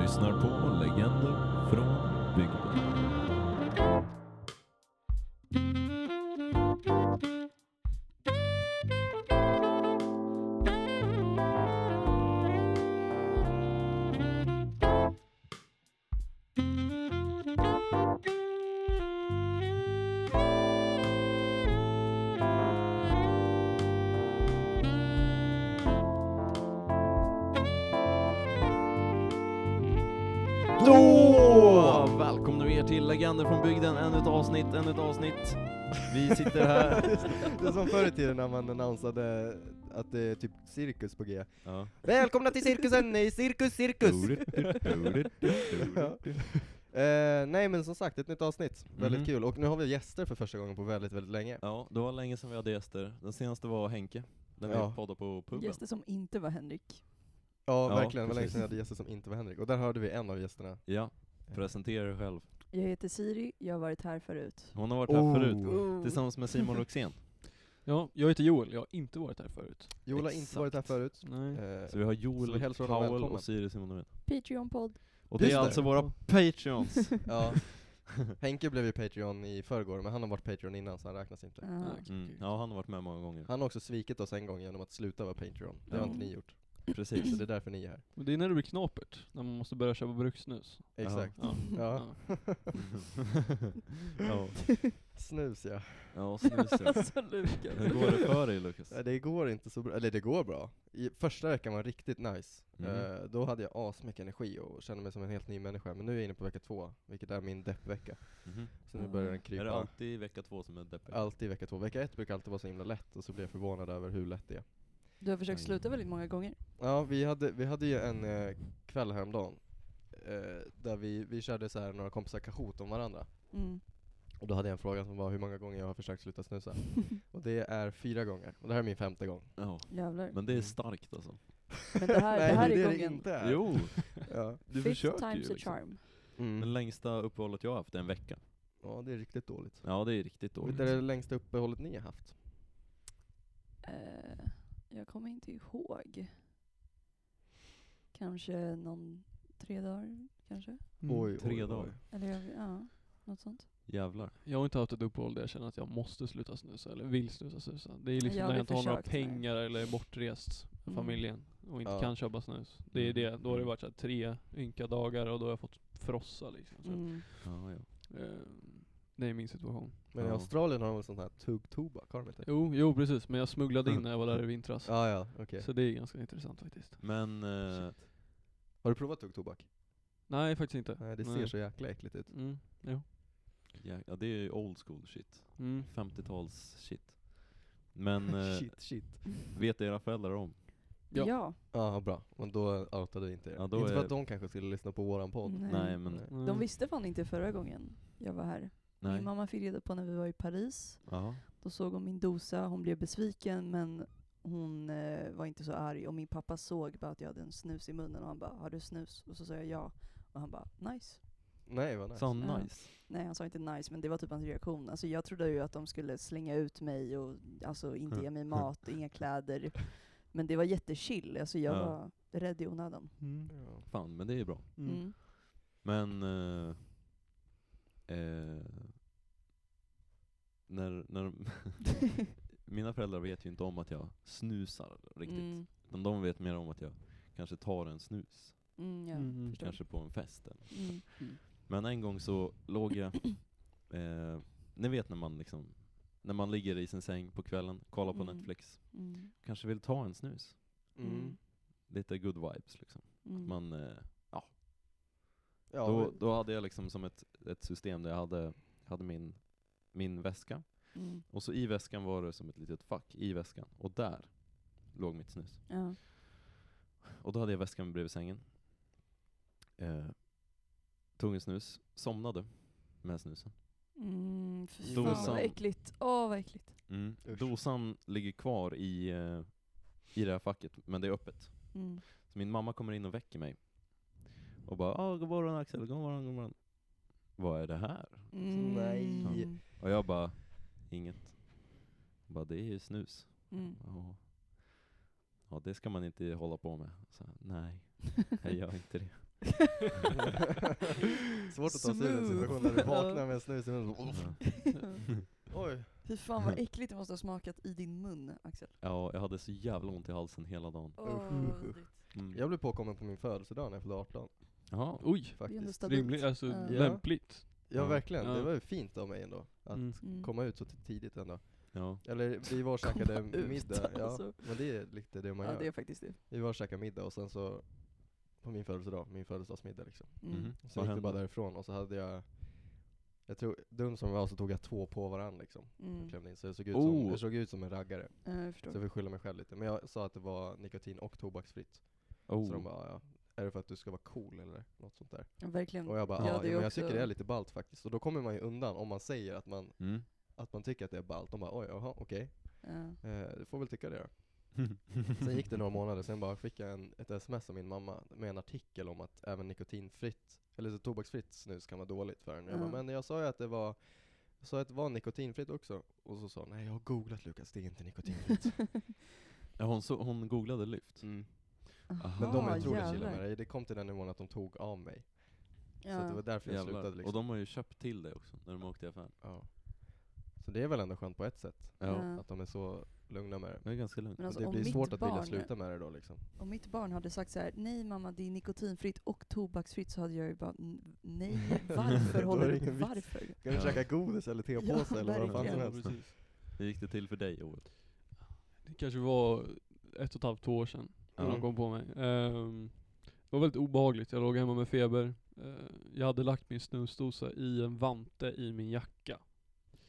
lyssnar på Legender från bygden. Då välkomnar vi er till Legender från bygden, ännu ett avsnitt, ännu ett avsnitt. Vi sitter här. Det är som förr i tiden när man annonsade att det är typ cirkus på G. ja. Välkomna till cirkusen i Cirkus Cirkus! Ja. Eh, nej men som sagt, ett nytt avsnitt. Väldigt Mhm. kul. Och nu har vi gäster för första gången på väldigt, väldigt länge. ja, det var länge sedan vi hade gäster. Den senaste var Henke, när vi Ja. poddade på puben. Gäster som inte var Henrik. Ja, Ja, verkligen. Det var länge precis. sedan jag hade gäster som inte var Henrik. Och där hörde vi en av gästerna. Ja, presentera er själv. Jag heter Siri, jag har varit här förut. Hon har varit här Oh. förut, Oh. tillsammans med Simon Roxén. Ja, jag heter Joel, jag har inte varit här förut. Joel har inte Exakt. Mm. varit här förut. Nej. Eh, Så vi har Så vi Joel, hälsar honom Powell välkommen. och Siri Simonovin. Patreon-podd. Och det Just är det. alltså våra Patreons. ja. Henke blev ju Patreon i förrgår, men han har varit Patreon innan så han räknas inte. Ah. okej, Mm. okej. Ja, han har varit med många gånger. Han har också svikit oss en gång genom att sluta vara Patreon. Det har Ja. inte ni gjort. Så Precis. det är därför ni är här. Men det är när det blir knapert, när man måste börja köpa brukssnus. Exakt. Ja. Ja. ja. Snus ja. ja, snus ja. alltså Lukas. Hur går det för dig Lukas? Nej, det går inte så bra, eller det går bra. I första veckan var riktigt nice. Mm. Eh, då hade jag asmycket energi och kände mig som en helt ny människa. Men nu är jag inne på vecka två, vilket är min deppvecka. Mhm. Så nu börjar den Är det krypa. alltid vecka två som är deppig? Alltid vecka två. Vecka ett brukar alltid vara så himla lätt och så blev jag förvånad över hur lätt det är. Du har försökt sluta väldigt många gånger. Ja, vi hade, vi hade ju en eh, kväll häromdagen eh, där vi, vi körde så här några kompisar Kahoot om varandra. Mm. Och då hade jag en fråga som var hur många gånger jag har försökt sluta snusa. och det är fyra gånger. Och det här är min femte gång. Ja. Jävlar. Men Men det Mm. är starkt alltså. det här, Nej, det här det är är gången... inte är. Mm. Jo, Ja. du Fifth försöker ju. time's a Liksom. charm. Mm. Det längsta uppehållet jag har haft är en vecka. ja, det är riktigt dåligt. Ja, det är riktigt dåligt. Vilket är det längsta uppehållet ni har haft? Eh, jag kommer inte ihåg. Kanske någon tre dagar, kanske? Tre dagar. Eller jag, ja, något sånt. Jävlar. Mm. Jag har inte haft ett uppehåll där jag känner att jag måste sluta snusa, eller vill sluta snusa. Det är liksom Jag jag har när jag inte har några försökt med det. pengar eller är bortrest med Mm. familjen och inte Ja. kan köpa snus. Det är det, då har det Mm. varit så här tre ynka dagar och då har jag fått frossa liksom. alltså. Så, Mm. Ja, ja. eh, det är min situation. Men i Ja. Australien har de väl sån här tuggtobak, har de inte? Jo, jo precis, men jag smugglade in när jag var där i vintras. Ja, ja, okej. Så det är ganska intressant faktiskt. Men, eh, Har du provat tuggtobak? Nej, faktiskt inte. Nej, det ser så jäkla äckligt ut. Mm, jo. jä- ja, det är ju old school shit. Mm. 50-tals shit. Men eh, shit, shit. vet era föräldrar om? Ja. ja. Ja, bra. Men då outade du inte er. Ja, då inte för är- att de kanske skulle lyssna på våran podd. Nej. Nej, men Nej. Mm. Mm. De visste fan inte förra gången jag var här. nej. Min mamma fick reda på när vi var i Paris. Ja. Då såg hon min dosa, hon blev besviken men hon eh, var inte så arg och min pappa såg bara att jag hade en snus i munnen och han bara ”Har du snus?” och så sa jag ja och han bara ”Nice”. Nej, vad nice. Sa hon Ja. nice? Nej han sa inte nice men det var typ hans reaktion. Alltså jag trodde ju att de skulle slänga ut mig och alltså inte ge mig mat, inga kläder. Men det var jättechill, alltså jag Ja. var rädd i onödan. Mm. Ja. Fan, men det är bra. Mm. Men eh, eh, när, när mina föräldrar vet ju inte om att jag snusar riktigt. Mm. Utan de vet mer om att jag kanske tar en snus, Mm, ja, Mm. förstår. kanske på en fest. Eller. Mm. Men en gång så låg jag, eh, ni vet när man liksom, när man ligger i sin säng på kvällen, kollar på Mm. Netflix, Mm. kanske vill ta en snus. Mm. Mm. Lite good vibes liksom. Mm. Man, eh, Ja, då, men- då hade jag liksom som ett, ett system där jag hade, hade min, min väska, Mm. Och så i väskan var det som ett litet fack i väskan, och där låg mitt snus. Ja. Och då hade jag väskan bredvid sängen. Eh, tog en snus, somnade med snusen. Mm, fy fan Dosan. vad äckligt. Åh vad äckligt. Usch. Dosan ligger kvar i, eh, i det här facket, men det är öppet. Mm. Så min mamma kommer in och väcker mig. Och bara ah, 'God morgon Axel, god morgon, god morgon' Vad är det här? Nej. Mm. Och jag bara, inget. Hon bara, det är ju snus. Mm. Ja. ja, det ska man inte hålla på med. Så, nej, jag gör inte det. Svårt att ta sig ur en situation när du vaknar med en snus i munnen. Oj. Fy fan vad äckligt det måste ha smakat i din mun, Axel. Ja, jag hade så jävla ont i halsen hela dagen. Åh, Usch. vidrigt. Mm. Jag blev påkommen på min födelsedag när jag fyllde 18. Jaha. Oj, det är ändå Faktiskt. stabilt. rimligt. Alltså Ja. lämpligt. Ja Ja. verkligen, det Ja. var ju fint av mig ändå. Att Mm. Mm. komma ut så t- tidigt ändå. Ja. Eller vi var och käkade Komma ut, middag. Ja, alltså. men det är lite det man Ja, gör. det är faktiskt det. Vi var och käkade middag och sen så, på min födelsedag, min födelsedagsmiddag liksom. Mm. Mhm. Sen Vad gick vi bara hände? därifrån och så hade jag, jag tror, dum som jag var så tog jag två på varann liksom. Mm. Och klämde in, så jag såg, ut som, Oh. jag såg ut som en raggare. Ja, jag Så jag förstår. fick skylla mig själv lite. Men jag sa att det var nikotin och tobaksfritt. Så de Oh. bara, ja, är det för att du ska vara cool eller något sånt där? Ja, Verkligen. Och jag bara, Mm. Ja, ja, ja, det är men jag också- tycker det är lite balt faktiskt. Och då kommer man ju undan om man säger att man, Mm. att man tycker att det är balt. De bara, oj, jaha, okej. Ja. Eh, du får väl tycka det då. Sen gick det några månader, sen bara fick jag en, ett sms av min mamma med en artikel om att även nikotinfritt, eller så tobaksfritt snus kan vara dåligt för en. Jag bara, Ja. men jag sa ju att det var jag sa att det var nikotinfritt också, och så sa hon nej jag har googlat Lukas, det är inte nikotinfritt. Ja, hon, så, hon googlade lyft. Mm. Aha. Men de är Ah, otroligt chilla jävlar. med det, det kom till den nivån att de tog av mig. Så att det Ja. var därför jag Jävlar. slutade Och liksom. de har ju köpt till dig också, när de åkte i affären. Ja. Så det är väl ändå skönt på ett sätt, Ja. Ja. att de är så lugna med det. Det är ganska lugnt. Men alltså, det om blir mitt svårt att vilja barn- sluta med det då liksom. Om mitt barn hade sagt så här, nej mamma det är nikotinfritt och tobaksfritt så hade jag ju bara, "N- nej varför Då håller är det du, ingen vits. varför? Kan du Ja. käka godis eller tepåse Ja, eller vad fan som verkligen. Ja, helst? precis. Hur gick det till för dig Joel? Det kanske var ett och ett halvt, två år sedan. när Ja. de kom på mig. Ehm, det var väldigt obehagligt, jag låg hemma med feber. Eh, jag hade lagt min snusdosa i en vante i min jacka.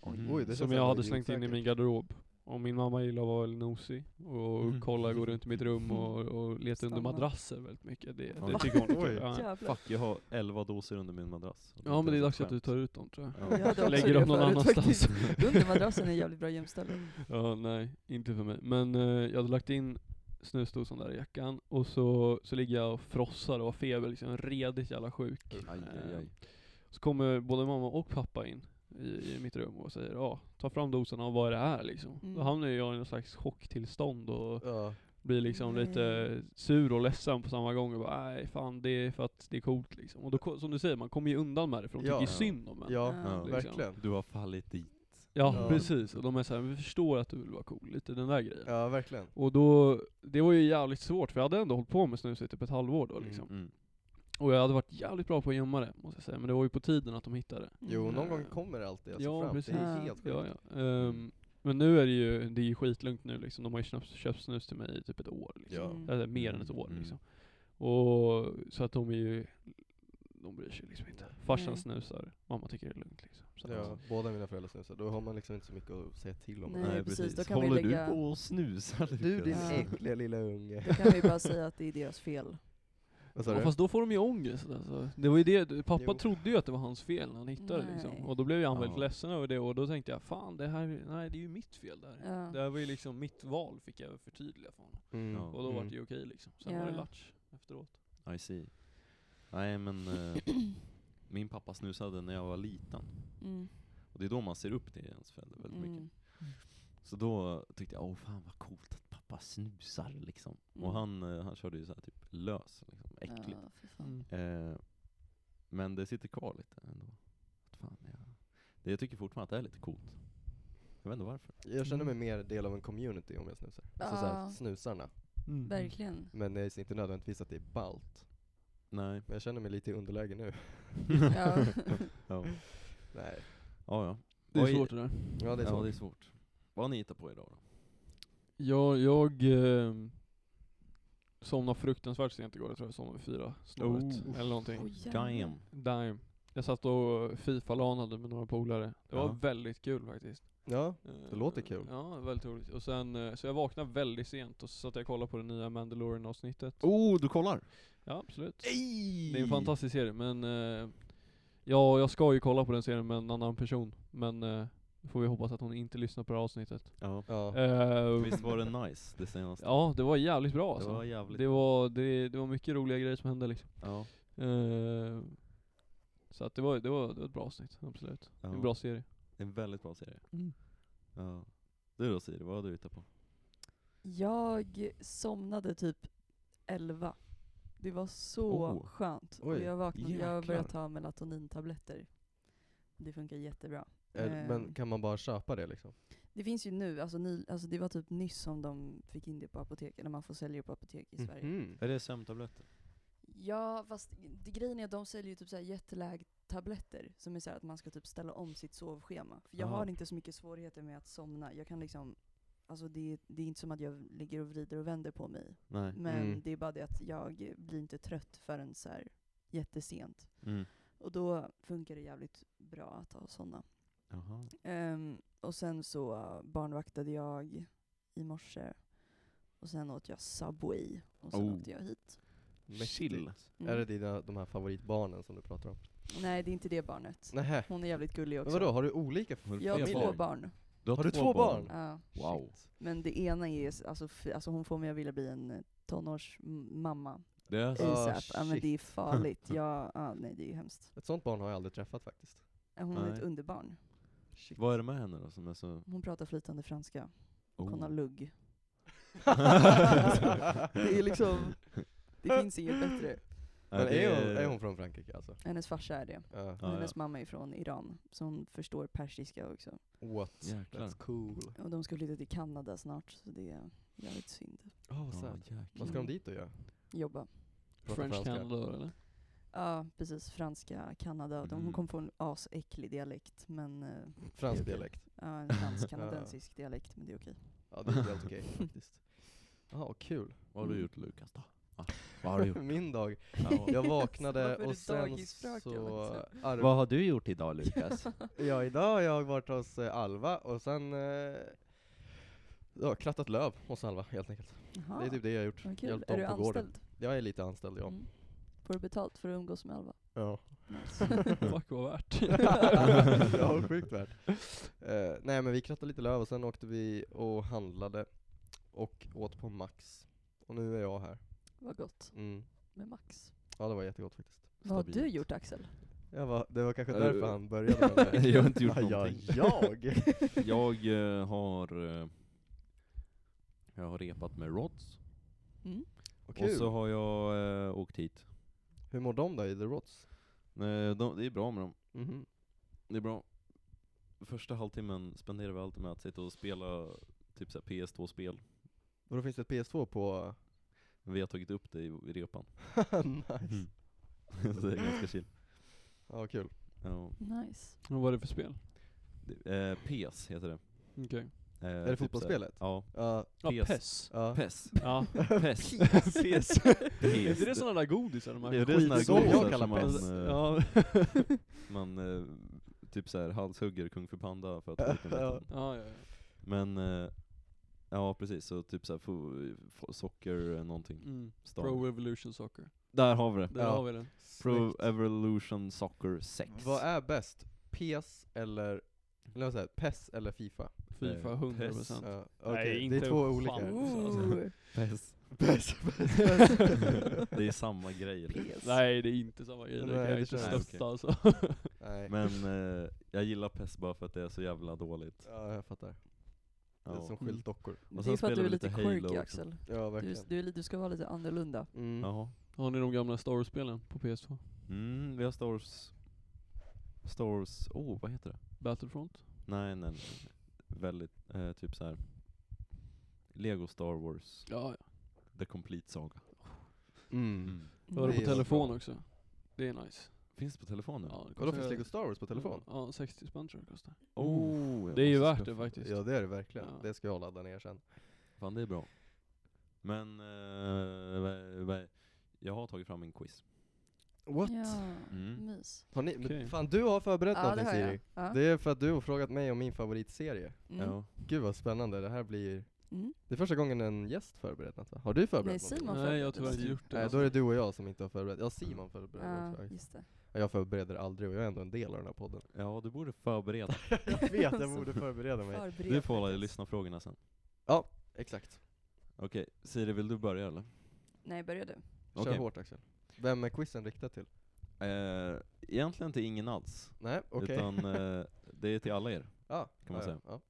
Mm. Oj, det känns som jag hade väldigt slängt in i osäkert. min garderob. Och min mamma gillar att vara väldigt nosig Mhm. och kolla, gå runt i mitt rum och, och leta under Stanna. madrasser väldigt mycket. Det, Ja. det tycker hon är Oj. kul. ja. Jävlar. Fuck, jag har 11 doser under min madrass. Och ja men det är ens dags ett att du skämt. tar ut dem tror jag. Jag hade också Lägger det dem någon förut annanstans. faktiskt. Undermadrassen är jävligt bra gömställe. Ja, nej, inte för mig. Men eh, jag hade lagt in snusdosan där i jackan och så, så ligger jag och frossar och har feber, liksom redigt jävla sjuk. Aj, aj, aj. Så kommer både mamma och pappa in i, i mitt rum och säger ja, ta fram dosan och vad är det här liksom? Mm. Då hamnar jag i någon slags chocktillstånd och Ja. blir liksom Nej. lite sur och ledsen på samma gång och bara nej fan det är för att det är coolt liksom. Och då, ko- som du säger, man kommer ju undan med det för de Ja. tycker ju synd om en. Ja, liksom. Ja. Ja. verkligen. Du har fallit dit. Ja, Ja. precis. Och de är såhär, vi förstår att du vill vara cool, lite den där grejen. Ja, verkligen. Och då, det var ju jävligt svårt för jag hade ändå hållit på med snus i typ ett halvår då Mm. liksom. Mm. Och jag hade varit jävligt bra på att gömma det, måste jag säga. Men det var ju på tiden att de hittade det. Mm. Jo, någon gång Eh, kommer det alltid alltså ja, fram. precis. Det är helt sjukt. Ja, ja. Ehm, men nu är det ju, det är ju skitlugnt nu liksom. De har ju köpt, köpt snus till mig i typ ett år. Liksom. Ja. Mm. Eller mer än ett Mm, år mm. liksom. Och, så att de är ju, de bryr sig liksom inte. Farsan Nej. snusar, mamma tycker det är lugnt liksom. Så att- Ja, båda mina föräldrar snusar. Då har man liksom inte så mycket att säga till om. Nej, precis. Då kan vi Håller lägga- du på och snusar Du din Ja. äckliga lilla unge. Då kan vi bara säga att det är deras fel. Vad sa Ja, du? fast då får de ju ångest alltså. Det var ju det, pappa Jo. trodde ju att det var hans fel när han hittade det Nej. liksom. Och då blev ju han väldigt Ja. ledsen över det och då tänkte jag, fan det här, nej det är ju mitt fel där. Ja. Det här var ju liksom mitt val fick jag förtydliga för honom. Mm. Ja. Och då var det Mm. ju okej liksom. Sen Ja. var det latch efteråt. mm. I see. Nej men, eh, min pappa snusade när jag var liten. Mm. Och det är då man ser upp till ens föräldrar väldigt mycket. Mm. Så då tyckte jag, åh fan vad coolt att pappa snusar liksom. Mm. Och han, eh, han körde ju så här typ lös, liksom, äckligt. Ja, fy fan. Mm. Eh, men det sitter kvar lite ändå. Att Fan, ja. det, jag tycker fortfarande att det är lite coolt. Jag vet inte varför. Jag känner mig Mm. mer del av en community om jag snusar. Alltså såhär, Ja. snusarna. Mm. Verkligen. Men det är inte nödvändigtvis att det är balt. Nej. Men jag känner mig lite i underläge nu. Ja. Ja, Nej. ja. ja. Det är Vad svårt det där. Ja, det är Ja, svårt. det är svårt. Vad har ni hittat på idag då? Ja, jag eh, somnade fruktansvärt sent igår. Jag tror jag somnade vid fyra snåret. Oh. Eller någonting. Oj, jävlar. Damn. Damn. Jag satt och Fifa-lanade med några polare. Det var Ja. väldigt kul faktiskt. Ja, Det låter kul. Ja, väldigt roligt. Och sen, eh, så jag vaknade väldigt sent och så satt jag och kollade på det nya Mandalorian-avsnittet. Oh, du kollar? Ja, absolut. Ej! Det är en fantastisk serie, men... Eh, ja, jag ska ju kolla på den serien med en annan person. Men eh, då får vi hoppas att hon inte lyssnar på det här avsnittet. Ja. ja. Eh, Visst var det nice, det senaste? ja, det var jävligt bra alltså. det var jävligt... Det var, det, det var mycket roliga grejer som hände liksom. ja, Eh, så att det var, det, var, det var ett bra avsnitt, absolut. ja. En bra serie. Det är en väldigt bra serie. Mm. Ja. Du då Siri, vad har du hittat på? Jag somnade typ 11 Det var så Oh. skönt. och Oj, jag vaknade, jag har jäklar. börjat ta melatonintabletter. Det funkar jättebra. Eh, Eh, Men kan man bara köpa det liksom? Det finns ju nu, alltså, ny, alltså det var typ nyss som de fick in det på apoteken, när man får sälja på apotek i Sverige. Mhm. Är det sömntabletter? Ja, fast det, grejen är att de säljer ju typ såhär jetlag-tabletter som är såhär att man ska typ ställa om sitt sovschema. För jag Aha. har inte så mycket svårigheter med att somna. Jag kan liksom, alltså det, det är inte som att jag ligger och vrider och vänder på mig. Nej. Men Mm. det är bara det att jag blir inte trött förrän såhär jättesent. Mm. Och då funkar det jävligt bra att ha sådana. Jaha. Ehm, och sen så eh, barnvaktade jag i morse. Och sen åt jag Subway. Och sen Oh. åkte jag hit. Mäktigt. Chill. Mm. Är det dina, de här favoritbarnen som du pratar om? Nej, det är inte det barnet. Nähä. Hon är jävligt gullig Men också. vadå, har du olika f- Har du Jag har fler två barn. Du Har du två barn? Ja. Wow. Shit. Men det ena är, s- alltså, f- alltså hon får mig att vilja bli en eh, tonårsmamma. Det är så. Ja. ASAP. ja men shit. det är farligt. Ja, ja, nej det är ju hemskt. Ett sånt barn har jag aldrig träffat faktiskt. Eh, Hon är Nej. ett underbarn. Shit. Vad är det med henne då som är så... Hon pratar flytande franska. Hon har Oh. lugg. det är liksom, det finns inget bättre. Ja, Men det är hon, är hon från Frankrike alltså? Hennes farsa är det. Ja. Ja, Hennes ja. mamma är från Iran, så hon förstår persiska också. What? Jäklar. That's cool. Och de ska flytta till Kanada snart, så det är jävligt synd. Åh vad Ja, sad. jäklar. Vad ska de dit och göra? Jobba. Prata French franska. Canada eller? Ja, precis. Franska, Kanada. De, Mm. hon kommer få en asäcklig dialekt, men eh, Fransk Okej. dialekt. ja, en fransk-kanadensisk dialekt, men det är okej. Ja det är helt okej faktiskt. Jaha, vad kul. Vad har du Mm. gjort Lukas då? Va? Vad har du gjort? Min dag. Ja. Jag Varför vaknade är det och sen dagisfröken, så... liksom? Arv... Vad har du gjort idag Lukas? Ja, idag har jag varit hos eh, Alva och sen eh, ja, krattat löv hos Alva helt enkelt. Jaha, Det är typ det jag har gjort. Ah, vad kul. Hjälpt Är dem du på gården. anställd? Jag är lite anställd ja. Mm. Får du betalt för att umgås med Alva? Ja. Fuck vad värt. ja, sjukt värt. Eh, nej men vi krattade lite löv och sen åkte vi och handlade och åt på Max. Och nu är jag här. Vad gott Mm. med Max. Ja det var jättegott faktiskt. Vad har Stabilt. du gjort Axel? Jag var, det var kanske Ja, därför du- han började med det. här. Jag har inte gjort Ja, någonting. Jag? Jag eh, har... eh, jag har repat med Rods. Mm. Vad Och Kul. så har jag eh, åkt hit. Hur mår de då i The Rots? Nej, Eh, de, det är bra med dem. Mhm. Det är bra. Första halvtimmen spenderar vi alltid med att sitta och spela typ såhär PS2-spel. Och då finns det ett PS2 på... Vi har tagit upp det i, i repan. nice. så det är ganska chill. Ja, vad kul. Ja. Nice. Vad var det för spel? Det- Eh, PES heter det. Okej. Eh, är det fotbollsspelet? Ja. Ja. Ja, Pes. PES. ja. PES. Ja. PES. PES. Är inte det sådana där godisar? De här Det är det såna här skit- som jag godisar kallar som man, pest. eh, Ja. man eh, typ såhär halshugger Kung för Panda för att få ut den Ja. biten. ja, ja, ja. Men, eh, ja precis, så typ såhär fo- fo- socker eh, någonting. Mm. Star. Pro Revolution Soccer. Där har vi det! Där Ja. har vi den. Pro Snyggt. Evolution Soccer 6. eh, Vad är bäst? PS eller... Eller vad säger jag? PES eller FIFA? Fifa Eh, 100 PES. procent. Ja, okej, Nej, det inte är två fan. olika. Ooh. PES? PES, det är samma grej. liksom. PS. Nej det är inte samma grej, det Nej, kan jag det inte känns- Nej, stötta okej. alltså. Nej. Men eh, jag gillar PES bara för att det är så jävla dåligt. Ja, jag fattar. Det är Ja. som skyltdockor. Men Det sen är för att spelar du är vi lite lite Halo quirky också. Axel. Mm. Ja, Du, verkligen. du, är li- du ska vara lite annorlunda. Mm. Jaha. Har ni de gamla Star Wars-spelen på PS2? Mm, vi har Star Wars... Star Wars... Oh, vad heter det? Battlefront? Nej, nej, nej. Väldigt, eh, typ så här. Lego Star Wars, Ja, ja. The Complete Saga. Mm. Jag har det Det på är så telefon bra. också. Det är nice. Finns det på telefonen? Ja, det Vadå, kostar- finns Lego Star Wars på telefon? Ja, 60 spänn tror jag det kostar. Oh, jag Det är ju måste värt det skaffa- faktiskt. Ja, det är det verkligen. Ja. Det ska jag ladda ner sen. Fan, det är bra. Men, eh, vad- vad- jag har tagit fram en quiz. What? Ja, Mm. mys. Har ni, men Okej. Fan, du har förberett Ja, det någonting har Siri. jag. Ja. Det är för att du har frågat mig om min favoritserie. Mm. Ja. Gud vad spännande, det här blir... Mm. Det är första gången en gäst förberett något va? Har du förberett Nej, någonting? Simon Nej jag har tyvärr förberedde inte sig. gjort det. Nej, då är det du och jag som inte har förberett. Ja, Simon Ja, förbereder också. Ja, just det. Jag förbereder aldrig och jag är ändå en del av den här podden. ja, du borde förbereda. jag vet, jag borde förbereda mig. Förbered Du får hålla i faktiskt. lyssnarfrågorna sen. Exakt. Okej, Siri vill du börja eller? Nej, börja du. Kör Okej. hårt Axel. Vem är quizen riktad till? Eh, egentligen till ingen alls. Nej, okej. Utan eh, det är till alla er. ja, kan man ja, säga. Ja.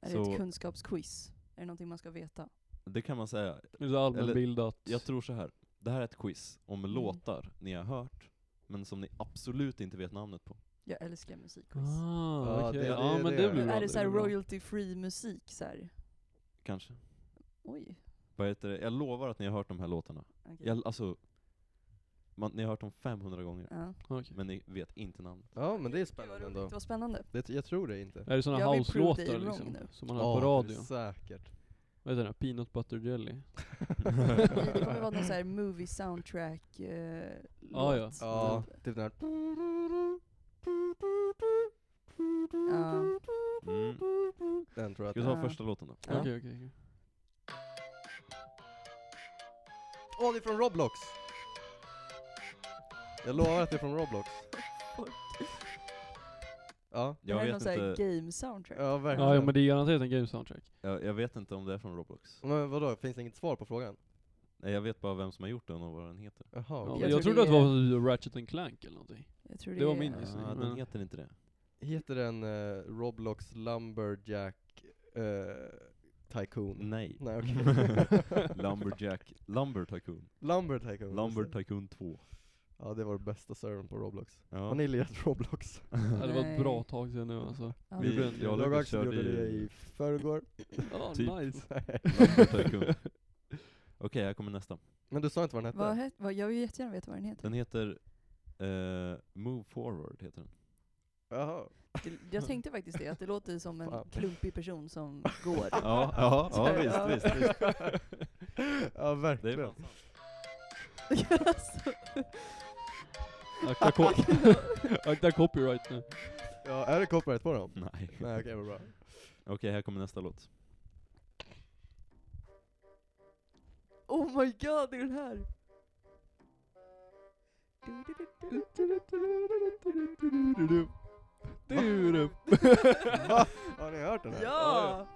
Är det Så- ett kunskapsquiz? Är det någonting man ska veta? Det kan man säga. Det är så allmänbildat. Jag tror så här. Det här är ett quiz om Mm. låtar ni har hört, men som ni absolut inte vet namnet på. Jag älskar musikquiz. Ah, Ja, okej. det- Ja, det- men det det är- blir bra. är det så här blir bra. royalty free musik så här? Kanske. Oj. Vad heter det? Jag lovar att ni har hört de här låtarna. okej. Jag, alltså, man, ni har hört dem 500 gånger, Ja. Okej. men ni vet inte namnet. Ja men det är Gud, vad spännande roligt. ändå. Det var spännande. Det, jag tror det inte. Är det såna Jag vill prove dig house-låtar wrong liksom? nu. Som man hör på radio? säkert. Vad heter den? här? Peanut butter jelly? Nej, det kommer vara någon så här movie soundtrack eh, Ja, ja. låt. Ja, typ. typ den här. Ja. Mm. Den tror jag Ska att vi ta Ja. första låten då? Ja. Okej, okej. okej. Åh, det är från Roblox! Jag lovar att det är från Roblox. Ja, Det här Jag är någon vet, så här inte, game soundtrack. ja Ja, verkligen. ja, men det är garanterat en game soundtrack. jag, jag vet inte om det är från Roblox. men vadå, finns det inget svar på frågan? Nej, jag vet bara vem som har gjort den och vad den heter. Jaha, Ja, okej. jag, tror trodde det att det var typ Ratchet and Clank eller någonting. Jag tror det, det var är- min gissning. Ah, men- den heter inte det. Heter den eh, Roblox Lumberjack eh, Tycoon? Nej. Nej okej. Lumberjack, Lumber Tycoon. Lumber Tycoon. Lumber just det. Tycoon 2. Ja det var det bästa servern på Roblox. Har Ja. ni lirat Roblox? Ja, det var ett Nej. bra tag sedan nu alltså. Ja. Vi- gjorde en- jag och Jag och Lukas Axel körde gjorde det ju i förrgår. Ja, Typ. Ah, nice. Lumber Tycoon. Okej, här kommer nästa. Men du sa inte vad den hette? Vad het, vad, jag vill jättegärna veta vad den heter. Den heter eh, Move Forward, heter den. Jaha. Det, jag tänkte faktiskt det, att det låter som en Fan. klumpig person som går. Ja, ja, Så här, ja, visst, visst, visst. ja Det är verkligen. fan sant. Alltså, Akta, ko Akta copyright nu. Ja, är det copyright på dem? Nej. Nej okej, vad bra. Okej, här kommer nästa låt. oh my god, det är den här! Du. Va? Har ni hört den här? Ja!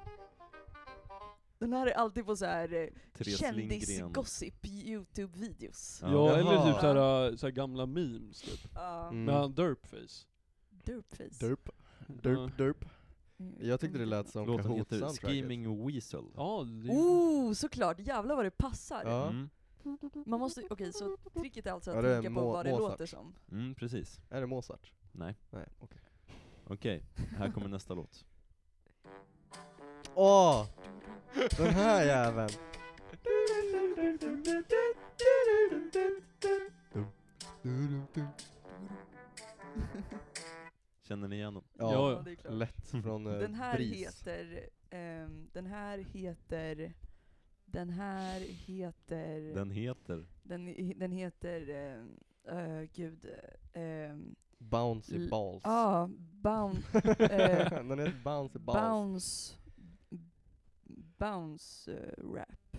Den här är alltid på så här eh, Therese Lindgren. kändisgossip youtube-videos. Ja. Ja, eller typ Jaha. såhär, äh, såhär gamla memes typ. Ja. Mm. Med han derpface. Derpface. Derp, derp, derp. Mm. Jag tyckte det lät som Låten Kahoot heter soundtracket. Screaming Weasel. Ja, det är ju- Oh, såklart! Jävlar vad det passar! Ja. Mm, Man måste, okej så tricket är alltså att Ja, det är tänka på Mo- vad det Mozart. låter som. mm, precis. Är det Mozart? Nej. Nej, okej. Okej, här kommer nästa låt. Åh! Den här jäveln! Känner ni igen den? Ja, Ja, ja. det är klart. lätt från eh, Den här BRIS. heter, ehm, den här heter, den här heter, den, Den heter... i- den heter, ehm, eh, gud, ehm, Bouncy L- balls. ah, bounce, eh, den heter Bouncy balls. bounce, bounce eh, rap,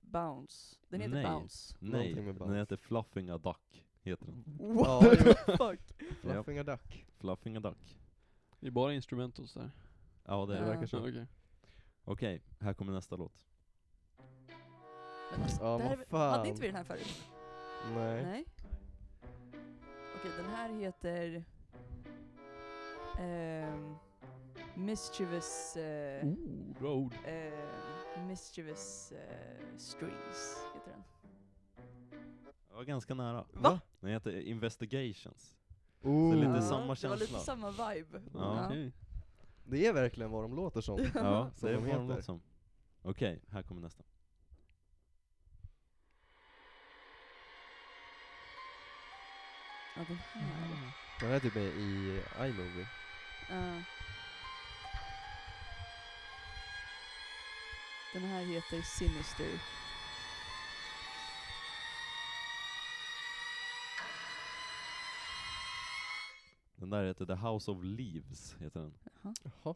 bounce, den heter Nej. bounce. Nej, Någonting med den bounce. heter Fluffing a Duck. Heter den. What the fuck? Fluffing a duck. Fluffing a Duck. det är bara instrumentals där. Ja, det är Det det. verkar Ja, så. okej. Okej, här kommer nästa låt. Men alltså, Ja, det här, vad är väl- fan. Hade inte vi den här förut? Nej. Nej. Okej, den här heter... ehm, mischievous... eh, Oh, bra ord. ehm, mischievous eh, strings, heter den. Jag var ganska nära. Va? Den heter Investigations. Ooh. lite Ja, samma Det var lite känsla. samma vibe. Ja. Okej. Det är verkligen vad de låter som. Ja, Som det är de vad den heter. låter som. Okej, här kommer nästa. Ja, den här. Den här är typ med i iMovie. Ja. Den här heter Sinister. Den där heter The House of Leaves. Heter den. Jaha.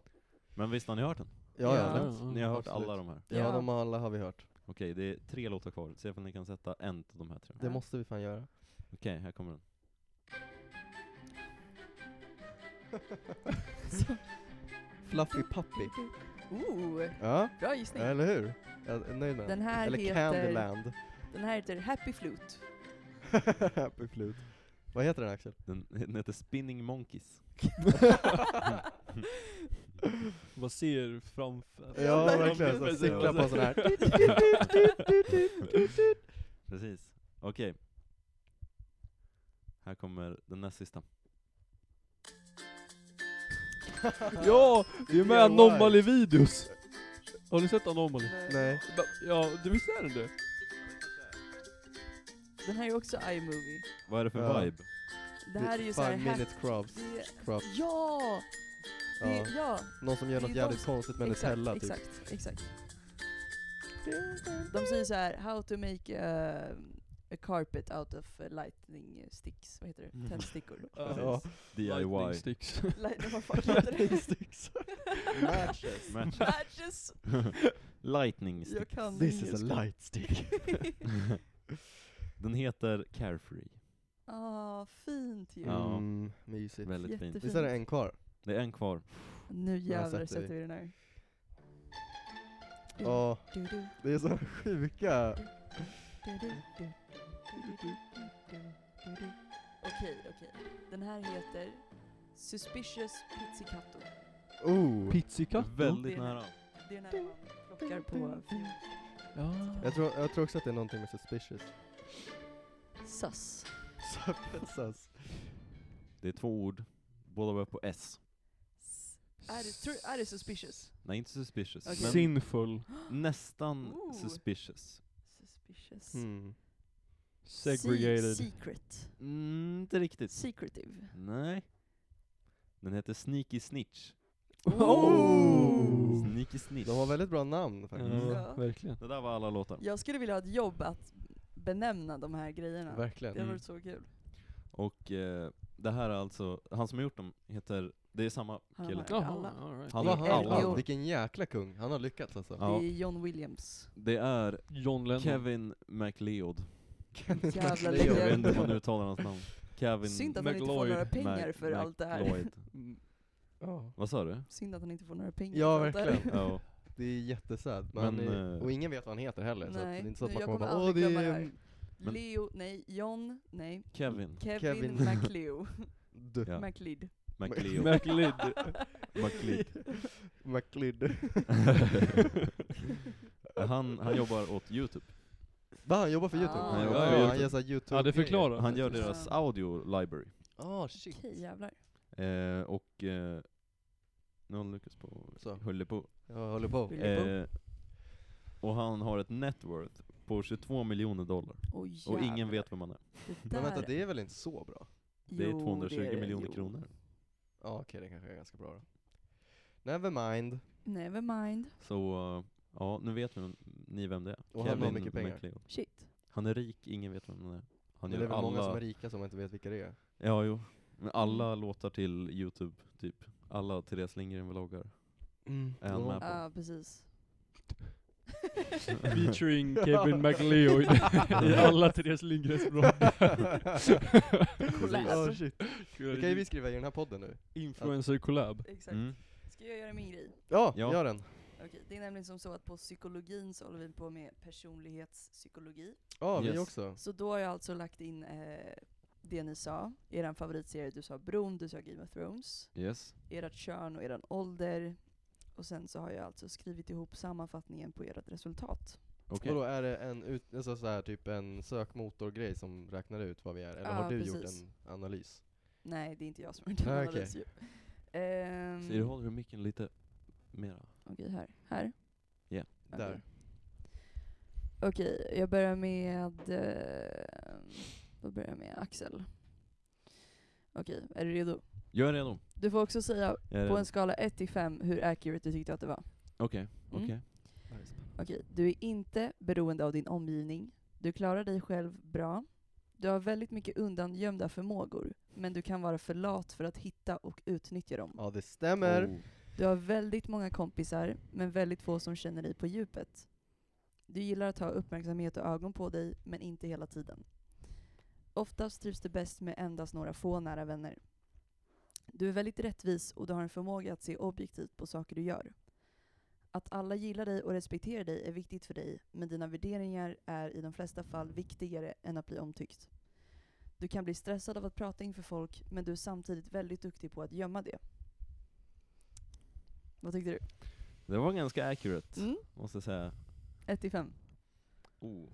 Men visst har ni hört den? Ja, ja. Ja. lätt. Ni har hört Absolut. alla de här? Ja, Ja. de alla har vi hört. Okej, det är tre låtar kvar. Se om ni kan sätta en av de här tre. Det Ja. måste vi fan göra. Okej, här kommer den. Fluffy Puppy. Ooh, Ja, bra gissning. eller hur? Jag är nöjd med Den här Eller heter- Candyland. Den här heter Happy Flute. Happy Flute. Vad heter den Axel? den. Den heter Spinning Monkeys. Vad ser framför? Ja, verkligen. Så precis. cykla på en sån här. Precis. Okej. Här kommer den näst sista. Ja! Det är ju med DIY. Anomaly videos! Har ni sett Anomaly? Nej. Va- Ja, du visst är den det? Den här är också iMovie. Vad är det för Ja. vibe? Det här är ju Five såhär minute crafts. Crop. Ja! Det, Ja. ja! Någon som gör det är något jävligt de- konstigt med exakt, Nutella typ. exakt, exakt. De säger så här: how to make eh, a carpet out of eh, lightning sticks, vad heter det? Tändstickor. Mm. Ja. Lightning DIY. sticks. Lightning, vad fan heter det? sticks. Matches. Match. Matches! Lightning Jag stick. kan This is engelska. a light stick. Den heter Carefree. Ah, fint ju. Ja. Mm, mysigt. Väldigt fint. Jättefint. Visst är det en kvar? Det är en kvar. Nu jävlar sätter vi. sätter vi den här. Ja, Du, du, det är så sjuka. du, du, du, du, du, du, du, du, du. Okej, okej. Den här heter Suspicious Pizzicato. Oh. Pizzicato? Väldigt Det är- nära. Det är när man plockar på fjol. Ja. Jag tror, jag tror också att det är någonting med suspicious. Sass. Suspicious. Det är två ord. Båda börjar på S. Är det, tror, är det suspicious? Nej, inte suspicious. Okej. Men Sinful. nästan Ooh. suspicious. Suspicious. Hmm. Segregated. Se- secret. Mm, inte riktigt. Secretive. Nej. Den heter Sneaky Snitch. Oh! Sneaky Snitch. De har väldigt bra namn faktiskt. Mm. Ja, verkligen. Det där var alla låtar. Jag skulle vilja ha ett jobb att benämna de här grejerna. Verkligen. Det har Mm. varit så kul. Och eh, det här är alltså, han som har gjort dem heter, det är samma Han kille. har- Alla. all right. Han Vad har han- alla. LGO. Vilken jäkla kung. Han har lyckats alltså. Ja. Det är John Williams. Det är John Lennon. Kevin MacLeod. Kenneth Jävla MacLeod. legend. Jag vet inte hur man uttalar hans namn. Kevin Synd att han inte får McLeod. några pengar Mac- för allt det här. MacLeod. Mm. Ja. Vad sa du? Synd att eh, han inte får några pengar Ja, för allt det här. verkligen. Ja. Det är jättesöd. Men Men, eh, eh, och ingen vet vad han heter heller. så att det Nej, är inte så att jag man kommer kommer bara åh det aldrig glömma är det en Men- Leo, nej, John, nej, Kevin Kevin, Kevin. MacLeod. d- Ja. MacLeod. MacLeod. MacLeod. MacLeod. MacLeod. han, han jobbar åt Youtube. Va, han jobbar för Youtube? Ah. Han ja, jobbar ja, för han YouTube. gör såhär youtube Ja, det förklarar. Han gör deras Ah. audio library. Ah shit. Okej, jävlar. Eh, och... Eh, nu håller Lukas på Så. höll på. Jag håller på. Vill- Höll på. Eh, och han har ett net worth på 22 miljoner dollar. Oj, Och ingen jävlar. vet vem han är. Det Men vänta, där- det är väl inte så bra? Det är Jo, 220 det det. miljoner Jo. kronor. Ja okej, det kanske är ganska bra då. Never mind. Never mind. Så, eh, ja, nu vet vi, ni vem det är. Och han har mycket pengar. MacLeod. Shit. Han är rik, ingen vet vem han är. Han Men det gör är väl alla... många som är Mm. rika som inte vet vilka det är. Ja, jo. Men alla låtar till Youtube, typ. Alla Therese Lindgren-vloggar. Mm. Är han med på? Ja, precis. Featuring Kevin MacLeod i alla Therese Lindgrens vloggar. Collab. shit. Det kan ju vi skriva i den här podden nu. Influencer collab. Exakt. Mm. Ska jag göra min grej? Ja, Ja. gör den. Okej, det är nämligen som så att på psykologin så håller vi på med personlighetspsykologi. Ja, vi Yes. också. Så då har jag alltså lagt in eh, det ni sa, er favoritserie, du sa Bron, du sa Game of Thrones. Yes. ert kön och eran ålder. Och sen så har jag alltså skrivit ihop sammanfattningen på ert resultat. Okej. Och då är det en, ut, alltså så här, typ en sökmotorgrej som räknar ut vad vi är, eller Ja, har du gjort precis. en analys? Nej, det är inte jag som har gjort en Nej, analys ju. Ehm, Så Ah, du håller du micken lite mera? Okej, här. Här? Ja. Okej. Där. Okej, jag börjar med... Eh, då börjar jag med Axel. Okej, är du redo? Jag är redo. Du får också säga Jag är på redo. en skala 1 till 5 hur accurate du tyckte att det var. Okej, Mm. okej. Okej, du är inte beroende av din omgivning. Du klarar dig själv bra. Du har väldigt mycket undangömda förmågor, men du kan vara för lat för att hitta och utnyttja dem. Ja, det stämmer. Oh. Du har väldigt många kompisar, men väldigt få som känner dig på djupet. Du gillar att ha uppmärksamhet och ögon på dig, men inte hela tiden. Oftast trivs du bäst med endast några få nära vänner. Du är väldigt rättvis och du har en förmåga att se objektivt på saker du gör. Att alla gillar dig och respekterar dig är viktigt för dig, men dina värderingar är i de flesta fall viktigare än att bli omtyckt. Du kan bli stressad av att prata inför folk, men du är samtidigt väldigt duktig på att gömma det. Vad tyckte du? Det var ganska accurate, Mm. måste jag säga. 1 till 5. Oh.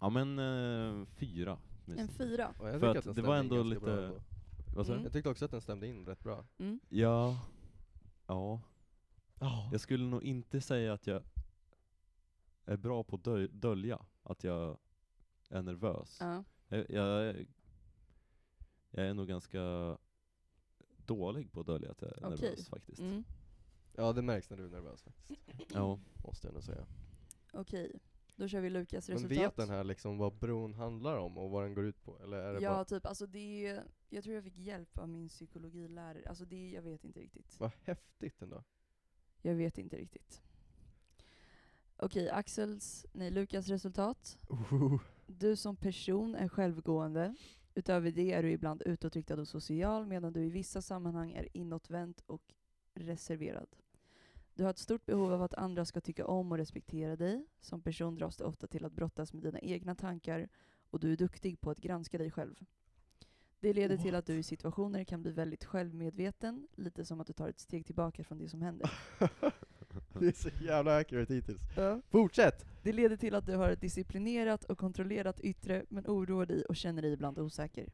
Ja men eh, fyra. minst. En fyra. Och jag För tycker att att den det var stämde in ändå ganska lite- bra ändå. Vad sa du? Mm. Jag tyckte också att den stämde in rätt bra. Mm. Ja. Ja. Ja. Jag skulle nog inte säga att jag är bra på att döl- dölja att jag är nervös. Ja. Jag, jag, jag är nog ganska dålig på att dölja att jag är Okej. nervös faktiskt. Mm. ja, det märks när du är nervös faktiskt. Ja. Måste jag ändå säga. Okej, då kör vi Lukas Men resultat. vet den här liksom vad bron handlar om och vad den går ut på? Eller är det Ja, bara... typ. Alltså det är, jag tror jag fick hjälp av min psykologilärare. Alltså det, jag vet inte riktigt. Vad häftigt ändå. Jag vet inte riktigt. Okej, Axels, nej Lukas resultat. Du som person är självgående. Utöver det är du ibland utåtriktad och social medan du i vissa sammanhang är inåtvänd och reserverad. Du har ett stort behov av att andra ska tycka om och respektera dig. Som person dras du ofta till att brottas med dina egna tankar och du är duktig på att granska dig själv. Det leder till att du i situationer kan bli väldigt självmedveten, lite som att du tar ett steg tillbaka från det som händer. det är så jävla accurate hittills. Fortsätt! Det leder till att du har ett disciplinerat och kontrollerat yttre men oroar dig och känner dig ibland osäker.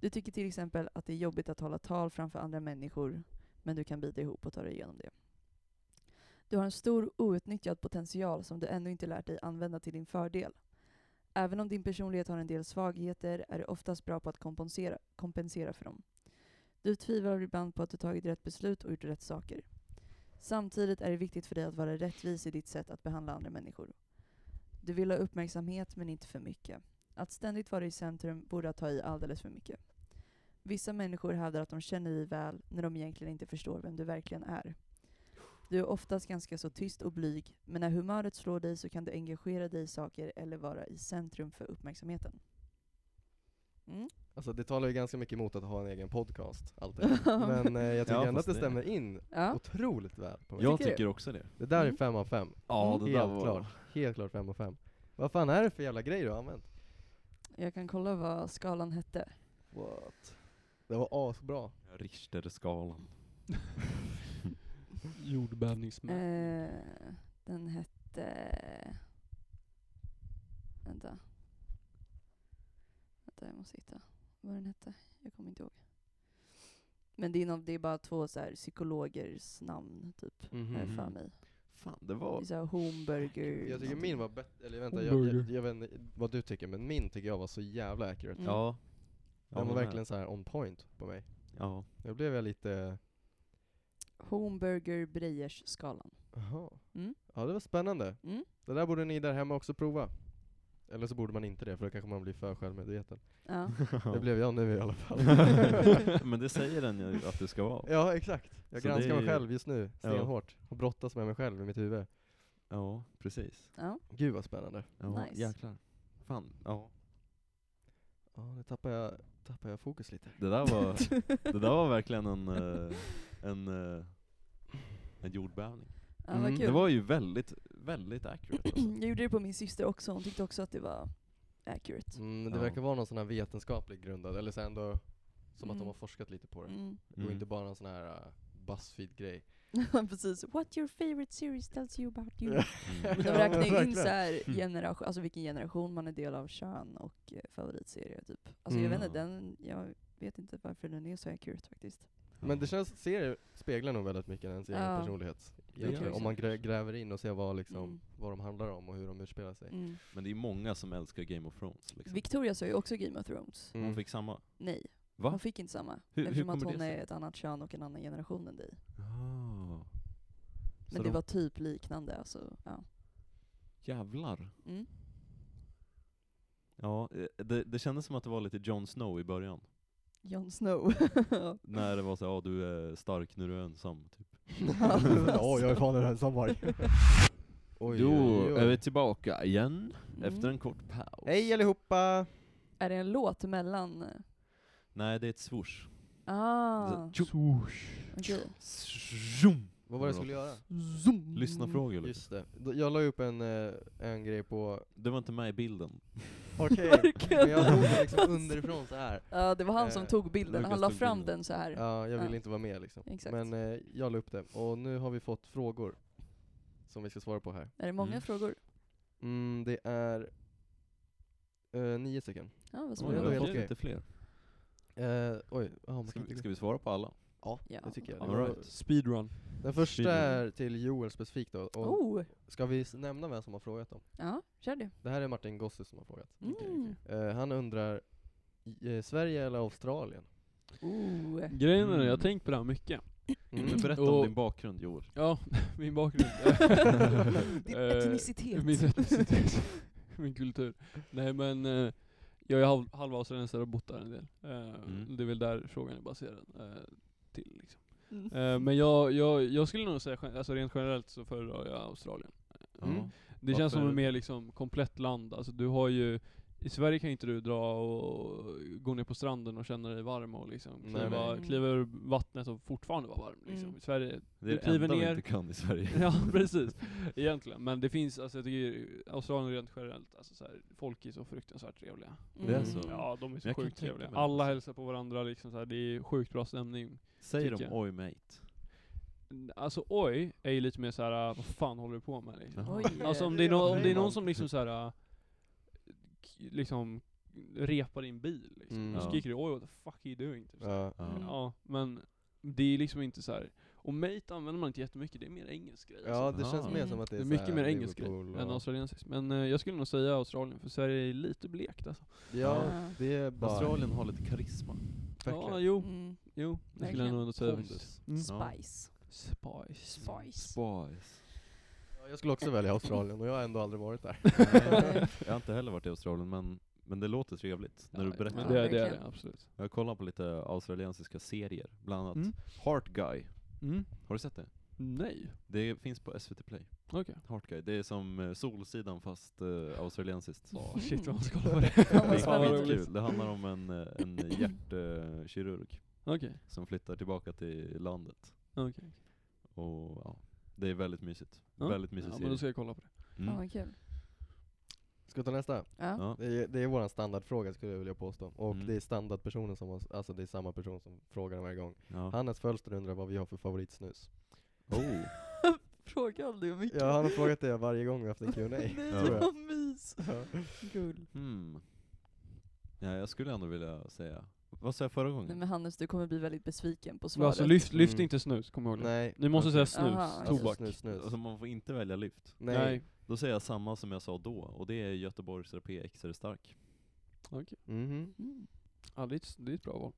Du tycker till exempel att det är jobbigt att hålla tal framför andra människor men du kan bita ihop och ta dig igenom det. Du har en stor outnyttjad potential som du ännu inte lärt dig använda till din fördel. Även om din personlighet har en del svagheter är du oftast bra på att kompensera, kompensera för dem. Du tvivlar ibland på att du tagit rätt beslut och gjort rätt saker. Samtidigt är det viktigt för dig att vara rättvis i ditt sätt att behandla andra människor. Du vill ha uppmärksamhet men inte för mycket. Att ständigt vara i centrum vore att ta i alldeles för mycket. Vissa människor hävdar att de känner dig väl när de egentligen inte förstår vem du verkligen är. Du är oftast ganska så tyst och blyg, men när humöret slår dig så kan du engagera dig i saker eller vara i centrum för uppmärksamheten. Mm. Alltså det talar ju ganska mycket emot att ha en egen podcast, allt det här. Men eh, jag tycker Ja, ändå att fast det det- stämmer in Ja. otroligt väl på mig. Jag Tycker du? tycker också det. Det där Mm. är fem av fem. Ja, Mm. det där Helt var... klart. Helt klart fem av fem. Vad fan är det för jävla grej du har använt? Jag kan kolla vad skalan hette. What? Det var asbra. Richterskalan. Jordbävningsmä. Eh, den hette... Vänta. Vänta, jag måste hitta vad den hette. Jag kommer inte ihåg. Men det är, någon, det är bara två så här psykologers namn, typ, har jag för Mhm. mig. Fan, det Det var... är så här Homburger... Jag tycker min var bättre, eller vänta, jag, jag, Hamburger. jag vet inte vad du tycker, men min tycker jag var så jävla accurate. Mm. Ja. Ja, Den var men- verkligen så här on point på mig. Ja. Nu blev jag lite, Homburger Breijers-skalan. jaha. Mm. Ja det var spännande. Mm. Det där borde ni där hemma också prova. Eller så borde man inte det, för då kanske man blir för självmedveten. Ja. Det blev jag nu i alla fall. men det säger den ju att det ska vara. ja exakt. Jag Så det granskar är mig ju- själv just nu, Ja. stenhårt. Och brottas med mig själv i mitt huvud. Ja, precis. ja. Gud vad spännande. Ja, Nice. jäklar. Fan, ja. Ja, nu tappar jag, tappar jag fokus lite. Det där var, det där var verkligen en, eh, en, eh, en jordbävning. ja Mm, vad det kul. Det var ju väldigt, väldigt accurate alltså. Jag gjorde det på min syster också, hon tyckte också att det var accurate. Mm, det Ja. verkar vara någon sån här vetenskaplig grundad, eller så ändå som att Mm. de har forskat lite på det. Mm. Mm. Och inte bara någon sån här uh, Buzzfeed-grej. Mm. Precis. What your favorite series tells you about you. Mm. Men Ja, de men räknar ju in verkligen. så här generation, alltså vilken generation man är del av, kön och eh, favoritserie typ. Alltså jag vet inte, Mm. den, jag vet inte varför den är så accurate faktiskt. Men det känns, serier speglar nog väldigt mycket ens egen Ja. personlighet. gör egentligen. det Om man grä, gräver in och ser vad, liksom, Mm. vad de handlar om och hur de utspelar sig. Mm. Men det är många som älskar Game of Thrones. Liksom. Victoria sa ju också Game of Thrones. Mm. Hon fick samma. Nej, Va? hon fick inte samma. Hur- hur eftersom att kommer hon det är sig? ett annat kön och en annan generation än dig. Ah, Men det de- var typ liknande alltså, ja. jävlar. Mm. Ja, eh, det, det kändes som att det var lite Jon Snow i början. Jon Snow. När det var så ja du är stark när du är ensam. Typ. Ja, jag är fan en ensam varg. Oj, oj, oj. tillbaka igen Mm. kort paus. Hej allihopa! Är det en låt mellan? eh, Nej, det är ett swoosh. Ah, Så- okej. Zoom. Vad var det jag skulle göra? Lyssna frågor lite. Just det. Då- Jag la upp en, eh, en grej på... Det var inte med i bilden. Okej. Men jag tog det liksom underifrån så här. Ja, det var han som Eh, tog bilden, Lukas han la tog fram bilden. den så här. Ja, jag Ja. ville inte vara med liksom. Exakt. Men eh, jag la upp det. Och nu har vi fått frågor. Som vi ska svara på här. Mm. Är det många Mm. frågor? Mm, det är Eh, nio stycken. Ja, vad Oj, det jag har var spännande. helt fått okej. lite fler. Eh, oj, ja man Ska kan vi, inte- ska vi svara på alla? Ja, Ja. det tycker jag. All Det var- right. Speedrun. Den första Speedrun. är till Joel specifikt då. Och Oh! Ska vi s- nämna vem som har frågat då? Ja, kör du. Det här är Martin Gossi som har frågat. Mm. Okej, okej. Eh, han undrar, i- eh, Sverige eller Australien? Oh. Grejen är Mm. jag har tänkt på det här mycket. Mm. Men berätta om Och- din bakgrund Joel. Ja, min bakgrund. Din Eh, etnicitet. Min etnicitet. Min kultur. Nej men, eh, jag är halv, halvaustraliensare och har bott där en del. Eh, Mm. Det är väl där frågan är baserad eh, till liksom. Mm. Eh, men jag, jag, jag skulle nog säga, gen- alltså rent generellt så föredrar jag Australien. Mm. Det känns som Varför? ett mer liksom komplett land. Alltså du har ju, i Sverige kan ju inte du dra och gå ner på stranden och känna dig varm och liksom Nej, kliva, nej. kliva ur vattnet och fortfarande vara varm. Liksom. Mm. I Sverige, Det är du det enda kliver vi ner, inte kan i Sverige. Ja precis, egentligen. Men det finns, alltså jag tycker Australien rent generellt, alltså så här, folk är så fruktansvärt trevliga. Det är så. Mm. Ja de är så jag kan sjukt tänka trevliga. mig det. Alla hälsar på varandra liksom så här, det är sjukt bra stämning. Säger de tycker jag. oj mate? Alltså oj, är ju lite mer så här äh, vad fan håller du på med liksom. Jaha. Oj. Alltså om det är, nå om det är Säger man. någon som liksom så här k- liksom repar din bil liksom, Mm. då Ja. skriker du oj what the fuck are you doing? Typ, så här. Ja. Ja. Mm. Ja, men det är liksom inte så här. och mate använder man inte jättemycket, det är mer engelsk grej. alltså. ja, det känns mer Mm. som att det är, Det är så mycket här mer engelsk grej Liverpool än och- australiensisk. Men eh, jag skulle nog säga Australien, för Sverige är lite blekt alltså. Ja, Ja. det är bara... Australien har lite karisma. Ja, Verkligen. jo, Mm. jo. Det skulle Verkligen. jag nog ändå säga Pondus. faktiskt. Ja. Spice. Spice. Spice. Spice. Ja, jag skulle också välja Australien och jag har ändå aldrig varit där. Nej, jag har inte heller varit i Australien, men, men det låter trevligt när du Ja, berättar. Men det. det, är, det är verkligen. det, absolut. Jag kollar på lite australiensiska serier, bland annat Mm. Heart Guy. Mm. Har du sett det? Nej. Det finns på SVT Play. Okej. Heart Guy. Det är som eh, Solsidan fast eh, australiensiskt. Åh, shit Mm. vad man ska kolla på det. Fan, Det vad är Fan, vad spännande. skitkul. Det handlar om en, eh, en hjärtkirurg Okej. som flyttar tillbaka till landet. Okej. Och ja, det är väldigt mysigt. Ja. Väldigt Ja, mysig men serie. då ska jag kolla på det. Fan Mm. vad kul. Ska vi ta nästa? Ja. Ja. Det är, det är vår standardfråga skulle jag vilja påstå. Och Mm. det är standardpersonen som, har, alltså det är samma person som frågar varje gång. Ja. Hannes Fölster undrar vad vi har för favoritsnus. Oh. Fråga aldrig om mycket. Ja, han har frågat det varje gång vi har haft en Q&A. Nej, Ja. vad mys. Ja. Mm. Gull. Hmm. Ja, jag skulle ändå vilja säga... Vad sa jag förra Nej gången? men Hannes, du kommer bli väldigt besviken på svaret. Alltså lyft, lyft Mm. inte snus, kom ihåg det. Nej. Ni måste Okej. säga snus, Aha, okej. tobak. Alltså, snus, snus. Alltså man får inte välja lyft. Nej. Då säger jag samma som jag sa då, och det är Göteborgs RP extra stark. Mhm. Mm. Ja, det, är ett, det är ett bra val.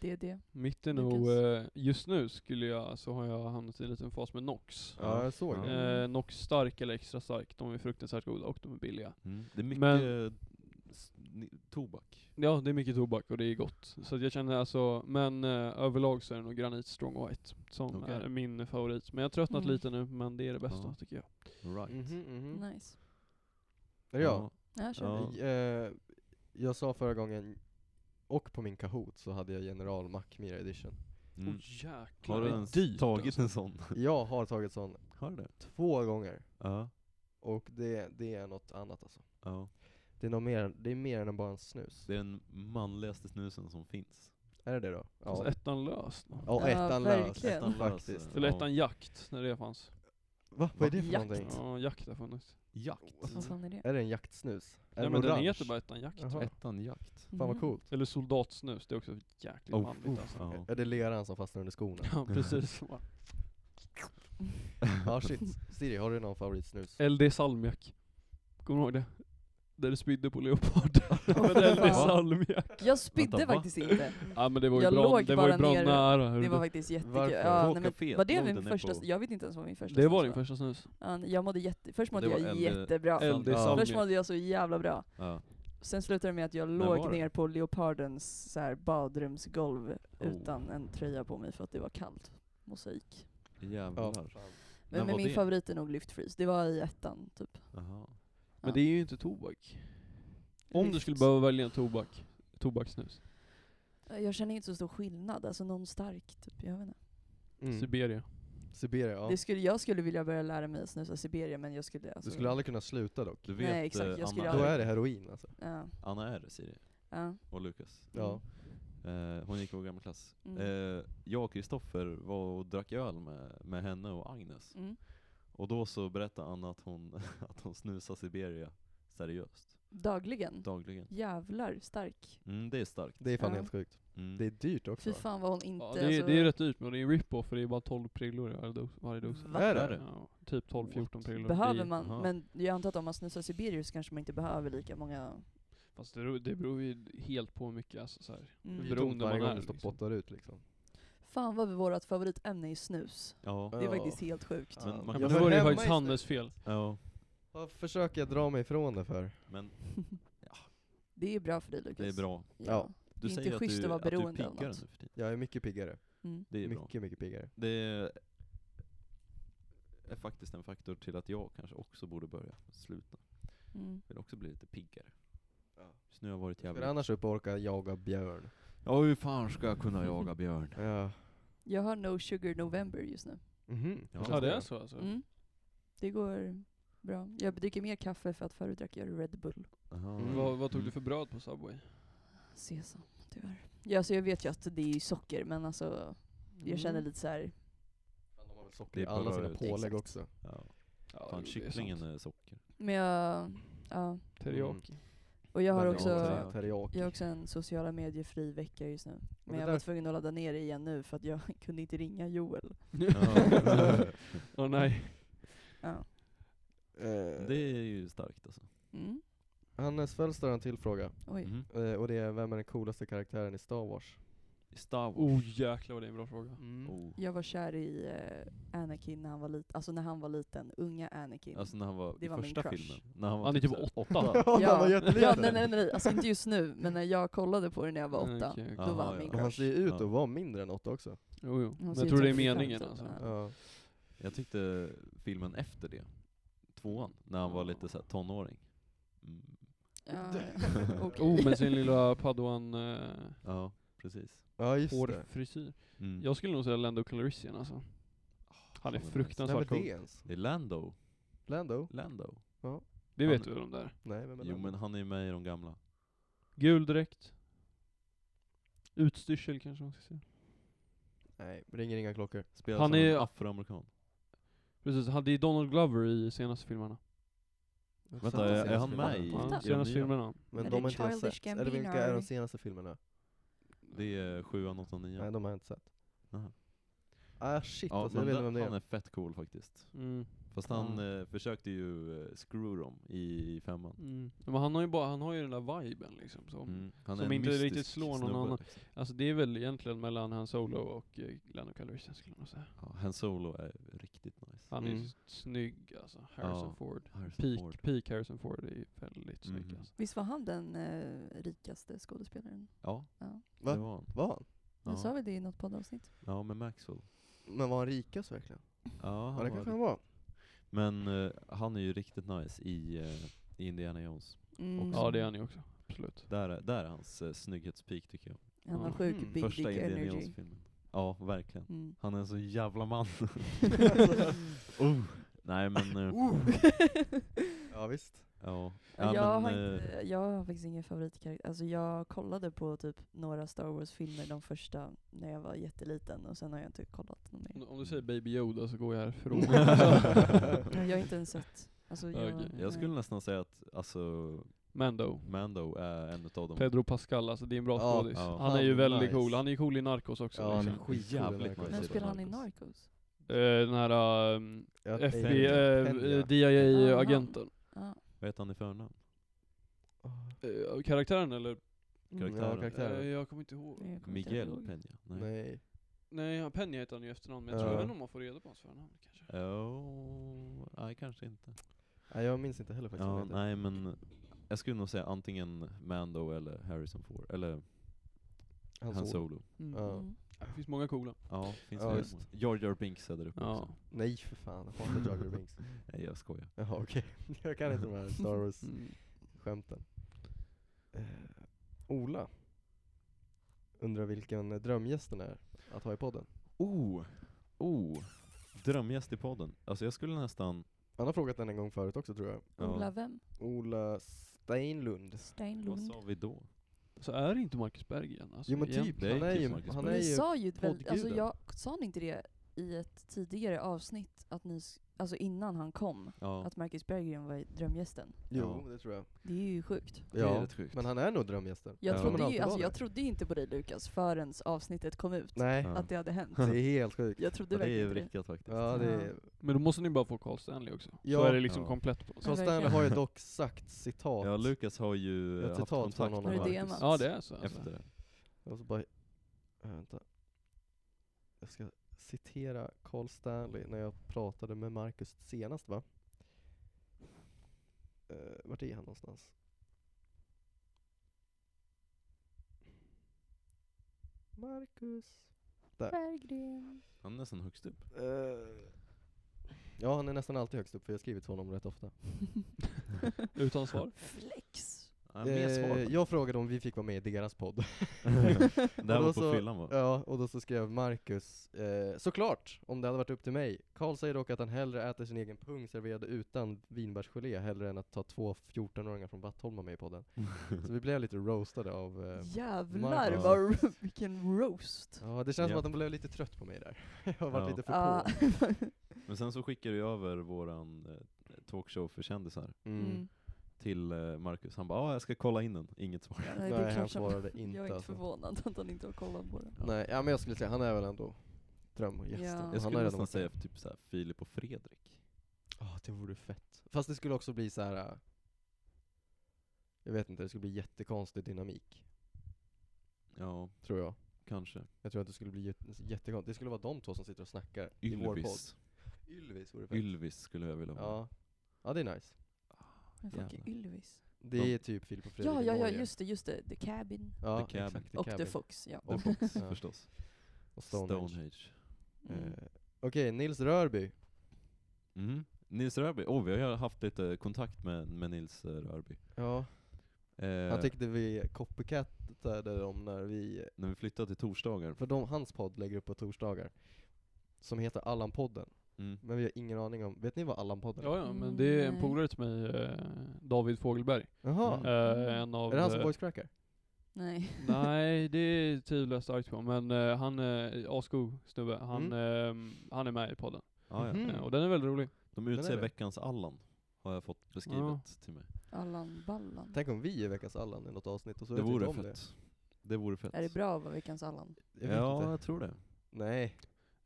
Det är det. Mitt är nog, Lukas? eh, just nu skulle jag, så har jag hamnat i en liten fas med Nox. Ja, jag såg det. Ja. Mm. Eh, Nox stark eller extra stark, de är fruktansvärt goda och de är billiga. Mm. Det är mycket Men- eh, s- ni- tobak. Ja, det är mycket tobak och det är gott. Så att jag känner alltså, men eh, överlag så är det nog Granit Strong White som Okej. är min favorit. Men jag har tröttnat Mm. lite nu, men det är det bästa Ja. tycker jag. Right. Mhm, mhm. Mm. Nice. Är det jag? Ja, kör. Ja. Eh, jag sa förra gången, och på min Kahoot så hade jag General Mackmyra edition. Mm. Oh, jäklar, Har du det är ens dyrt, tagit alltså. en sån? Jag har tagit sån Har du det? två gånger, Ja. och det, det är något annat alltså. ja. Det är, nog mer, det är mer än bara en snus. Det är den manligaste snusen som finns. Är det det då? Alltså, Ja. ettan lös. då. Ja, Ja, ettan lös. verkligen. Ettan lös, Faktiskt. eh, Eller ja. ettan jakt, när det fanns. Va? Vad är det för Jakt. någonting? Ja, jakt har funnits. Jakt. Vad fan är det? Är det en jaktsnus? Är Nej men den orange? heter bara ettan jakt. Jaha. Ettan jakt. Fan Mm. vad coolt. Eller soldatsnus, det är också jäkligt Oh, manligt alltså. Ja. Är det leran som fastnar under skorna? Ja, precis. Ja Ah, shit. Siri, har du någon favoritsnus? LD salmiak. Kommer du ihåg det? Där det spydde på leoparden. men LD fan. salmiak. Jag spydde Vänta, va? faktiskt inte. Ja men det var ju Jag bra, låg det var ju bara bra ner. nära. hörru. Det var faktiskt jättekul. Varför? På Ja, nej, men, kaféet var det Norden min är första, på- jag vet inte ens vad min första det var din snus första snus. Ja, Jag mådde jätte, först mådde Det var jag LD jättebra. LD Ja. Alltså, Först salmiak. mådde jag så jävla bra. Ja. Sen slutade det med att jag var låg det? ner på leopardens så här, badrumsgolv Oh. utan en tröja på mig för att det var kallt. Mosaik. Ja. Jävlar. När Men, men var min det? favorit är nog Lift Freeze. Det var i ettan, typ. Jaha. Men Ja. det är ju inte tobak. Om du Lift. skulle behöva välja en tobak, tobaksnus. Jag känner inte så stor skillnad. Alltså någon stark, typ. Jag vet inte. Mm. Siberia. Siberia, ja. Det skulle, jag skulle vilja börja lära mig att snusa Siberia, men jag skulle... Alltså, Du skulle aldrig kunna sluta dock. Du vet Nej, exakt, eh, jag skulle Anna, Då aldrig- är det heroin alltså. Ja, Anna är Siri ja. och Lukas. Ja. Mm. Eh, hon gick i vår gamla klass. Mm. Eh, jag och Kristoffer var och drack öl med, med henne och Agnes. Mm. Och då så berättade Anna att hon, att hon snusade Siberia seriöst. Dagligen. dagligen. Jävlar stark. Mm, det är starkt. Det är fan Ja. helt sjukt. Mm. Det är dyrt också Fy va? fan vad hon inte... Ja, det, är, alltså, det är rätt dyrt men det är en rip-off för det är bara 12 prillor i varje dos. Varje dos. Va? Är det? Ja, typ 12-14 prillor. Det behöver är- man, Jaha. men jag antar att om man snusar Sibirius kanske man inte behöver lika många... Fast det, beror- det beror ju helt på hur mycket alltså, så här. Det Mm. är Beroende tomt varje man gång är, du står och liksom. spottar ut liksom. Fan vad vårt favoritämne är snus. Ja. Det är Ja. faktiskt helt sjukt. Men man kan Ja, men väl då var det ju hemma faktiskt i Hannes fel. ja. Vad försöker jag dra mig ifrån det för? Men Det är bra för dig Lukas. det är bra. Ja. Du Det är säger inte att du, schysst att vara att du är beroende av piggare nu något. för tiden. Jag är mycket piggare. Mm. Det är bra. Mycket, mycket piggare. Det är, är faktiskt en faktor till att jag kanske också borde börja sluta. Mm. Vill också bli lite piggare. Ja. Så nu har jag varit För jävla... annars upp och orka jaga björn. Ja hur fan ska jag kunna jaga björn? Ja. Jag har No Sugar November just nu. Mhm. Ja. Hur känns Ja det då? är så alltså. Mm. Det går bra. Jag dricker mer kaffe för att förut drack jag Red Bull. Aha. Mm. Vad, vad tog du för bröd på Subway? Sesam, tyvärr. Ja, alltså jag vet ju att det är ju socker, men alltså jag Mm. känner lite så här. Fan, De har väl Det socker är i alla bara sina ut. pålägg Exakt. också. Ja. Ja, Fan det är kycklingen sant. är socker. Men jag, ja. Teriyaki. Och jag har Väldigt också, bra. Teriyaki. Teriyaki. jag har också en sociala medier-fri vecka just nu. Men det jag var där- tvungen att ladda ner det igen nu för att jag kunde inte ringa Joel. Ja. Åh nej. Ja. Eh, Det är ju starkt alltså. Mm. Hannes Fällster har en till fråga. Oj. Mm. Eh, och det är, vem är den coolaste karaktären i Star Wars? Star Wars. Oh jäklar vad det är en bra fråga. Mm. Oh. Jag var kär i eh, Anakin när han var liten, alltså när han var liten, unga Anakin. Alltså när han var Det i var min första crush. filmen. När han var Oh. Han är typ så här åtta. Ja, han var ja jätteliten. nej, nej nej, alltså inte just nu, men när jag kollade på det när jag var åtta, Okej, okej. då var Aha, han min ja. Och han crush. ser ju ut att Ja. vara mindre än åtta också. Jo, jo. Men ser jag ut tror det är som fem meningen typ. alltså. Ja. Ja. Jag tyckte filmen efter det, tvåan, när han var lite så här tonåring. Mm. Ja, okej. Oh men sin lilla padoan eh, Ja, precis. Ja just det. hårfrisyr. Mm. Jag skulle nog säga Lando Calrissian alltså. Han är nice. Vem fruktansvärt är det cool. ens? Det är Lando. Lando? Lando. Det vet Han- du väl om där? Nej vem är Jo Lando? men han är ju med i de gamla. Gul dräkt. Utstyrsel kanske man ska säga. Nej, ringer inga klockor. Spelar Han som är- en afroamerikan. Precis, han, det är Donald Glover i senaste filmerna. Vänta, är, är han med i, Ja, i Ja, de senaste nya? filmerna. Men Är de det har inte jag Childish sett. Eller vilka är Gambino? de senaste filmerna? Det är sjuan, åttan, Nej nian. de har jag inte sett. Jaha. Ah shit, Ja, alltså, jag men vet inte den, vem det han är. är fett cool faktiskt. Mm. Fast han eh, försökte ju eh, screw dem i, i femman. Mm. Men han har ju bara, han har ju den där viben liksom. Så. Mm. Han Som är en inte riktigt mystisk slår någon snubbe, annan. liksom. Alltså det är väl egentligen mellan Han Solo och eh, Lando Calrissian skulle jag nog säga. Ja, Han Solo är riktigt nice. Han är Mm. ju snygg alltså. Harrison Ja, Ford. Harrison Peak, Ford. peak Harrison Ford är ju väldigt snygg Mhm. alltså. Visst var han den eh, rikaste skådespelaren? Ja, Ja. Va? det var han. Var han? Nu sa Ja, vi det i något poddavsnitt. ja med Maxwell. Men var han rikast verkligen? Ja, Ja han det var kanske han var. Men eh, han är ju riktigt nice i, eh, i Indiana Jones. Mm. Ja det är han ju också. Absolut. Där är, där är hans uh, snygghetspeak tycker jag. Han har Ja. sjuk Mm. big Första dick Indiana energy. Jones-filmen. Ja, verkligen. Mm. Han är en så jävla man. oh. Nej men, eh, Ja visst. ja. Ja, jag, men, har eh, inte, jag har faktiskt ingen favoritkaraktär. Alltså jag kollade på typ några Star Wars-filmer, de första, när jag var jätteliten och sen har jag inte kollat någon Om, mer. om du säger Baby Yoda så går jag härifrån. Ja, Jag har inte ens sett. Alltså jag, Okej, jag skulle nej. nästan säga att alltså, Mando. Mando är en utav dem. Pedro Pascal, alltså det är en bra Ja, skådis. ja. Han är ju Han är väldigt nice. cool. Han är ju cool i Narcos också. Ja, han är liksom. skitcool Jävligt verkligen. Alltså, nice. Vem Precis, spelar han i Narcos. Narcos? Eh, den här ehm, Jag- FBI, eh, Penya. DIA-agenten. Ja. Vad heter han i förnamn? Eh, karaktären eller? Mm, Karaktären. Ja, karaktären. Eh, jag kommer inte ihåg. jag kommer inte Miguel ihåg. Peña? Nej. Nej. Nej, han- Penny heter han ju i efternamn, men jag Ja. tror jag vet inte om man får reda på hans förnamn kanske. Oh, nej kanske inte. Nej, jag minns inte heller faktiskt vad Ja, han heter. nej men jag skulle nog säga antingen Mando eller Harrison Ford, eller Han, Han såg. Solo. Ja. Mm. Det finns många coola. Ja, finns Ja, det. visst. Jar Jar Binks är där uppe Ja. också. Nej för fan, jag hatar Jar Jar Binks. Nej jag skojar. Jaha okej, jag kan inte de här Star Wars-skämten. Mm. Eh, Ola undrar vilken drömgästen är att ha i podden. Oh! Oh! Drömgäst i podden. Alltså jag skulle nästan... Han har frågat den en gång förut också tror jag. Ola Ja, vem? Ola Steinlund. vad Steinlund. sa vi då? Så är det inte Marcus Berg igen? Alltså, Jo men igen. typ, Det är han är typ ju, Marcus han är Ni ju sa ju väldigt, alltså poddguden. jag, sa ni inte det i ett tidigare avsnitt, att ni, s- alltså innan han kom, Ja, att Marcus Berggren var drömgästen. Jo, Ja. det tror jag. Det är ju sjukt. det är rätt sjukt. men han är nog drömgästen. Jag, Ja. Kommer trodde alltid ju, vara alltså, det. jag trodde ju inte på dig Lukas förrän avsnittet kom ut, Nej, Ja. att det hade hänt. det är helt sjukt. Jag trodde ja, det är verkligen ju inte det. vrickat faktiskt. Ja, det är... Men då måste ni bara få Carl Stanley också. Så Ja. är det liksom Ja. komplett på något sätt. Carl Stanley verkligen. har ju dock sagt citat. Ja, Lukas har ju Ett eh, haft citat från kontakt med honom. Har du Marcus DM:at? Ja det är så. Alltså. efter det. Jag måste bara... Äh, vänta. Jag ska citera Carl Stanley när jag pratade med Marcus senast va? Uh, vart är han någonstans? Marcus. Berggren. Han är nästan högst upp. Eh, ja, han är nästan alltid högst upp för jag har skrivit till honom rätt ofta. Utan svar. Flex. Ja, mer svar. Eh, jag frågade om vi fick vara med i deras podd. det här och då var på så- fyllan va? Ja, och då så skrev Marcus eh, Såklart, om det hade varit upp till mig. Karl säger dock att han hellre äter sin egen pung serverad utan vinbärsgelé hellre än att ta två 14-åringar från Vattholma med i podden. så vi blev lite roastade av eh, Jävlar Marcus. vad, vilken roast. Ja, det känns Ja. som att han blev lite trött på mig där. jag har varit Ja. lite för Ja. på. Men sen så skickade du över våran eh, talkshow för kändisar Mm. till eh, Marcus. Han bara ah, jag ska kolla in den. Inget svar. Nej, det Nej, är han klart som... svarade inte, Jag är inte alltså. förvånad att han inte har kollat på det. Nej, ja, men jag skulle säga han är väl ändå drömgästen. Ja. Jag Han har Jag skulle redan nästan varit säga där. typ såhär Filip och Fredrik. Ja, Ah, det vore fett. Fast det skulle också bli så här. äh, Jag vet inte, det skulle bli jättekonstig dynamik, Ja, tror jag. kanske. Jag tror att det skulle bli jätte- jättekonstigt. Det skulle vara de två som sitter och snackar i vår podd. Ylvis. Ylvis vore fett. Ylvis skulle jag vilja vara. ja. ja, det är nice. Men fucking Jävlar. Ylvis. Det De- är typ Filip och Fredrik Ja, i ja, ja, Norge. just det, just det. The Cabin. ja, The Cabin. exakt, och The Cabin. Fox, ja. The Fox Ja. förstås. Och Stonehenge. Stonehenge. Mm. Eh, Okej, Nils Rörby. Mm. Nils Rörby. Oh, vi har ju haft lite kontakt med, med Nils eh, Rörby. Ja, Eh, han tyckte vi copycatade dem när vi, när vi flyttade till torsdagar. för de, hans podd lägger upp på torsdagar. Som heter Allan-podden. Mm. Men vi har ingen aning om, vet ni vad Allan-podden är? Ja, ja, men det är en Nej. polare till mig, eh, David Fogelberg. Jaha, Mm. Eh, en av, är det han som eh, voicecrackar? Nej. Nej, det tvivlar jag starkt på. Men eh, han, eh, asgo snubbe, han, Mm. eh, han är med i podden. Ah, ja. Mhm. Eh, och den är väldigt rolig. De är utser det. veckans Allan, har jag fått beskrivet Ja. till mig. Allan Ballan. Tänk om vi är veckans Allan i något avsnitt och så Det vet vi inte vore om det. fett. Det. vore fett. Är det bra att vara veckans Allan? Jag vet ja, inte. jag tror det. Nej.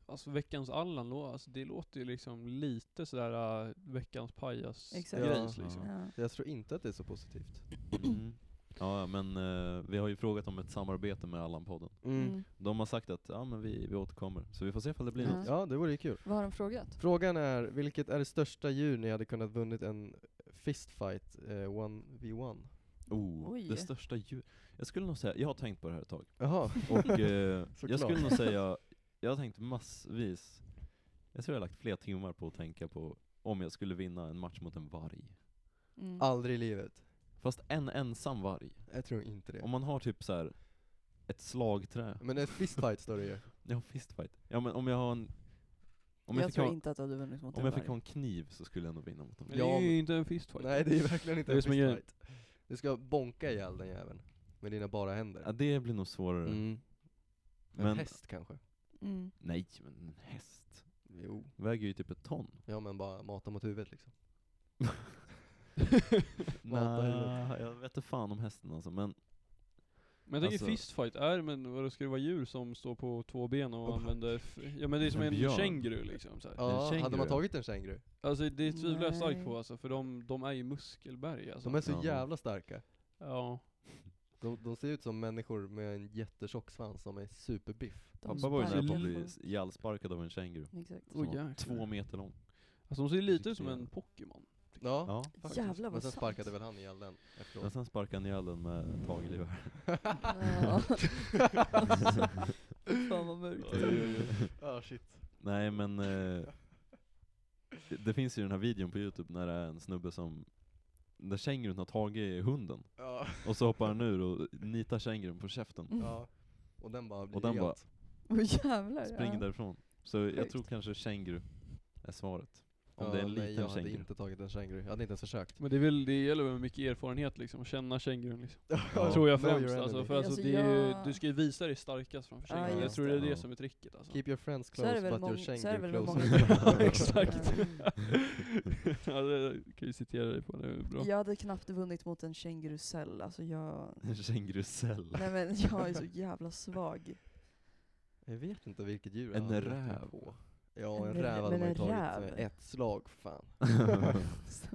Alltså veckans Allan, lå- alltså, det låter ju liksom lite sådär eh, veckans pajas Exakt. gris Ja. liksom. Ja. Jag tror inte att det är så positivt. Mm. Ja, men eh, vi har ju frågat om ett samarbete med Allan-podden. Mm. De har sagt att ja, men vi, vi återkommer, så vi får se ifall det blir Ja. något. Ja, det vore ju kul. Vad har de frågat? Frågan är, vilket är det största djur ni hade kunnat vunnit en fistfight eh, 1v1? Oh, Oj. det största djur. Jag skulle nog säga, jag har tänkt på det här ett tag, Jaha. och eh, jag Såklart. skulle nog säga, jag har tänkt massvis, jag tror jag har lagt flera timmar på att tänka på om jag skulle vinna en match mot en varg. Mm. Aldrig i livet. Fast en ensam varg. Jag tror inte det. Om man har typ så här ett slagträ, Men en fistfight står det ju. ja fistfight. Ja men om jag har en, om jag, jag fick tror ha, inte att du hade vunnit mot om en jag fick varg. ha en kniv så skulle jag nog vinna mot en Men varg. Ja, det är men- ju inte en fistfight. Nej, det är verkligen inte Det är en som en grej. fistfight. Du ska bonka ihjäl den jäveln. Med dina bara Ja, händer. det blir nog svårare. Mm. En Men- häst kanske? Mm. Nej men en häst. Jo. Väger ju typ ett ton. Ja men bara mata mot huvudet liksom. Mata Nej, huvudet. jag vet inte fan om hästen alltså men Men jag tänker Alltså- fistfight är, men vadå, ska det vara djur som står på två ben och Och- använder, f- ja men det är som En en björn. känguru liksom så här. Ja, känguru. hade man tagit en känguru? Alltså det tvivlar jag starkt Nej. på alltså, för de, de är ju muskelberg alltså. De är så Ja. jävla starka. Ja. De, de ser ut som människor med en jättetjock svans som är superbiff. De pappa var ju sparkar nära på att på bli folk. s- ihjälsparkad av en känguru. Exakt. Som var Åh, jäklar. Mm. två meter lång. Alltså de ser ju lite ut som Riktiga. en Pokémon. Ja, Ja. faktiskt. Jävlar vad Men sen sant. sparkade väl han ihjäl den Men efteråt. sen sparkade han ihjäl den med hagelgevär. Ja. Fan vad mörkt. ah, shit. Nej men eh, det, det finns ju den här videon på youtube när det är en snubbe som där kängurun har tagit hunden, Ja. och så hoppar han ur och nitar kängurun på käften. ja. Och den bara blir Och den bara helt- Åh jävlar. Springer ja. därifrån. Så jag Sjukt. tror kanske känguru är svaret. Om det är en nej, jag liten hade känguru. inte tagit en känguru. Jag hade inte ens försökt. Men det, är väl, det gäller väl med mycket erfarenhet liksom, att känna kängurun liksom. Ja. Tror jag Know your främst alltså, enemy. för alltså, Alltså, det är ju, jag- du ska ju visa dig starkast framför Ja, kängurun. jag just tror det är det. det Ja. som är tricket alltså. Keep your friends Så är det close väl but med your många- så är det väl känguru med close. många- Exakt. Ja. ja, det kan ju citera dig på, det är bra. Jag hade knappt vunnit mot en kängurusell, alltså jag... En kängurusell. Nej men jag är så jävla svag. Jag vet inte vilket djur En jag hade gett mig räv. på. Ja, en En räv rä- hade man men ju en tagit räv. med ett slag, fan.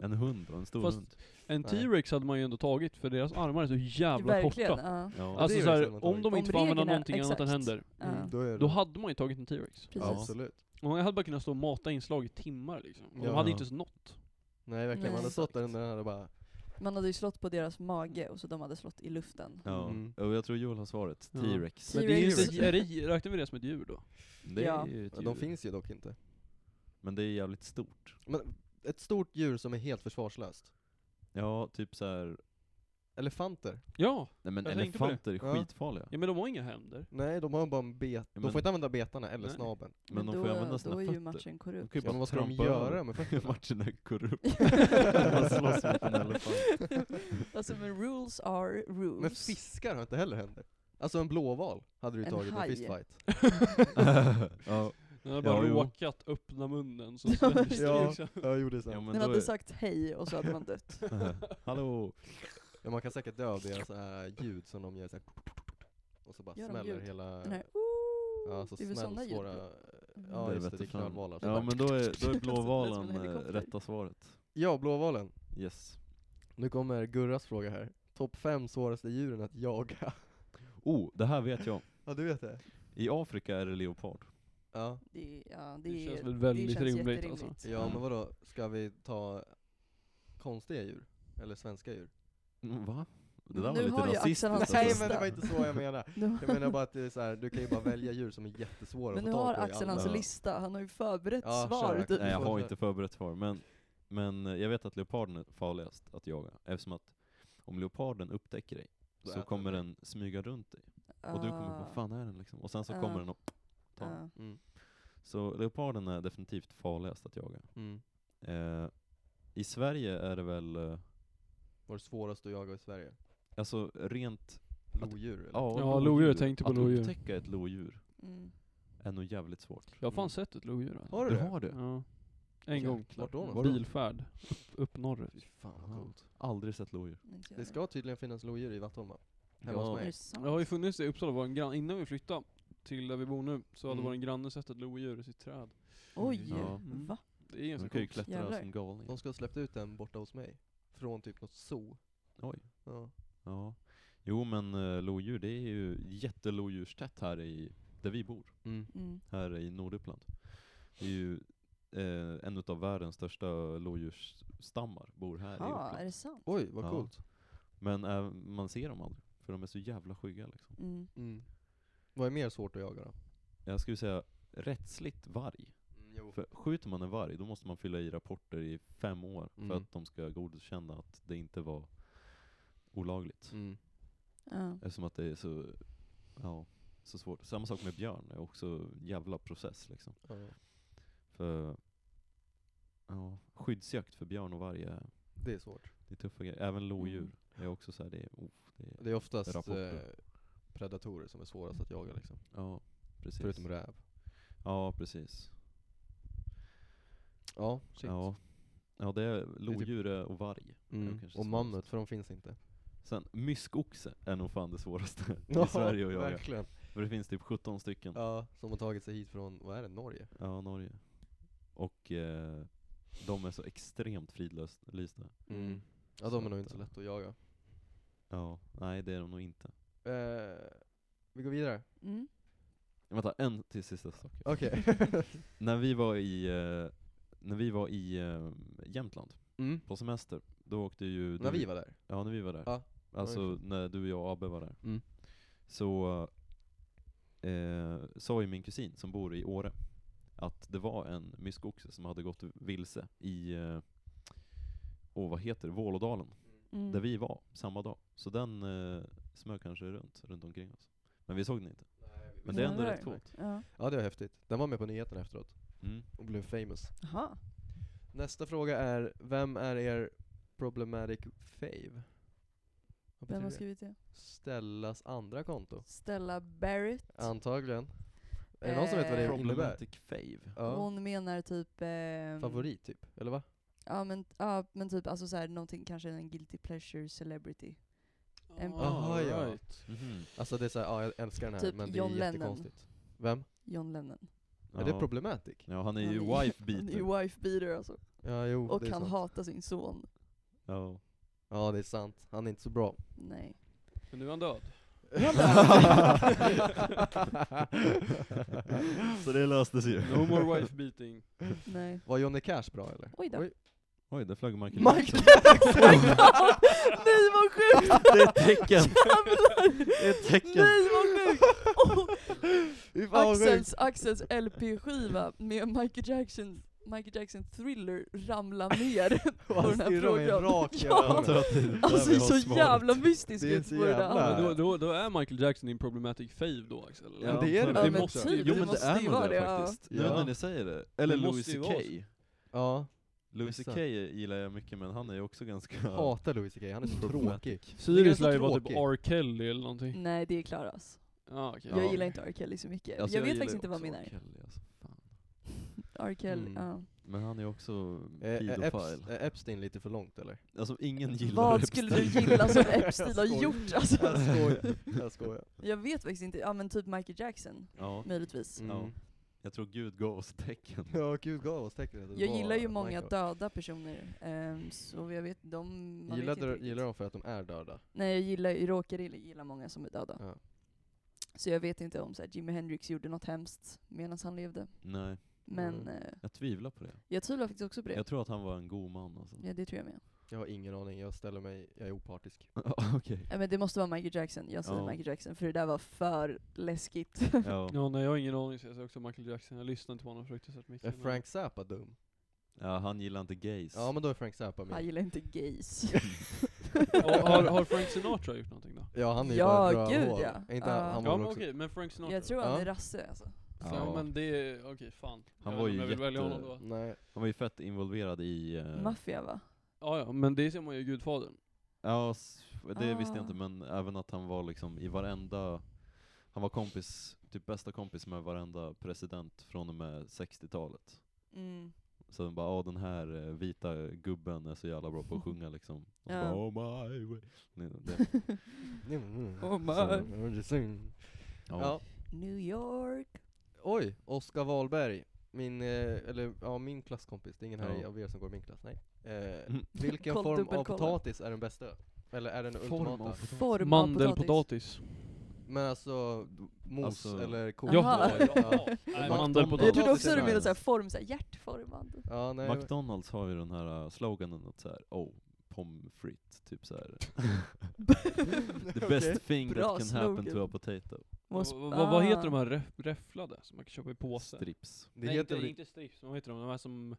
en hund då, en stor Fast- hund. En Nej. T-Rex hade man ju ändå tagit, för deras armar är så jävla Verkligen. korta. Ja. Ja. Alltså Det är liksom så verkligen här, vad man om tagit. Om de inte får använda reglerna- någonting annat än exakt. händer, Ja. Mm, då, är då det- hade man ju tagit en T-Rex. Precis. Ja. Absolut. Och man hade bara kunnat stå och mata inslag i timmar liksom. Och Ja. De hade inte ens nått. Nej verkligen, Nej. man hade stått där under den här och bara Man hade ju slått på deras mage och så de hade slått i luften. Ja. Mm. Och jag tror Joel har svaret. Ja. T-rex. Men det är ju T-Rex. inte, är det, räknar vi det som ett djur då? Det är Ja. ju ett djur. De finns ju dock inte. Men det är jävligt stort. Men ett stort djur som är helt försvarslöst. Ja, typ så här. Elefanter? Ja! Nej men Jag tänkte på det. elefanter är Ja. skitfarliga. Ja men de har inga händer. Nej, de har bara en bet. Ja, De men- får inte använda betarna eller Nej. snabeln. Men, de får ju då, använda Då sina är ju fötter. matchen De korrupt. kan ju Ja, men bara vad ska de trampa göra över. med fötterna? Matchen är korrupt. Man slåss mot en elefant. alltså men rules are rules. Men fiskar har inte heller händer. Alltså en blåval hade du ju En tagit i haj. fistfight. ja. De har bara Ja, jo. råkat öppna munnen så smäller det Ja. liksom. Jag gjorde så. ja, Ja, men Den då hade är... sagt hej och så hade man dött. Hallå! man kan säkert dö av deras äh, ljud som de gör såhär och så bara Gör de smäller ljud? hela... Den här Ja, så Det är väl såna smälls ljud? våra... Mm. Ja Där just det, vette det är fan. knölvalar. Ja men då är, då är lät som en blåvalen eh, helikopter. rätta svaret. ja, blåvalen. Yes. Nu kommer Gurras fråga här. Topp fem svåraste djuren att jaga. Oh, det här vet jag. Ja du vet det? I Afrika är det leopard. Ja. Det, ja, det, Det känns är- väl väldigt det känns rimligt, jätterimligt. alltså. Ja men vadå, ska vi ta konstiga djur? Eller svenska djur? Mm, Va? Det där var Nu lite har ju rasistiskt. Axel hans alltså. Nej sista. men det var inte så jag menade. Nu- Jag menar bara att det är så här, du kan ju bara välja djur som är jättesvåra Men att nu få tag har alltså på i Axel alla- hans lista, han har ju förberett Ja, svar. kör, typ. Nej jag har inte förberett svar, men, men eh, jag vet att leoparden är farligast att jaga, eftersom att om leoparden upptäcker dig Då så äter kommer den den smyga runt dig, och du kommer Ah, vad fan är den liksom? Och sen så Ah. kommer den och ta den. ah. Mm. Så leoparden är definitivt farligast att jaga. Mm. Eh, I Sverige är det väl, eh, Vad är det svåraste att jaga i Sverige? alltså rent Lodjur eller? Ja, Ja, lodjur, jag tänkte på att lodjur. Att upptäcka ett lodjur Mm. är nog jävligt svårt. Jag har fan Mm. sett ett lodjur. alltså. Har du det? har det? Ja. En gång. Vart då Var någonstans? det? Bilfärd. Upp, upp norrut. Fy fan vad Aha. coolt. Aldrig sett lodjur. inte jag Det vet. ska tydligen finnas lodjur i Vattholma. Hemma Ja. hos Är mig. det Det har ju sant? funnits i Uppsala, vår grann, innan vi flyttade till där vi bor nu, så hade Mm. vår granne sett ett lodjur i sitt träd. Oj, Ja. Mm. va? Det är ganska De kan ju coolt. klättra Jävlar. som galningar. De ska ha släppt ut en borta hos mig. Från typ något zoo. Oj. Ja. Ja. Jo men eh, lodjur, det är ju jättelodjurstätt här i, där vi bor. Mm. Mm. Här i Norduppland. Det är ju eh, en utav världens största lodjursstammar bor här i Ja, är Uppland. det sant? Oj, vad Ja. coolt. Men eh, man ser dem aldrig, för de är så jävla skygga liksom. Mm. Mm. Vad är mer svårt att jaga då? Jag skulle säga rättsligt varg. Mm, För skjuter man en varg, då måste man fylla i rapporter i fem år Mm. för att de ska godkänna att det inte var olagligt. Mm. Ja. Eftersom att det är så, ja, så svårt. Samma sak med björn, är också en jävla process liksom. Ja. För, ja, skyddsjakt för björn och varg är, Det är svårt. det är tuffa grejer. Även lodjur Mm. är också så här, det är, oh, det är, Det är oftast eh, Rapporter. Typ. predatorer som är svårast att jaga liksom. ja precis. Förutom räv. Ja precis. Ja, shit. typ Ja. ja, det är lodjur och varg. Mm. Det kanske är Och svårast. mammut, för de finns inte. Sen, myskoxe är nog fan det svåraste i Sverige att jaga. Verkligen. För det finns typ 17 stycken. Ja, som har tagit sig hit från, vad är det, Norge? Ja, Norge. Och eh, de är så extremt fridlysta. Mm. Ja, de är nog inte så lätta att jaga. Ja, nej det är de nog inte. Eh, vi går vidare. Mm. Vänta, en till sista sak. Okej. När vi var i, eh, när vi var i eh, Jämtland Mm. på semester, då åkte ju När du, vi var där. Ja, när vi var där. Ja. Alltså Ja, just när du, och jag och Abbe var där. Mm. Så eh, sa ju min kusin som bor i Åre att det var en myskoxe som hade gått vilse i, eh, åh vad heter det, Vålådalen. Mm. där vi var samma dag. Så den eh, smög kanske runt, runt omkring oss. Men vi såg den inte. Men det är ändå Jävlar. rätt coolt. Ja. Ja, det var häftigt. Den var med på nyheterna efteråt Mm. och blev famous. Jaha. Nästa fråga är, vem är er problematic fave? Vad Vem betyder har det? skrivit det? Ställas andra konto? Stella Barrett. Antagligen. Är det någon som vet vad det Eh, innebär? Problematic fave. Ja. Hon menar typ... ehm, Favorit typ, eller va? Ja men, ja, men typ alltså så här, någonting, kanske en guilty pleasure celebrity. En- Aha, ja. Ah, right. Mm. Mhm. Alltså det är såhär, ja jag älskar den här Typ men det John är Lennon. jättekonstigt. Vem? John Lennon. Ja. Är det problematic? Ja, han är Han ju är- wife Han är beater. ju wife beater alltså. Ja jo, Och det är han sant. hatar sin son. Ja. Ja det är sant, han är inte så bra. Nej. Men nu är han död. Så det löstes ju. No more wife beating. Nej. Var Johnny Cash bra eller? Oj då. Oj, där flög Michael Michael Jackson! Nej vad sjukt! Det är ett tecken! Jävlar! Det är ett tecken! Nej vad sjukt! Åh, Fy fan, vad sjukt. Axels, Axels LP-skiva med Michael Jackson, Michael Jackson Thriller ramla ner Och på den han här stirrar mig frågan. rakt i Ja. Jag tror ögonen. att det är där Alltså vi det är har så svaret. jävla mystiskt Det är ut så på det jävla- där. Men då, då, då är Michael Jackson din problematic fave då Axel? eller? Ja, det är det. antagligen. Äh. Ja, men måste- typ. Jo men det det måste ju är vara nog det det, ja. faktiskt, nu Ja. när ni säger det. Eller Det Louis måste ju CK. vara Ja, Louis CK Exakt. gillar jag mycket men han är ju också ganska... Alltså, hatar Louis CK, han är så tråkig. Sirius ganska lär ju vara typ tråkig. R. Kelly eller någonting. Nej det är Klaras. Ah, okay. Mm. Jag Ja. gillar inte R. Kelly så mycket. Alltså, jag vet gillar faktiskt ju inte vad också min är. Kelly, alltså. Fan. R. Kelly, Mm. ja. Men han är också Eh, eh, pedofil. Eps- eh, Epstein lite för långt eller? Alltså ingen gillar Vad skulle du Epstein. gilla som Epstein har Jag gjort alltså? Jag skojar, jag skojar. Jag vet faktiskt inte, ja men typ Michael Jackson, Ja, möjligtvis. Mm. Ja. jag tror Gud gav oss tecken. Ja, gud gav oss tecknet. att det Jag var gillar ju många Michael. döda personer, ehm, så jag vet, de... man Gillar, vet inte du, riktigt. gillar de för att de är döda? Nej jag gillar, jag råkar illa- gilla många som är döda. Ja. Så jag vet inte om så här, Jimi Hendrix gjorde något hemskt medan han levde. Nej, Men Mm. eh, jag tvivlar på det. jag tvivlar faktiskt också på det. Jag tror att han var en god man alltså. Ja det tror jag med. Jag har ingen aning, jag ställer mig, jag är opartisk. Okej. Ja, men det måste vara Michael Jackson, jag säger Ja. Michael Jackson för det där var för läskigt. Ja. Ja, nej jag har ingen aning så jag säger också Michael Jackson. Jag lyssnar inte på honom fruktansvärt mycket. Är men- Frank Zappa dum? ja, han gillar inte gays. Ja men då är Frank Zappa Han med. gillar inte gays. Ja, har, har Frank Sinatra gjort någonting då? Ja han är ju Ja, bara ett gud, rövhål. ja. Är Inte han, Ja. han Ja var men väl också... okej, men Frank Sinatra? jag tror han Ja. är rasse alltså. Ja, Ja. men det, okej fan. Han Jag var vet ju inte om jag vill välja jätte- honom då. Nej. Han var ju fett involverad i... eh, Maffia va? Ja, ja, men det ser man ju i Gudfadern. ja, s- det visste jag Ah. inte, men även att han var liksom i varenda... Han var kompis, typ bästa kompis med varenda president från och med 60-talet. Mm. Så de bara, ja den här eh, vita gubben är så jävla bra på att sjunga liksom. Och så Ja. bara, oh my way. Nej, det, Mm. Oh my. ja. Ja. New York. Oj, Oskar Wahlberg. Min, eh, eller ja min klasskompis, det är ingen här Ja. av er som går i min klass, nej. Eh, Mm. vilken Koll- form av dubbelkolla. potatis är den bästa? Eller är den den ultimata? Form av potatis. Mandelpotatis. Men alltså, mos Alltså- eller ko? Ja, Jaha. ja, ja. ja. Nej, Jag Mandelpotatis. trodde också Potatis du är menade eh, nice. såhär form, såhär hjärtformad. Ja, nej. McDonalds har ju den här eh, sloganen att såhär, oh, pommes frites, typ såhär. The best thing Bra that can happen to slogan. a potato. Vad vad- vad ah. heter de här ref- räfflade som man kan köpa i påse? Strips. Det Nej, heter inte, väl... inte strips, men vad heter de? De här som...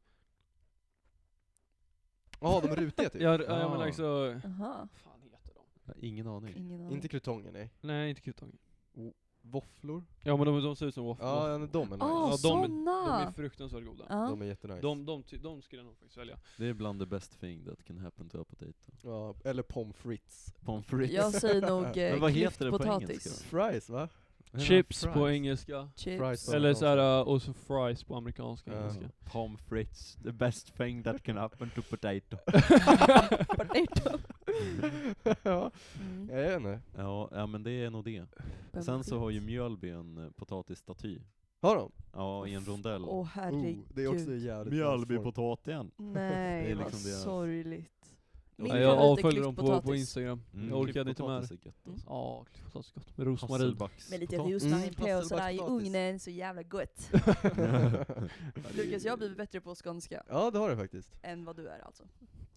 Ja, de är rutiga typ? Ja, r- ja men Ah. alltså... Aha, fan heter de? Jag har ingen aning. ingen aning. Inte krutonger, nej. Nej, inte kutongen. Våfflor? Ja men de, de ser ut som waffle. Ja, ja, de är nice. Ah, Ja, de är- de är såna! fruktansvärt goda. Ja. De är jättenice. De, de, ty- de skulle jag nog faktiskt välja. Det är bland the best thing that can happen to a potato. Ja, eller pommes frites. Pommes frites. Jag säger nog eh, Men vad heter det på klyftpotatis. engelska? Fries va? Vad heter Chips det? på Fries. engelska. Fries. Chips. Ja, Eller amerikanska. såhär, och så fries på amerikanska Ja. engelska. Pommes frites, the best thing that can happen to potato. Potato. ja, Mm. jag vet inte. ja, ja, men det är nog det. Sen så har ju Mjölby en eh, potatisstaty. Har de? Ja, i en rondell. Åh herregud. Oh, det är också jävligt Mjölbypotatien. Nej Oh. Det är vad liksom deras- sorgligt. Min Nej, jag favorit är avföljer dem på, på klyftpotatis. instagram. Jag orkade inte med det. Ja, klyftpotatis är gott. Med rosmarin. Hasselbacks. Med lite potatis. rosmarin Mm. på och sådär i Hasselbackspotatis. ugnen, så jävla gott. Lukas, jag har blivit bättre på skånska Ja, det har du faktiskt. än vad du är alltså.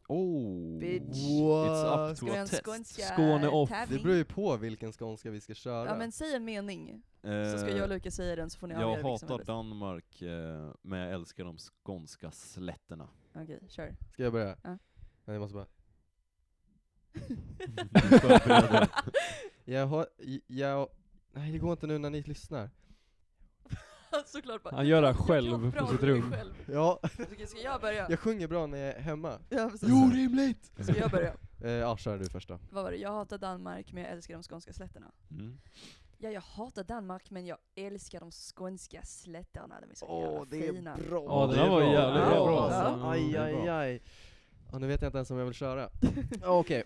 Oh. Bitch. It's up Ska vi to ha a en test. skånska Skåne off. Det tävling? beror ju på vilken skånska vi ska köra. Ja men säg en mening, Eh, så ska jag liksom, och Lukas säga den så får ni jag avgöra vilken som är hatar bäst. Danmark, eh, men jag älskar de skånska slätterna. Okej, kör. Ska jag börja? Ja. Nej, jag måste bara... Förbereder. Jag har... Jag... Nej, det går inte nu när ni lyssnar. Såklart bara, Han gör det här "Jag kan själv bra på sitt och jag rum. själv." Ja, Okej, ska jag börja? jag sjunger bra när jag är hemma. Ja, precis. rimligt! Ska jag börja? Eh, ja, kör du första. Vad var det? Jag hatar Danmark men jag älskar de skånska slätterna. Mm. Ja, jag hatar Danmark men jag älskar de skånska slätterna. De är så Åh, jävla det är fina. bra! Ja, det den här är var bra. jävligt Det är bra. bra. alltså. Ja, aj, Det är aj, bra. aj. Ja, nu vet jag inte ens om jag vill köra. Okej.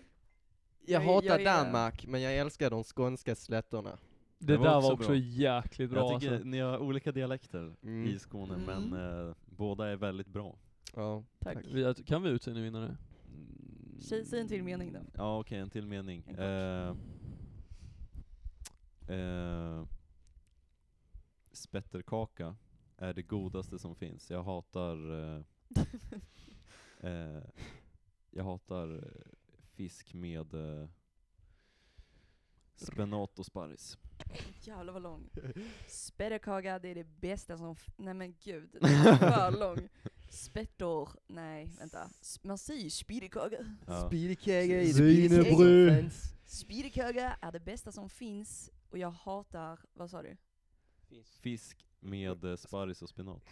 Jag Jag- hatar jag är- Danmark, men jag älskar de skånska slätterna. Det Det var där var också också, bra. jäkligt bra jag tycker alltså. ni har olika dialekter Mm. i Skåne, Mm. men eh, båda är väldigt bra. Ja. Tack. Vi- alltså, Kan vi utse en vinnare? Mm. Säg- säg en till mening då. Ja, okej, en till mening. En kort. Eh, eh, spetterkaka är det godaste som finns. Jag hatar eh, eh, jag hatar eh, fisk med eh, spenat och sparris. Jävlar vad lång. Spetterkaka, det är det bästa som... F- nej men gud, den är för lång. Spettor, nej vänta. S- Man säger spetterkaka. Ja. Spirikäger i det Svinebröd. Spetterkaka är det bästa som finns och jag hatar, vad sa du? Fisk med eh, sparris och spenat.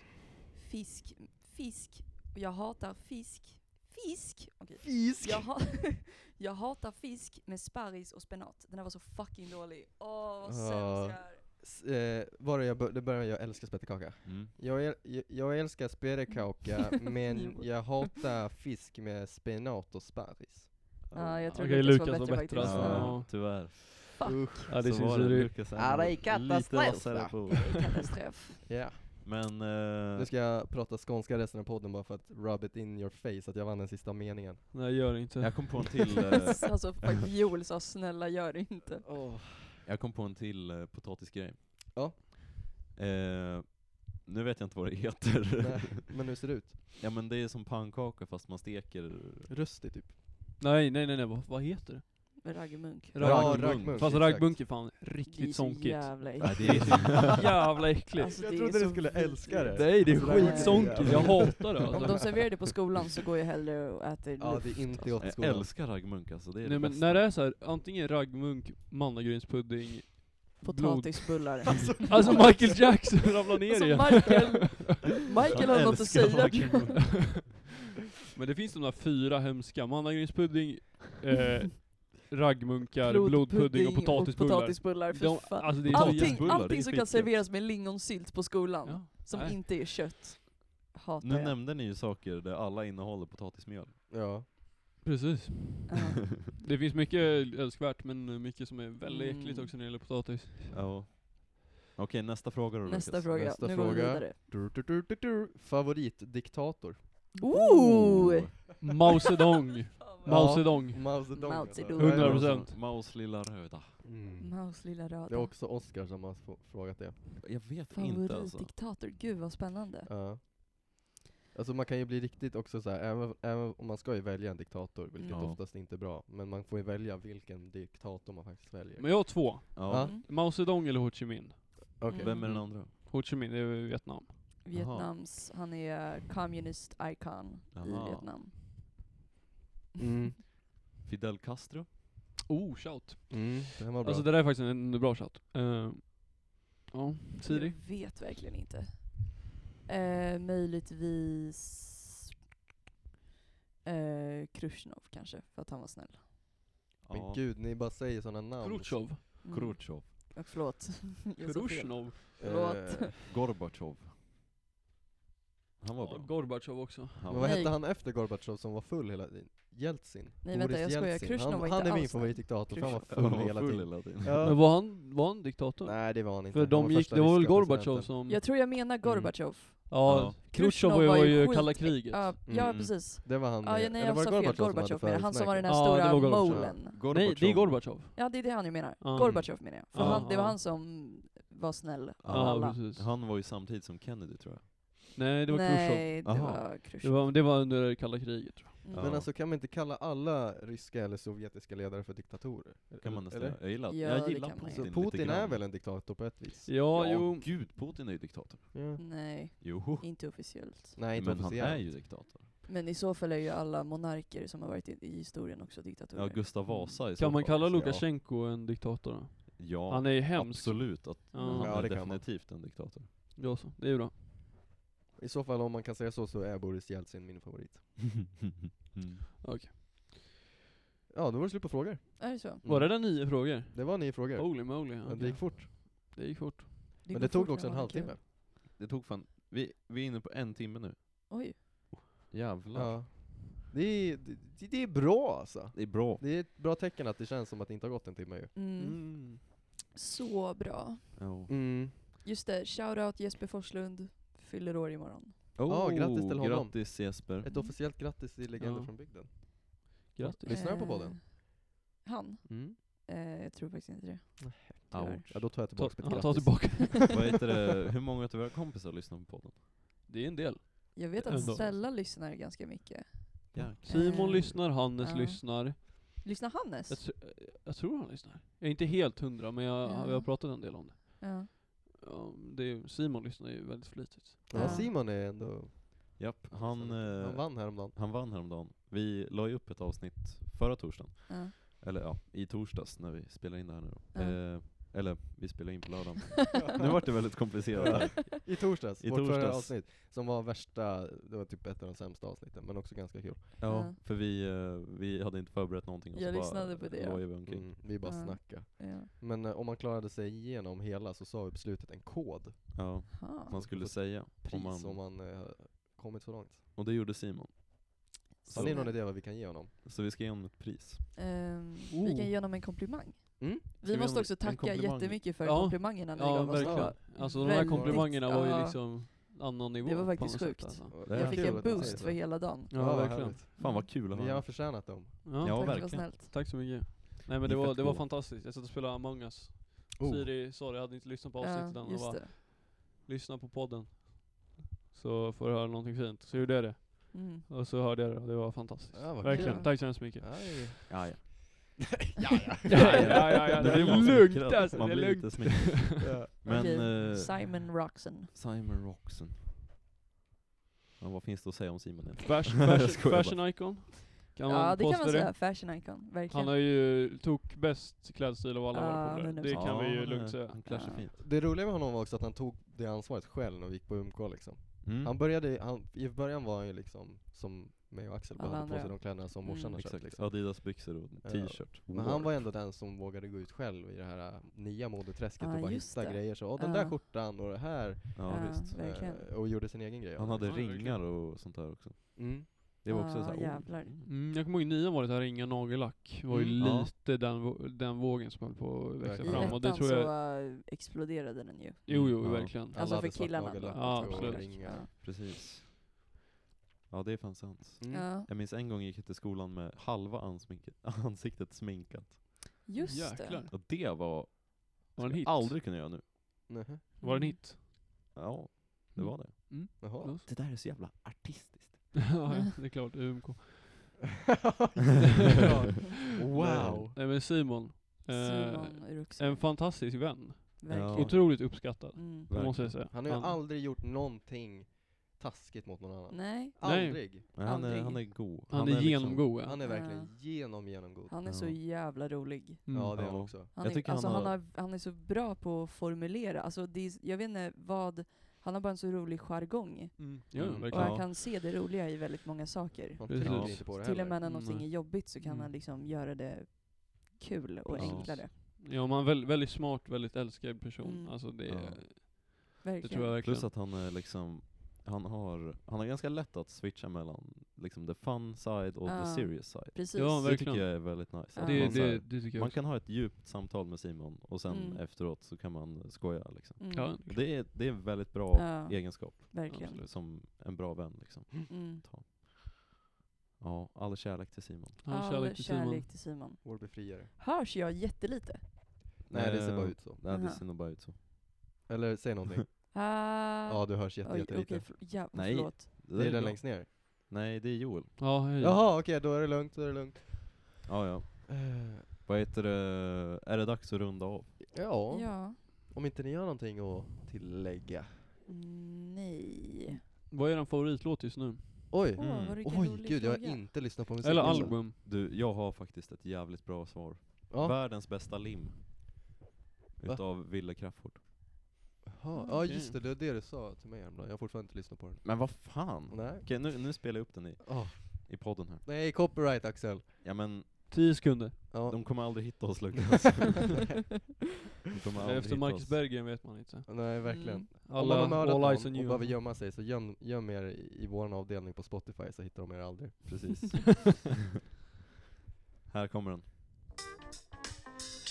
Fisk. Fisk. Och jag hatar fisk. Fisk! Okej. Fisk! Jag, ha jag hatar fisk med sparris och spenat. Den här var så fucking dålig. Åh, vad sämst Ja. jag är. S- Eh, var det jag bör- det började med, jag älskar spettekaka. Mm. Jag, äl- jag, jag älskar spettekaka, men Jo. jag hatar fisk med spenat och sparris. Ja, jag tror Okej, Lukas var Lukas var bättre bättre faktiskt. alltså. Ja, tyvärr. Fuck. Ja, det Så var syns ju. Det. Lukas Ja, det är lite katastrof, vassare va? på ord. Det är katastrof. Ja. Men eh, Nu ska jag prata skånska resten av podden bara för att rub it in your face att jag vann den sista meningen. Nej, gör det inte. jag kom på en till, eh, alltså fuck, Joel sa snälla gör det inte. jag kom på en till eh, potatisgrej. Ja. Eh, nu vet jag inte vad det heter. Nej, men hur ser det ut? ja men det är som pannkaka fast man steker... Rustig typ. Nej, nej, nej, nej. Vad, vad heter det? Raggmunk. Raggmunk. raggmunk. Fast exakt. raggmunk är fan Det är riktigt så sonkigt. jävla Nej, äckligt. det är Jävla äckligt. Alltså, Jag det är trodde du så skulle vidrigt. älska det. Nej, det är Alltså, det här var skitsonkigt. inte- Jag hatar det Om de alltså. serverar det på skolan så går jag hellre och äter Ja, luft. det är inte gott i Jag skolan. älskar raggmunk alltså, det är Nej, det men bästa. när det är så här, antingen raggmunk, mannagrynspudding. Potatisbullar. Alltså Michael Jackson ramlar ner Alltså, igen. Michael- Michael har Jag något att älskar säga. raggmunk. Men det finns de där fyra hemska. Mannagrynspudding, eh, raggmunkar, Blod- blodpudding och pudding potatisbullar. potatisbullar, fy De- fan. alltså, det är så allting jävla- det är allting som kan skitgott. serveras med lingonsylt på skolan, Ja, som nej. inte är kött, hatar Nu jag. nämnde ni ju saker där alla innehåller potatismjöl. Ja. Precis. Ja. Det finns mycket älskvärt men mycket som är väldigt Mm. äckligt också när det gäller potatis. Ja. Okej, nästa fråga då Nästa Lukas. fråga, Nästa nu går vi fråga. vidare. Du, du, du, du, du. Favoritdiktator? Ooh! Mao Zedong. Mao Zedong. Mao Zedong. Mao alltså. Zedong. 100%. Maos lilla röda. Mm. Maus lilla Det är röda. också Oscar som har få- frågat det. Jag vet inte alltså. Favoritdiktator, gud vad spännande. Ja. Alltså man kan ju bli riktigt också så här, även, även om man ska ju välja en diktator, vilket Mm. Ja. oftast inte är bra, men man får ju välja vilken diktator man faktiskt väljer. Men jag har två. Ja. Mm. Mao Zedong eller Ho Chi Minh? Okej. Vem är den andra? Ho Chi Minh, det är Vietnam. Vietnams, han är communist icon Jaha. i Vietnam. Mm. Fidel Castro? Oh, shout. Mm. Den var bra. Alltså det där är faktiskt en, en bra shout. Eh, ja, Siri? Jag vet verkligen inte. Eh, möjligtvis eh, Khrushchev kanske, för att han var snäll. men gud, ni bara säger sådana namn. Eh, Khrushchev? Mm. Khrushchev. Och förlåt. Jag sa fel. Khrushchev? Förlåt. Eh, Gorbatjov. Han var Ja, bra. Gorbatjov också. Han Men var vad Nej. hette han efter Gorbatjov som var full hela tiden? Jeltsin? Nej, vänta, Boris jag skojar. Jeltsin. Khrushchev han, var Han inte är min alls snäll. favoritdiktator, för han var Han full var hela full tiden. hela tiden. Men Ja. Eh, var han, var han diktator? Nej det var han inte. För han de var gick, första det var väl ryska Gorbatjov presidenten. som... Jag tror jag menar Gorbatjov. Ja, Khrushchev Khrushchev var ju, var var ju ju skit- kalla kriget. Ja, ja Mm. precis. Det var han. Ja, eh, ja, nej eller jag var sa det fel. som hade Gorbatjov menar jag. Han som var den här Ja, det stora var Gorbatjov. molen. Nej, det är Gorbatjov. Ja, det är det han jag menar. Ja. mm. Gorbatjov menar jag. För Ja, han, det var ja. han som var snäll av Ja, Ja, alla. precis. Han var ju samtidigt som Kennedy tror jag. Nej, det var Khrushchev. Nej, det Aha. var Det Khrushchev. Mm. var, det var under kalla kriget tror jag. Ja. Men alltså kan man inte kalla alla ryska eller sovjetiska ledare för diktatorer? Kan man nästan Eller? göra. Jag gillar, Ja, jag det gillar kan man Putin Så lite Putin är grann. väl en diktator på ett vis? Ja, jo. gud, Putin är ju diktator. Ja. Nej, Joho. inte officiellt. Nej inte Men han är officiellt. ju diktator. Men i så fall är ju alla monarker som har varit i, i historien också diktatorer. Ja, Gustav Vasa i så Kan man fall. kalla ja. Lukasjenko en diktator då? Mm. Ja, Han är ju hemsk. absolut. Mm. Att, Ja. Han Ja, är det kan man. definitivt en diktator. Ja så, det är ju bra. I så fall om man kan säga så så är Boris Jeltsin min favorit. mm. Ja, då var det slut på frågor. Är det så? Var det där nio frågor? Det var nio frågor. Holy moly. Men det okej. gick fort. det gick fort. går Men det tog fort också när en man har kul. halvtimme. Det tog fan, vi, vi är inne på en timme nu. Oj. Jävlar. Ja. Det är, det, det är bra alltså. Det är bra. Det är ett bra tecken att det känns som att det inte har gått en timme ju. Mm. Mm. Så bra. Ja. Just det, shoutout Jesper Forslund. Fyller år imorgon. Ja, grattis till honom. Grattis Jesper. Ett officiellt grattis till Legender Ja. från bygden. Grattis. Lyssnar han på Eh, podden? Han? Mm. Eh, jag tror faktiskt inte det. Ouch. Ja, då tar jag Ta, tillbaka mitt ja, ta grattis. tillbaka. Vad heter det? Hur många av våra kompisar lyssnar på podden? Det är en del. Jag vet att Ändå. Stella lyssnar ganska mycket. Jäklar. Simon Eh, lyssnar, Hannes ja. lyssnar. Lyssnar Hannes? Jag, tr- eh, jag tror han lyssnar. Jag är inte helt hundra, men jag, Ja. vi har pratat en del om det. Ja. Ja, det är, Simon lyssnar ju väldigt flitigt. Ja, Ja. Simon är ändå... Japp, han, eh, Han vann häromdagen. han vann häromdagen. Vi la ju upp ett avsnitt förra torsdagen. Ja. Eller ja, i torsdags när vi spelar in det här nu då. Ja. Eh, eller, vi spelar in på lördagen. nu vart det väldigt komplicerat här. I torsdags, I vårt förra torsdags. avsnitt. Som var värsta, det var typ ett av de sämsta avsnitten, men också ganska kul. Ja, Ja. för vi, eh, vi hade inte förberett någonting. och så Jag bara lyssnade på det, ja. lojade vi omkring. Mm, vi bara Ja. snackade. Ja. Men eh, om man klarade sig igenom hela så sa vi på slutet en kod, Ja, Aha. man skulle säga. pris, Om om man, man, eh, kommit så långt. och det gjorde Simon. Så, Har ni någon idé vad vi kan ge honom? så vi ska ge honom ett pris. Ehm, Vi Oh. kan ge honom en komplimang. Mm. vi Vi måste ge också en tacka komplimang? jättemycket för Ja. komplimangerna ni Ja, gav oss. verkligen. Ja. Alltså de här Väldigt, komplimangerna var ju ja. liksom annan nivå. Det var på faktiskt något sätt, sjukt. alltså. Det Jag är fick kul en att ni boost säger för hela dagen. Ja, vad verkligen. härligt. Fan vad kul att Vi har höra. förtjänat dem. Ja, Ja, Tack för att det var verkligen. snällt. Tack så mycket. Nej men Ni det är var, fett det var coola. fantastiskt. Jag satt och spelade Among Us. Oh. Siri, sorry jag hade inte lyssnat på avsnittet än. och just bara, det. lyssna på podden. Så får du höra någonting fint. Så gjorde jag det. Mm. Och så hörde jag det och det var fantastiskt. Ja, vad verkligen. kul. Tack så hemskt mycket. Aj. Ja, ja. Ja, ja, ja, ja, Nu det blir är man lugnt smickrad. alltså. Man Det är blir lugnt. lite smickrad. Ja. Men Okej, eh, Simon Roxon. Simon Roxon. Ja, vad finns det att säga om Simon egentligen? Fashion, Jag fashion, skojar bara. fashion icon. Kan Ja, man det kan man påstå säga. Fashion icon. Han Verkligen. har ju tok bäst klädstil av alla Ja, våra polare. 100%. Det kan vi ju Ja, lugnt nej, säga. Han klär sig Ja. fint. Det roliga med honom var också att han tog det ansvaret själv när vi gick på UMK liksom. Mm. Han började, han, i början var han ju liksom som mig och Axel, bara Alla hade på sig andra. de kläderna som morsan Mm. har köpt Exakt, liksom. Adidas-byxor och Ja. t-shirt. Men han Warp. var ändå den som vågade gå ut själv i det här äh, nya modeträsket Ja, och bara just hitta det. grejer. Så, "Åh, den Ja. där skjortan och det här. Ja, Ja. visst. eh, Verkligen. och gjorde sin egen grej. av Han det. hade Ja, verkligen. ringar och sånt där också. Mm. Det var också Ja, såhär, oj. jävlar. Mm. Mm, jag kommer ihåg i nian var det så här ringa nagellack. var ju Mm. Ja. lite den, vå- den vågen som höll på att växa I Verkligen. fram. Och det ettan tror så jag, eh, exploderade den ju. jo, jo, Ja. verkligen. Alla Alltså för hade svart killarna. nagellack Ja, och absolut. ringar. Precis. Ja, det är fan sant. Mm. Ja, Jag minns en gång gick jag till skolan med halva ansminket, ansiktet sminkat. just Jäklar. det. Och det var... Var det en skulle hit? jag aldrig kunna göra nu. Nähä. Var det en hit? Ja, det Mm. var det. Jaha. Det där är så jävla artistiskt. ja, ja, det är klart. UMK. wow. Nej men Simon. eh, Mm. Simon Ruxin. en fantastisk vän. Ja. Verkligen. Otroligt uppskattad. Mm. Det måste jag säga. Han har ju aldrig gjort någonting taskigt mot någon annan. Nej, Nej. Aldrig. Men han, är, Aldrig. han är god. han är, Liksom, genomgod. ja. Han är verkligen Ja. genom genomgod. han är så Ja. jävla rolig. Mm. Ja, det är han Ja. också. Han Jag är, tycker alltså han han, har- har, han är så bra på att formulera. Alltså det är, jag vet inte vad, han har bara en så rolig jargong. Mm. Ja, Mm. Och verkligen. Ja. han kan se det roliga i väldigt många saker. Han Precis. trycker inte på det Till och heller. med när någonting Nej. är jobbigt så kan Mm. han liksom göra det kul och Precis. enklare. Ja, man är väldigt, väldigt smart, väldigt älskad person. Mm. Alltså det, Ja. det Verkligen. tror jag verkligen. Plus att han är liksom... Han har, han har ganska lätt att switcha mellan liksom the fun side och the Ja. serious side. Precis. Ja, Det tycker verkligen. jag är väldigt nice. Ja. Att det, man, så här- det, det tycker jag man också. kan ha ett djupt samtal med Simon och sen Mm. efteråt så kan man skoja liksom. Mm. Ja, Och Det är, det är en väldigt bra Ja, egenskap verkligen. som en bra vän liksom. Mm. Ta. Ja, all kärlek till Simon. han har All kärlek till Simon. kärlek till Simon. Vår befriare. Hörs jag jättelite? Nej, det ser Eh, bara ut så. Nej, det Aha. ser nog bara ut så. Eller säg någonting. Ah, ja, du hörs jätte, oj, okej, jättelite. för, ja, Nej. förlåt. Det Det är den bra. längst ner. Nej, det är Joel. Ja, hej. Jaha, okej, då är det lugnt, då är det lugnt. Ja, ja. Eh, Vad heter det? Är det dags att runda av? ja, Ja. om inte ni har någonting att tillägga. Mm, Nej. Vad är din favoritlåt just nu? Oj! Åh, Mm. vad vilken Oj, rolig gud, jag har fråga. inte lyssnat på musik. Eller alltså. album? Du, jag har faktiskt ett jävligt bra svar. Ja. Världens bästa lim. Va? Utav Ville Crafoord. Jaha, ja okej. just det, det var det du sa till mig häromdagen. Jag har fortfarande inte lyssnat på den. Men vad fan? Nej. Okej, nu, nu spelar jag upp den i, Ah, i podden här. nej, copyright Axel. Ja men, 10 sekunder. Ja. de kommer aldrig hitta oss Lukas. de kommer aldrig Efter hitta Marcus oss. Berggren vet man inte. Nej, verkligen. Mm. Alla, Om man har all mördat eyes on någon och you. behöver gömma sig, så göm, göm er i, i vår avdelning på Spotify så hittar de er aldrig. Precis. här kommer den.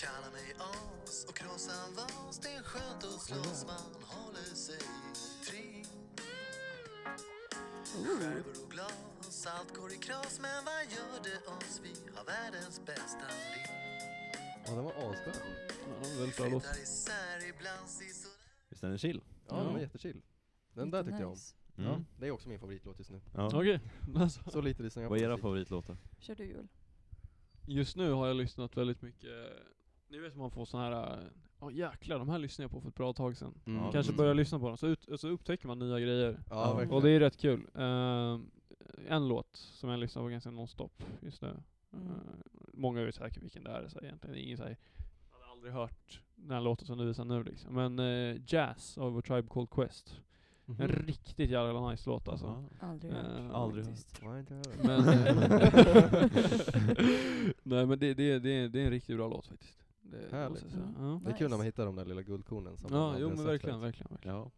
Kalla mig as och krossa en vas Det är skönt att slåss, man håller sig fri Mm. Skärvor och glas, allt går i kras Men vad gör det oss? Vi har världens bästa liv Ja, den var asskön. Ja, väldigt bra låt. Flyttar isär ibland, sisådär Visst är den chill? Ja, den Ja. var jättechill. Den där tyckte jag om. Nice. Mm. Ja, det är också min favoritlåt just nu. Ja. Okej. Alltså, Så lite lyssnar jag Vad är era musik. favoritlåtar? Kör du Joel. Just nu har jag lyssnat väldigt mycket. Ni vet man får såna här, ja jäklar, de här lyssnade jag på för ett bra tag sedan. Mm. Ja, Kanske mm. börjar lyssna på dem, så, ut, så upptäcker man nya grejer. Ja, Ja. verkligen. Och det är rätt kul. Ehm, en låt som jag lyssnar på ganska nonstop just nu. Mm. Ehm, många vet säkert vilken det är så här, egentligen. Ingen säger jag hade aldrig hört den här låten som du visar nu liksom. Men eh, Jazz av A Tribe Called Quest. En Mhm. riktigt jävla nice låt alltså. Aha. Aldrig Eh, hört. aldrig hört. faktiskt. Nej, inte jag heller. Men, eh, nej men det, det, det, det är en riktigt bra låt faktiskt. Det, det Härligt. måste jag säga. Mm. Ja, Det är kul när man Nice. hittar de där lilla guldkornen som man ja aldrig jo har men sett verkligen, förut. verkligen. verkligen. Ja.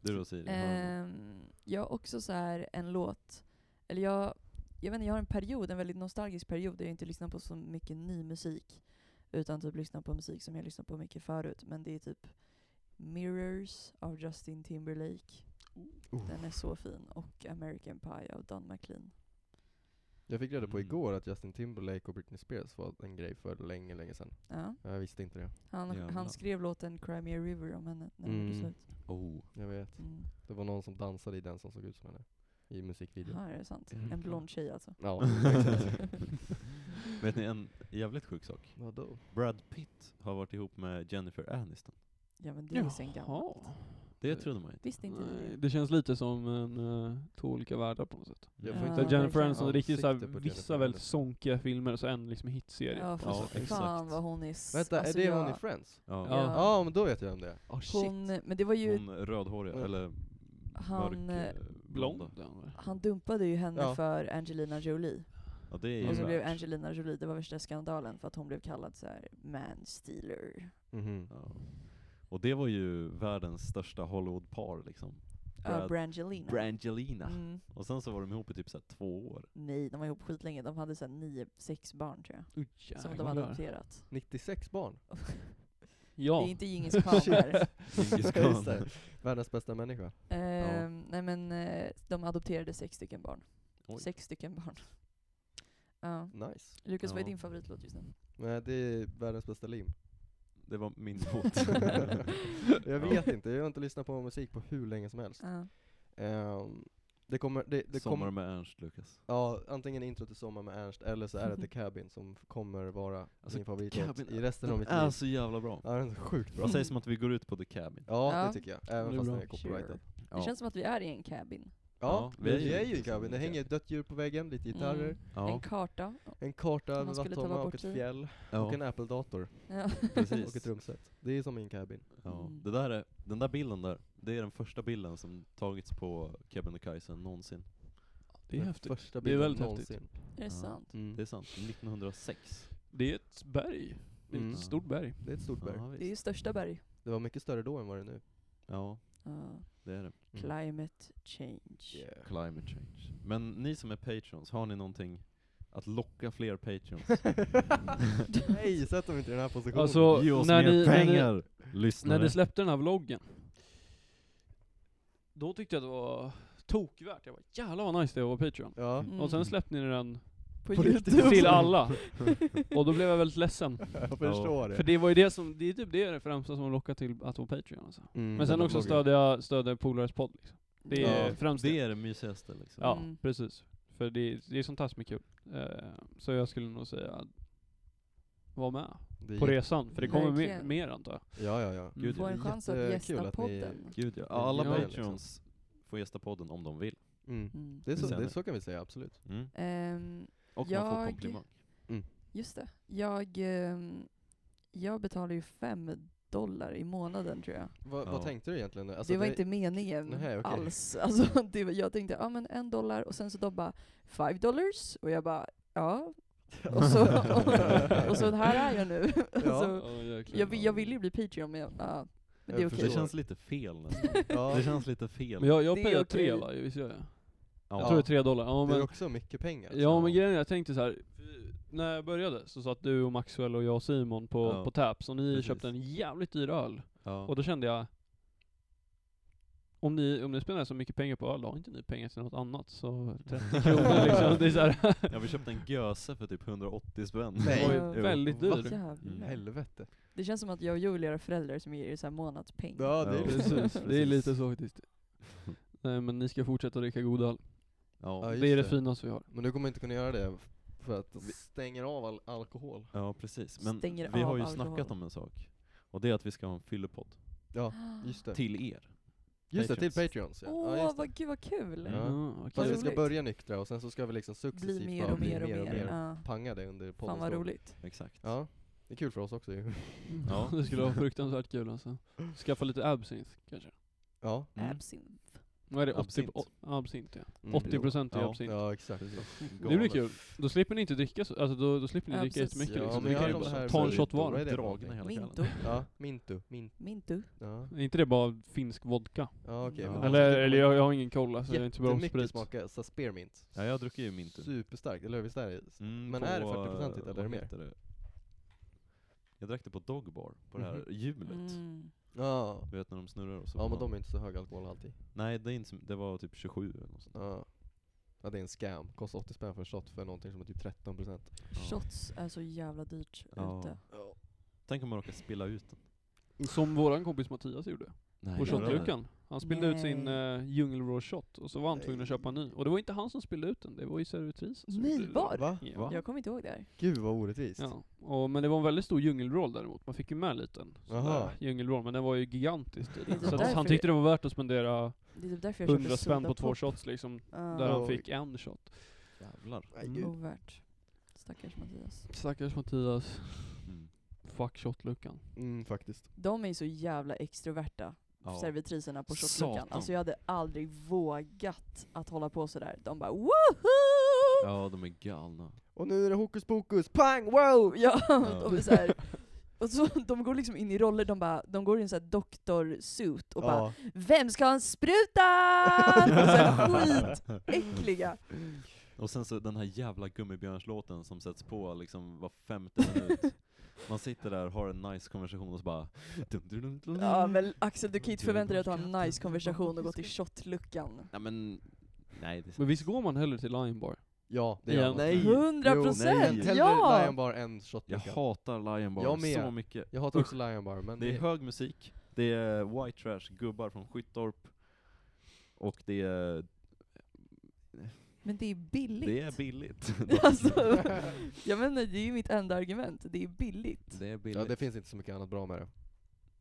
Du då Siri? har du någon? Ehm, jag har också så här en låt, eller jag, jag vet inte, jag har en period, en väldigt nostalgisk period där jag inte lyssnar på så mycket ny musik. Utan typ lyssnar på musik som jag lyssnat på mycket förut. Men det är typ Mirrors av Justin Timberlake. Den är så fin. Och American Pie av Don McLean. Jag fick reda på Mm. igår att Justin Timberlake och Britney Spears var en grej för länge, länge sedan. Ja. Jag visste inte det. Han, Jävlar. han skrev låten Cry Me A River om henne när hon gjorde Mm. slut. Oh. Jag vet. Mm. Det var någon som dansade i den som såg ut som henne. I musikvideon. Ja, är det sant? Jäklar. En blond tjej alltså. Ja, exakt. Vet ni en jävligt sjuk sak? Vadå? Brad Pitt har varit ihop med Jennifer Aniston. Ja men det är ju sen gammalt. Mm. Det trodde man inte. Visste inte du Nej, det? det känns lite som en, eh, två olika världar på något sätt. Jag får Ja, inte- Jennifer verkligen. Aniston är riktigt såhär, Sikte på vissa Jennifer väldigt Aniston. sonkiga filmer och så en liksom hitserie. Ja, på fast något Ja, sätt. exakt. fan vad hon är... s- Vänta, alltså är det jag- hon i Friends? Ja. Ja. Ja, Ja. men då vet jag om det är. Oh, shit. Hon, men det var ju, Hon rödhåriga, Ja. eller Han, mörk, eh, Blond. blonda. han dumpade ju henne Ja. för Angelina Jolie. Ja det är Och ju så blev värt. Angelina Jolie, det var värsta skandalen för att hon blev kallad så här man-stealer. Mhm. Ja. Och det var ju världens största Hollywood-par liksom. Ja, Brad- Brangelina. Brangelina. Mm. Och sen så var de ihop i typ så här två år. Nej, de var ihop skitlänge. De hade så här nio, sex barn tror jag. Som de hade adopterat. 96 barn. Det Ja, är inte Djingis khan där. Djingis khan. Just det. Världens bästa människa. Ehm, Nej men eh, de adopterade sex stycken barn. Oj. Sex stycken barn. Ja. Nice. Lukas, vad är Ja. din favoritlåt just nu? Nej, det är världens bästa lim. Det var min låt. jag vet inte, jag har inte lyssnat på musik på hur länge som helst. Ja. Ehm, det kommer, det, det Sommar kommer, med Ernst Lukas. ja antingen intro till Sommar med Ernst, eller så är det The Cabin som f- kommer vara Alltså, min favoritlåt Cabin- i resten av mitt liv. är så jävla bra. Ja, den är sjukt bra. Vad sägs om att vi går ut på The Cabin? Ja, Ja. det tycker jag. Även Det är fast bra. den är copyrightad. Sure. Det känns som att vi är i en cabin. Ja, Ja, vi är ju i liksom Cabin. Det i hänger ett dött djur på väggen, lite gitarrer, Mm. En Ja, karta. en karta Om över man skulle ta Vattholma bort och ett tid. fjäll, och ja, en Apple-dator, Ja. och ett precis. trumset. Det är som min Cabin. Ja. Mm. Det där är, den där bilden där, det är den första bilden som tagits på Kebnekaise någonsin. det är Den häftigt. Första Det är bilden väldigt häftigt. någonsin. Är det Ja. sant? Mm. Det är sant, 1906. Det är ett berg. Det är Mm. ett stort berg. Det är ett stort berg. Ja, Det är ju visst. största berg. Det var mycket större då än vad det är nu. ja, Ja. det är det. Climate change. Mm. Yeah. Climate change. Men ni som är patrons, har ni någonting att locka fler patrons? Nej, sätt dem inte i den här positionen. Alltså, Ge oss när mer ni- när ni- pengar, lyssnare! När ni släppte den här vloggen, då tyckte jag att det var tokvärt. Jag var jävlar vad nice det var på Patreon. ja. Mm. Och sen släppte ni den på på YouTube. riktigt. till alla. Och då blev jag väldigt ledsen. jag förstår För det. det var ju det som, det är typ det främsta som lockar till att vara Patreon alltså. Mm. Men sen den också bloggen. stödja, stödja polares podd liksom. Det är Ja, främst det det. är det mysigaste liksom. Ja, Mm. precis. För det, det är sånt här som är kul. Eh, så jag skulle nog säga, att var med Det är på jätte- resan. För det kommer mer, Verkligen. mer antar jag. Ja, ja, ja. Gud, Få det är en chans att jättekul gästa att ni- podden. Gud ja, Ja, alla ja, patrons får gästa podden om de vill. Mm. Mm. Det är så, Sen- det, så kan vi säga, absolut. Mm. Ehm, Och man får Jag- komplimang. just det. Jag, ehm, jag betalar ju fem dollar i månaden tror jag. Vad, Ja. vad tänkte du egentligen? nu? det var inte meningen Alltså, Nej, okej. alls. Alltså, det, var- jag tänkte, ja men en dollar, och sen så de bara, five dollars? Och jag bara, ja. Och så, och, så här är jag nu. Alltså, Ja, jäklar. jag, vill- jag vill ju bli Patreon, men, jag, ja, men det är Jag okej. Det förstår. känns lite fel nästan. Ja, Det känns lite fel. Men jag, jag Det är pejar okej. tre live, visst gör jag? Jag Ja. tror det är tre dollar. Ja det är alltså. men, också mycket pengar. ja, men grejen är, jag tänkte så här. När jag började så satt du och Maxwell och jag och Simon på, Ja. på Taps och ni Precis. köpte en jävligt dyr öl. Ja. Och då kände jag om ni, om ni spenderar så mycket pengar på öl, då har inte ni pengar till något annat så 30 kronor liksom, det är såhär Ja, vi köpte en göse för typ 180 spänn. Nej. Oj, Jo. väldigt dyr. Alltså, Mm. Jävlar. Helvete. Det känns som att jag och Julia är föräldrar som ger er så här månadspeng. Ja, det är Ja. lite... Precis, det är precis. lite så faktiskt Nej men ni ska fortsätta dricka god öl, Ja, Ja, det är det just det. finaste vi har Men du kommer inte kunna göra det för att vi stänger av all alkohol. ja precis. Men Stänger vi har av ju alkohol. snackat om en sak. Och det är att vi ska ha en fyllepodd. Ja, just det. Till er. Just det, till Patreons. Patreons ja. Åh, ja just det. vad, gud vad kul! Ja. vad Fast vad vi kul. ska roligt. börja nyktra och sen så ska vi liksom successivt Bli mer bara och bli mer och mer. Ja. Panga det under podden. Fan vad roligt. Exakt. Ja, det är kul för oss också ju. Ja. Det skulle vara fruktansvärt kul alltså Skaffa lite absint kanske Ja. Mm. Absint. Vad är det? 80 Absint. o- absint ja, Mm. 80% är Ja. absint Ja, exakt. Det blir kul, då slipper ni inte dricka så, alltså då, då slipper ni Ja, dricka precis. jättemycket Ja, liksom. men Ni jag kan har ju de bara här ta en med- shot Vad var är det för Dragna hela Minto. kvällen. Ja, mintu. Min, Mintu. ja. Är inte det bara finsk vodka? Ja, okej. Ja. men- Eller, eller jag, jag har ingen koll alltså, jag är inte så bra på Jättemycket sprit smakar så spearmint. Ja, jag dricker ju mint. Superstarkt, eller hur? Visst är det? Mm, Men är det 40% eller vad mer? heter det? Jag drack det på Dogbar, på det här Mhm. hjulet. Mm. Ja. Du vet när de snurrar och så Ja får men de man- är inte så hög alkoholhalt i. Nej, det, är inte, så- det var typ 27 eller något sånt. Ja. ja det är en scam. Kostar 80 spänn för en shot för någonting som är typ 13%. Shots är så jävla dyrt Ja. ute. Tänk om man råkar spilla ut den. Som våran kompis Mattias gjorde. Nej, På gjorde han det? shotluckan. Han spillde ut sin Nej. uh, Raw shot och så var han tvungen att köpa en ny. Och det var inte han som spillde ut den, det var ju servitrisen som Nej, gjorde det. var? Va? Ja. Va? Jag kommer inte ihåg det här. Gud vad orättvist. Ja. Och, men det var en väldigt stor djungelroll däremot. Man fick ju med en liten sån Jaha. där djungelroll, men den var ju gigantisk tydligen. Det är Så att därför han tyckte det var värt att spendera Det är typ därför jag köpte 100 spänn på Sudapop. två shots liksom, Ja. där han Oj. fick en shot. Jävlar. Nej, Mm. gud. Ovärt. Stackars Mattias. Stackars Mattias. Mm. Fuck shotluckan. Mm, faktiskt. De är ju så jävla extroverta, Ja. servitriserna på shotluckan. Satan. Alltså jag hade aldrig vågat att hålla på sådär. De bara woho! ja, de är galna. Och nu är det hokus pokus, pang, wow! Ja, de är såhär. Och så, de går liksom in i roller, de, bara, de går i en sån här doktorsuit och bara Ja. Vem ska ha en spruta? Och så här skitäckliga. Och sen så den här jävla gummibjörnslåten som sätts på liksom var femte minut. Man sitter där, har en nice konversation och så bara... Dum, dum, dum, dum. Ja men Axel du kan ju inte förvänta dig att ha en nice konversation och gå till shotluckan. Nej men... Nej, det är Men visst går man hellre till Lion Bar? Ja, det är Ja. jag. Nej. 100% Jo, Hellre nej. ja! Lion Bar än Jag shotluckan. hatar Lion Bar Jag med. så mycket. Jag hatar också Lion Bar, men... Det är hög musik, det är white trash, gubbar från Skyttorp, och det är, Men det är billigt. det är billigt. Alltså, jag menar, det är ju mitt enda argument. Det är billigt. det är billigt. ja, det finns inte så mycket annat bra med det.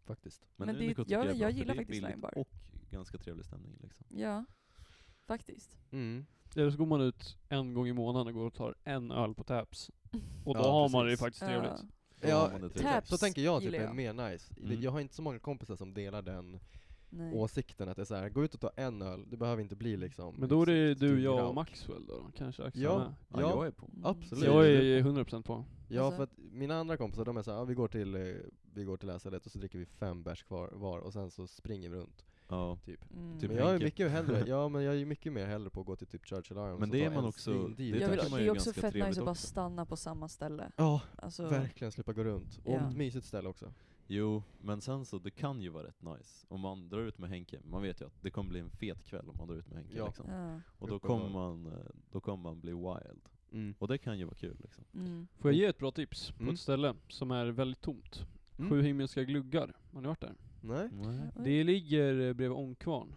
Faktiskt. men det- Unico tycker jag- är bra, jag för gillar det är faktiskt billigt Lion Bar. Och ganska trevlig stämning liksom. Ja, faktiskt. Mm. Eller så går man ut en gång i månaden och går och tar en öl på Taps. Och då Ja, har man det ju precis. faktiskt Ja. trevligt. Då Ja, har man det trevligt. Taps Så tänker jag typ gillar är jag. mer nice. Det- Mm. Jag har inte så många kompisar som delar den Nej. åsikten att det är så här, gå ut och ta en öl, det behöver inte bli liksom... Men då är det exakt du, jag grout. och Maxwell då, kanske Axel Ja. med. ja, ja. jag är på. Mm. absolut. Jag är ju 100% på. Ja, Alltså- för att mina andra kompisar de är såhär, ah, vi går till, eh, vi går till läsaret och så dricker vi fem bärs kvar var och sen så springer vi runt. Ja. Typ. Mm. Typ Men jag är Henke. mycket hellre, ja men jag är mycket mer hellre på att gå till typ Churchill Arms Men och det ta är man en också- svindyr det jag bärs. vill, tycker man det ju är är också ganska fett nice trevligt att bara också. stanna på samma ställe. Ja, Alltså, verkligen slippa gå runt. Och Ja. ett mysigt ställe också. Jo, men sen så, det kan ju vara rätt nice om man drar ut med Henke. Man vet ju att det kommer bli en fet kväll om man drar ut med Henke Ja. liksom. ja. Och då kommer, man, eh, då kommer man bli wild. Mm. Och det kan ju vara kul liksom. Mm. Får jag ge ett bra tips på Mm. ett ställe som är väldigt tomt? Mm. Sju himmelska gluggar. Har ni varit där? Nej? Det ligger eh, bredvid Ångkvarn.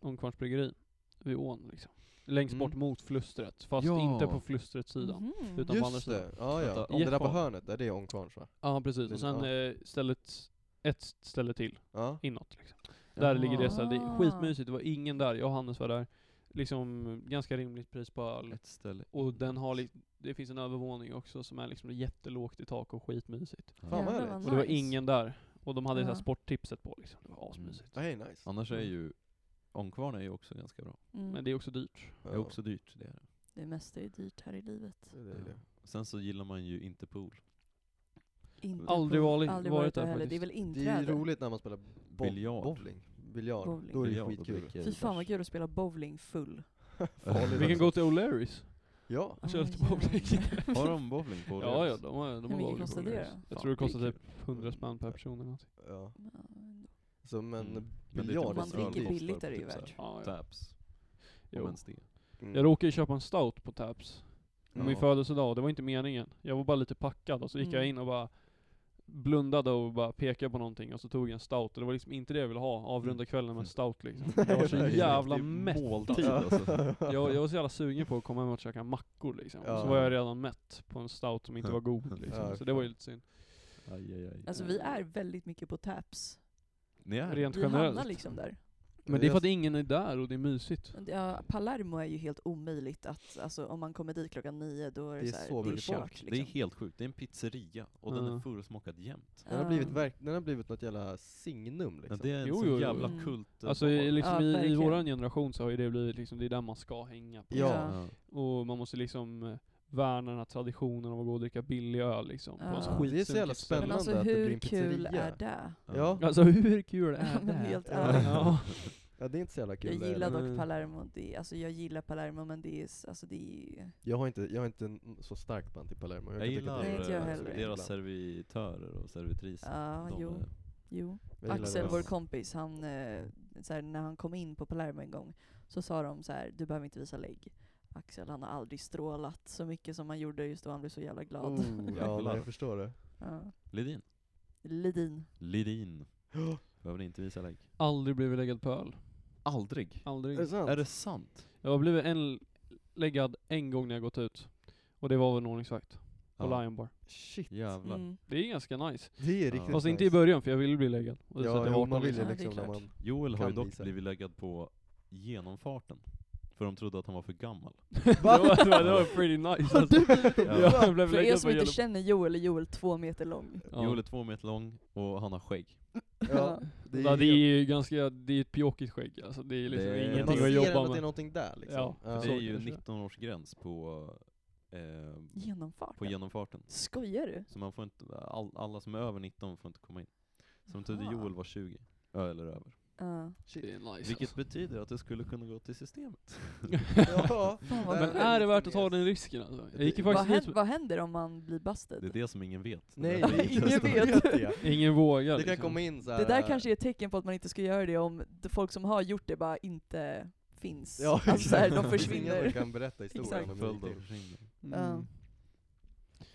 Ångkvarns bryggeri. Vid ån liksom. Längst bort Mm. mot flustret. Fast Ja. inte på flustrets sida. Mhm. Utan- på andra Just sidan. det, ja ja. Vänta, Om det där på Jeppholm. hörnet, där, det är Ångkvarns va? Ja precis. Det- Och sen ja. eh, stället, ett ställe till. Ja. Inåt liksom. Där ligger det stället. Det Ah. är skitmysigt. Det var ingen där. Jag och Hannes var där. Liksom ganska rimligt pris på öl. Ett ställe. Och den har li- det finns en övervåning också som är liksom jättelågt i tak och skitmysigt. Fan vad Jävlar härligt. vad Och det var nice. ingen där. Och Och de hade ju så här Ja. sporttipset på liksom. Det var asmysigt. Hey, nice. Annars är ju Ångkvarn är ju också ganska bra. Mm. Men det är också dyrt. Det är också dyrt. Det är. det. Det mesta är ju dyrt här i livet. Det är det. Sen så gillar man ju inte pool. Inte Aldrig på- varit- aldrig varit varit där där heller. faktiskt. Det är väl det är ju inträde? roligt när man spelar bo- Biljard. bowling. Biljard. Bowling. Då är det ju Biljard och skitkul. dricker Fy fan vad bärs. kul att spela bowling full. Farlig Vi kan dans. gå till O'Learys. alltså. Ja. Jag kör lite Åh, bowling. jävlar. Har de bowling på Ja, ja, Åhléns? de har, de har mycket bowling kostar på det O'Learys. då? Jag tror det Fan, kostar det är typ 100 spänn per person eller någonting. ja. Ja, ändå. Så men Mm. Men det är biljard typ är man så så dricker öl dyrt. kostar billigt är det typ ju så här värt. Ja, ja. Taps. Om Jo. ens det. Mm. Jag råkade ju köpa en stout på Taps. på min Ja. födelsedag, det var inte meningen. Jag var bara lite packad och så gick jag Mm. in och bara blundade och bara pekade på någonting och så tog jag en stout och det var liksom inte det jag ville ha, avrunda kvällen med en stout liksom. Jag var så Nej, jävla det är mätt. Måltid alltså. Jag, jag var så jävla sugen på att komma hem och käka mackor liksom. Och så Ja. var jag redan mätt på en stout som inte var god liksom. Ja, Så det var ju lite synd. Aj, aj, aj. Alltså vi är väldigt mycket på taps. Ni är Rent Vi hamnar generellt. liksom där. Men det är för att ingen är där och det är mysigt. Men det- Ja, Palermo är ju helt omöjligt att, alltså om man kommer dit klockan nio då är det, Det är så, här, så det är mycket folk. kört Det är liksom. helt sjukt, det är en pizzeria och den är Ja. fullsmockad jämt. Den har, blivit Ja. verk, den har blivit något jävla signum Ja, liksom. det är en Jo, sån jo, jo. jävla Mm. Typ, kult. eh, Alltså bar. i, liksom, Ja, i, i verkligen. våran generation så har ju det blivit liksom, det är där man ska hänga på. Ja. Ja. Och man måste liksom eh, värna den här traditionen av att gå och dricka billig öl liksom. På Ja. en Det är så skitsunkig jävla Men ställe. spännande alltså att det blir hur en kul pizzeria. är det? Ja. Alltså hur kul Ja, är det? men helt ärligt. Ja. Ja, det är inte så jävla kul. Jag det är gillar det. Mm. dock Palermo, det, alltså jag gillar Palermo men det är, s- alltså det är jag har inte, jag har inte en så starkt band till Palermo. Jag kan tycka gillar att det är Nej, inte jag eh, ganska heller. kul deras ibland. servitörer och servitriser. ja, De jo, Oh, är- jo. Jag gillar Axel, deras- vår kompis, han, eh, så här, när han kom in på Palermo en gång så sa de så här, du behöver inte visa lägg. Axel, han har aldrig strålat så mycket som han gjorde just då, han blev så jävla glad. Oh, ja, Jävlar. men jag förstår det. Ja. Lidin. Lidin. Lidin. Behöver inte visa lägg. Aldrig blivit läggad på öl. Aldrig. Aldrig. Är det sant? Är det sant? Jag har blivit en läggad en gång när jag gått ut. Och det var väl en ordningsvakt. På Ja. Lion Bar. Shit. Jävlar. Mm. Det är ganska nice. Det är Ja. riktigt Fast inte i nice. början för jag ville bli läggad. Och så att Ja, jag var jo, 18 man vill liksom. ju Ja, det är liksom när klart. man... Joel har Kan ju dock visa. blivit läggad på genomfarten. För de trodde att han var för gammal. det, var, det, var, det var pretty nice alltså. Ja. Jag blev För er läggad på som inte Yellow- känner Joel är Joel två meter lång. Joel är Ja. två meter lång och han har skägg. Ja, det är, Ja, det är ju ganska, det är ett pjåkigt skägg alltså. Det är liksom Det är- man ingenting ser att ändå jobba att det är med. någonting där liksom. Ja, För så det är ju kanske. 19-årsgräns på, eh, Genomfart. på genomfarten. Skojar du? Så man får inte, all, alla som är över 19 får inte komma in. Så de trodde Jaha. Joel var 20. Ja, eller över. Ja. Shit. Det är nice Vilket betyder att det skulle kunna gå till systemet. alltså. Ja. Fan, vad där Men sjukt. är det värt att ta den risken alltså? Jag gick ju Vad, faktiskt händer, dit vad händer om man blir busted? Det är det som ingen vet. Det Nej, där är ingen intressant. vet. det. Ingen vågar Det kan liksom. komma in så här. Det där kanske är ett tecken på att man inte ska göra det om d- folk som har gjort det bara inte finns. Ja, alltså så här, exakt. Mm. de Det finns Ingen som försvinner. kan berätta historien om hur det gick Följd av till. försvinning. Ja.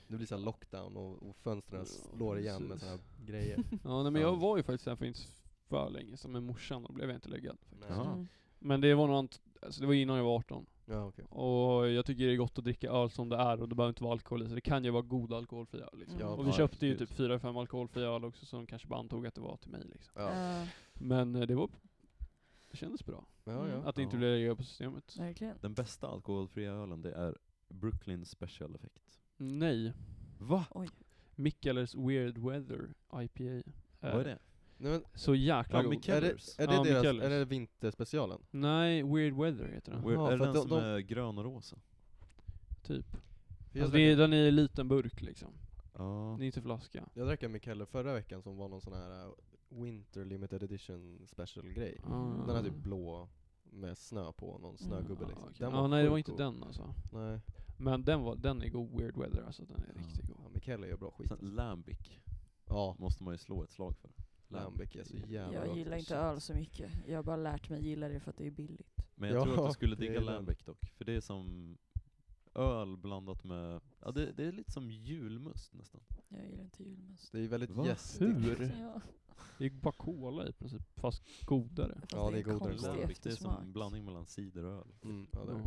Det blir såhär lockdown och, och fönstren slår igen med såna här grejer. Ja, nej, men Ja. jag var ju faktiskt där för inte för länge sedan med morsan, då blev jag inte läggad. Nej. Jaha. Mm. Men det var nog ant- alltså det var innan jag var 18. Ja, okej. Och jag tycker det är gott att dricka öl som det är och det behöver inte vara alkohol i så det kan ju vara god alkoholfri öl liksom. Ja, Och vi ja, köpte ju absolut. typ fyra fem alkoholfria öl också som kanske bara antog att det var till mig liksom. Ja. Eh, Men eh, det var, det kändes bra. Ja, mm. ja. Att det inte Ja. blev läggad på systemet. verkligen. Den bästa alkoholfria ölen det är Brooklyn Special Effect. Nej. Äh, Va? Mickelers Weird Weather IPA. Vad är det? Nej, men, Så jäkla Ja, god. Micke- är det, Kellers. är det Ja, deras, Michaelis. är det vinterspecialen? Nej, Weird Weather heter den. Where, Jaha, är för det att den de- som de- är grön och rosa? Typ. För Jag, Alltså det drack, är, den är i liten burk liksom. Ja. Det är inte flaska. jag drack en Mikeller förra veckan som var någon sån här uh, Winter Limited Edition special grej. Ah. Den är typ blå med snö på, någon snögubbe Ah, liksom. okej. Den Ja, nej det var sjukt inte god. den alltså. Nej. Men den, var, den är god, Weird Weather alltså. Den är Ja. riktigt Ja, god. Mikeller gör bra skit. Sen Lambic Ja. måste man ju slå ett slag för. Lambic är så jävla Jag gott. gillar inte Shit. öl så mycket. Jag har bara lärt mig gilla det för att det är billigt. Men jag tror att Ja, du skulle det digga är den. Lambic dock, för det är som öl blandat med, ja det, det är lite som julmust nästan. Jag gillar inte julmust. Det är väldigt Va? gästigt. Hur? Ja, Det är ju bara cola i princip, fast godare. fast Ja, det är en godare än konstig Lambic, det är som eftersmak. en blandning mellan cider och öl. Mm, ja, det är det.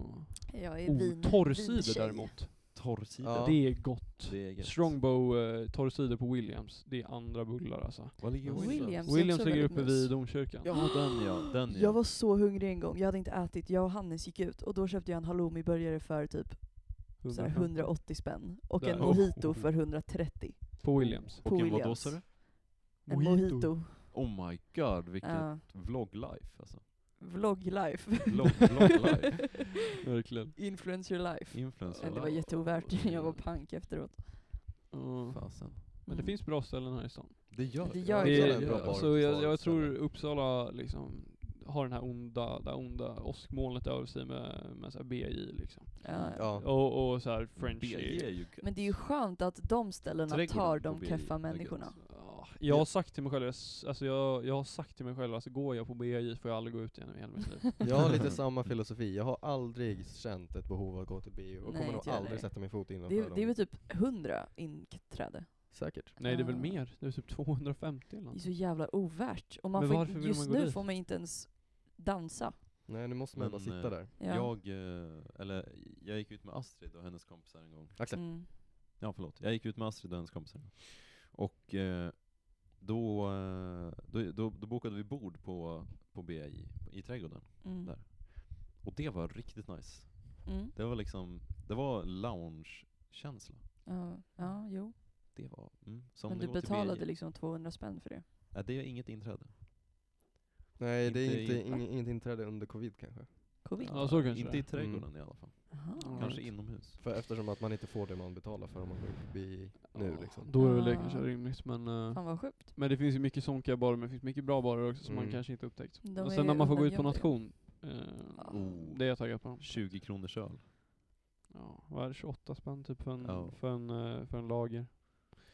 Ja. Jag är Oh, vin, torrcider vintjej. däremot. Torrcider. Ja. Det är gott. Det är gött. Strongbow eh, torrcider på Williams, det är andra bullar alltså. Vad ligger Williams? Williams, är Williams också ligger väldigt uppe mys. vid domkyrkan. Ja den ja, den ja. Jag var så hungrig en gång, jag hade inte ätit, jag och Hannes gick ut och då köpte jag en halloumi-burgare för typ så här 180 spänn och Där. en mojito Oh. för 130 På Williams. på Och en vad då Williams. sa du? En mojito. Oh my god, vilket Ja. vlog-life alltså. Vlog-life. Vlog, vlog-life. Verkligen. Influencer life. Influencer Ja, det var life. Mm. jätteovärt, jag var pank efteråt. Ja. Fasen. Ah. Men det Mm. finns bra ställen här i stan. Det gör Det gör det Uppsala är en bra bar alltså, jag, på jag tror ställen. Uppsala liksom har den här onda, det här onda åskmolnet över sig med, med så här BI liksom. Ja. Ja. Och, och så här French. BJ är ju gött. Men det är ju skönt att de ställena Trädgården tar på de BI, keffa det är människorna. Ja, Jag har sagt till mig själv, jag s- alltså jag, jag har sagt till mig själv, alltså går jag på BI får jag aldrig gå ut igen i hela mitt liv. Jag har lite samma filosofi, jag har aldrig känt ett behov av att gå till bio och Nej, kommer nog inte jag aldrig heller. sätta min fot innanför Det är, det dem. är väl typ 100 inträde. Säkert. Nej det är väl Ah. mer, det är typ 250 eller Det är något. så jävla ovärt. Och man Men får, varför inte- vill just man gå nu dit? får man inte ens dansa. Nej nu måste man Men, bara sitta eh, där. Ja. Jag, eh, eller, jag gick ut med Astrid och hennes kompisar en gång. Axel. Mm. Ja, förlåt. Jag gick ut med Astrid och hennes kompisar. Och eh, då, eh, då, då, då bokade vi bord på, på BI i trädgården. Mm. Där. Och det var riktigt nice. Mm. Det var liksom, det var lounge-känsla. Ja, ja, jo. Det var, mm, som Men det du går till betalade BI. liksom 200 spänn för det. Nej, det är inget inträde. Nej det Inte är inte, i- ing, inget inträde under covid kanske. Covid. Ja, så kanske Inte det är. i trädgården Mm. i alla fall. Aha. Ja, Kanske vet. inomhus. För eftersom att man inte får det man betalar för om man går på bio nu Ja, liksom. Då är det väl Ah. kanske rimligt men, eh, Fan vad sjukt. men det finns ju mycket sonkiga barer men det finns mycket bra barer också som man Mm. kanske inte upptäckt. De och är sen när man får gå ut på undangömda ju. nation, eh, Ja. Oh. det är jag taggad på. 20 kronors öl. Ja, vad är det, 28 spänn typ för en, Ja. för en, eh, för en lager?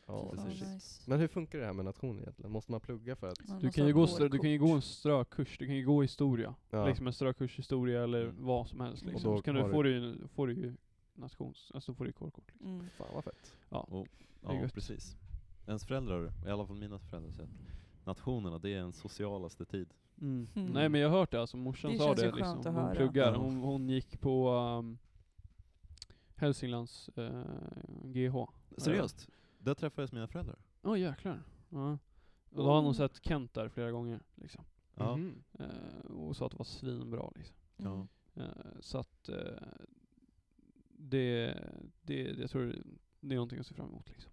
Ja, Fy fan, precis. nice. Men hur funkar det här med nation egentligen? Måste man plugga för att? Man Du måste kan, ju ha gå, ett strö- du kan ju gå kort. en strökurs, du kan ju gå historia. Ja. Liksom en strökurs historia eller Mm. vad som helst Och liksom. då Så kan du, har får du ju, får du ju nations, alltså då får du ju kårkort. Liksom. Mm. Fan vad fett. Det är Ja, gött. precis. Ens föräldrar, i alla fall mina föräldrar, säger att nationerna, det är ens socialaste tid. Mm. Nej men jag har hört det alltså, morsan Det sa känns det ju skönt liksom. att Hon höra. pluggar, Ja. hon, hon gick på um, Hälsinglands eh, GH. Seriöst? Där träffades mina föräldrar. Åh jäklar. Ja. Och då har hon sett Kent där flera gånger liksom. Ja. Mhm. Eh, och sa att det var svinbra liksom. Mm. Ja. Eh, så att eh, det, det, jag tror det är någonting att se fram emot liksom.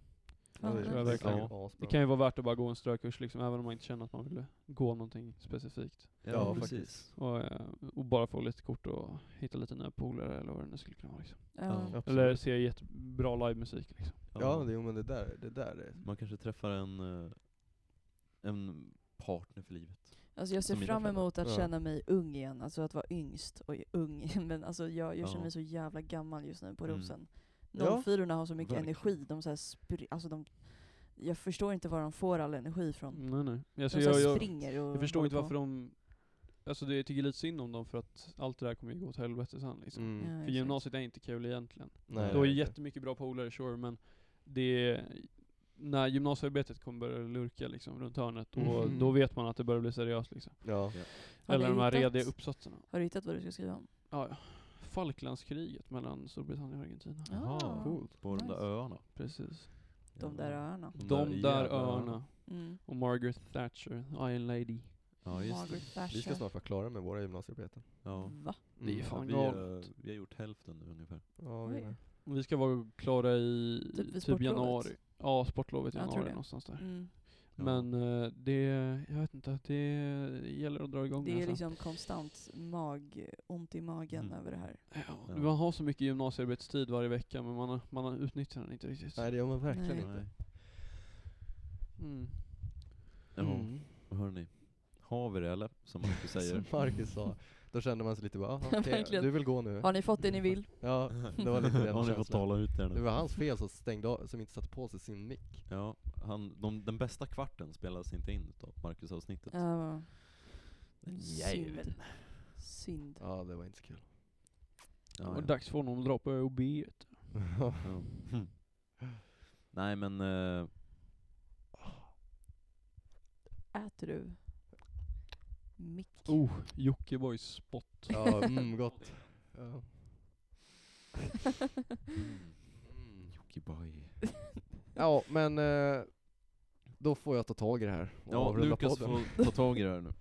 Fan, det nice. tror jag det verkligen. säkert asbra. Det kan ju vara värt att bara gå en strökurs liksom, även om man inte känner att man vill gå någonting specifikt. Ja, Ja, precis. Och, eh, och bara få lite kort och hitta lite nya polare eller vad det nu skulle kunna vara liksom. Ja. Ja. Absolut. Eller se jättebra livemusik liksom. Ja, det, jo, men det där, det där är... Man kanske träffar en, eh, en partner för livet. Alltså jag ser Som mina fram föräldrar. emot att Ja. känna mig ung igen, alltså att vara yngst och ung. Men alltså jag, jag Ja. känner mig så jävla gammal just nu på Mm. rosen. Ja. 04 har så mycket Verkligen. energi, de så här spri- alltså de, jag förstår inte var de får all energi från. Nej nej. De Alltså, så här jag, jag, springer och jag förstår håller inte på. varför de... Alltså det, jag tycker lite synd om dem för att allt det där kommer ju gå åt helvete sen liksom. Mm. Ja, För exakt. gymnasiet är inte kul egentligen. Nej, Du har ju det är inte. jättemycket bra polare sure, men det... När gymnasiearbetet kommer börja lurka liksom runt hörnet, och Mm. då vet man att det börjar bli seriöst liksom. Ja. Har Eller du de här hittat- rediga uppsatserna. Har du hittat vad du ska skriva om? Ja, ja. Falklandskriget mellan Storbritannien och Argentina. Jaha, Ah, coolt. På de nice. där öarna. Precis. De där öarna. De De där där jävla- öarna. Mm. Och Margaret Thatcher, Iron Lady. Ja, just det. Margaret Thatcher. Vi ska snart vara klara med våra gymnasiearbeten. Ja. Va? Det är ju Mm. fan Vi, eh, galet. vi har gjort hälften nu ungefär. Ja, vi Oj. med. Och Vi ska vara klara i Typ vid typ, sportlovet. januari. Ja, sportlovet i Jag tror januari det. någonstans där. Mm. Ja. Men eh, det, jag vet inte, det gäller att dra igång Det är alltså. liksom konstant mag, ont i magen Mm. över det här. Ja, Ja. Man har så mycket gymnasiearbetstid varje vecka men man, har- man har utnyttjar den inte riktigt. Typ Nej det gör man verkligen Nej. inte. Nej. Mm. Ja, Mm. hörni. Har vi det eller? Som Marcus säger. Som Marcus sa. Då kände man sig lite bara, "Aha, okej, Verkligen. du vill gå nu. Har ni fått det ni vill? Ja, det var lite den Har ni fått känslan. tala ut det Det nu? var hans fel som stängde av, som inte satte på sig sin mick. Ja, han, de, den bästa kvarten spelades inte in utav Marcus-avsnittet. Ja. Den jäveln. Synd. Synd. Ja, det var inte så kul. Ja, Och ja. dags för honom att dra på ÖoB. vet du. Ja. Hm. Nej men, eh, Äter du? Mick. Oh, Jockibois spot. ja, mm, gott. Ja. Mm. Jockiboi. Ja, men eh, då får jag ta tag i det här och Ja, avrunda Lukas podden. får ta tag i det här nu.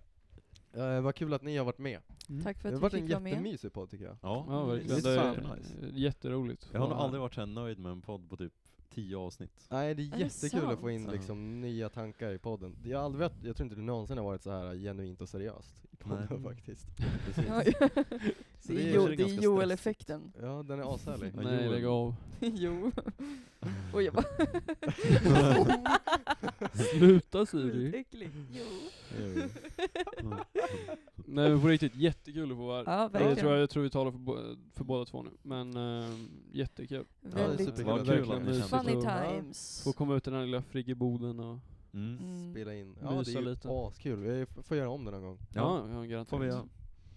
Eh, vad kul att ni har varit med. Tack för det har att vi varit en fick vara med. jättemysig podd tycker jag. Ja, Ja det är verkligen, Visst det fan. är eh, jätteroligt. Jag har nog aldrig varit så här nöjd med en podd på typ tio avsnitt. Nej det är, Är det jättekul att få in sant? liksom nya tankar i podden. Jag, har aldrig, varit- jag tror inte du någonsin har varit så här genuint och seriöst i podden Nej. faktiskt. Precis. Ja, Så det det är, är- jo, det är så det är ganska Joel-effekten. Ja den är ashärlig. Ja, Nej Joel. lägg av. jo. Och jag bara... Sluta Siri. Skitäcklig. Jo. Jo. Nej men på riktigt, jättekul att få vara här. Ja, Jag verkligen. tror, jag tror vi talar för, bo- för båda två nu, men eh, jättekul. Ja, det är Väldigt superkul. Vad att kul verkligen att ni bli- kände så. funny så- times. Få komma ut i den här lilla friggeboden och... Mm. Mm. Spela in. Ja det Mysa är ju lite. askul. Vi får göra om det någon gång. Ja, Ja, ja garanterat. får vi göra.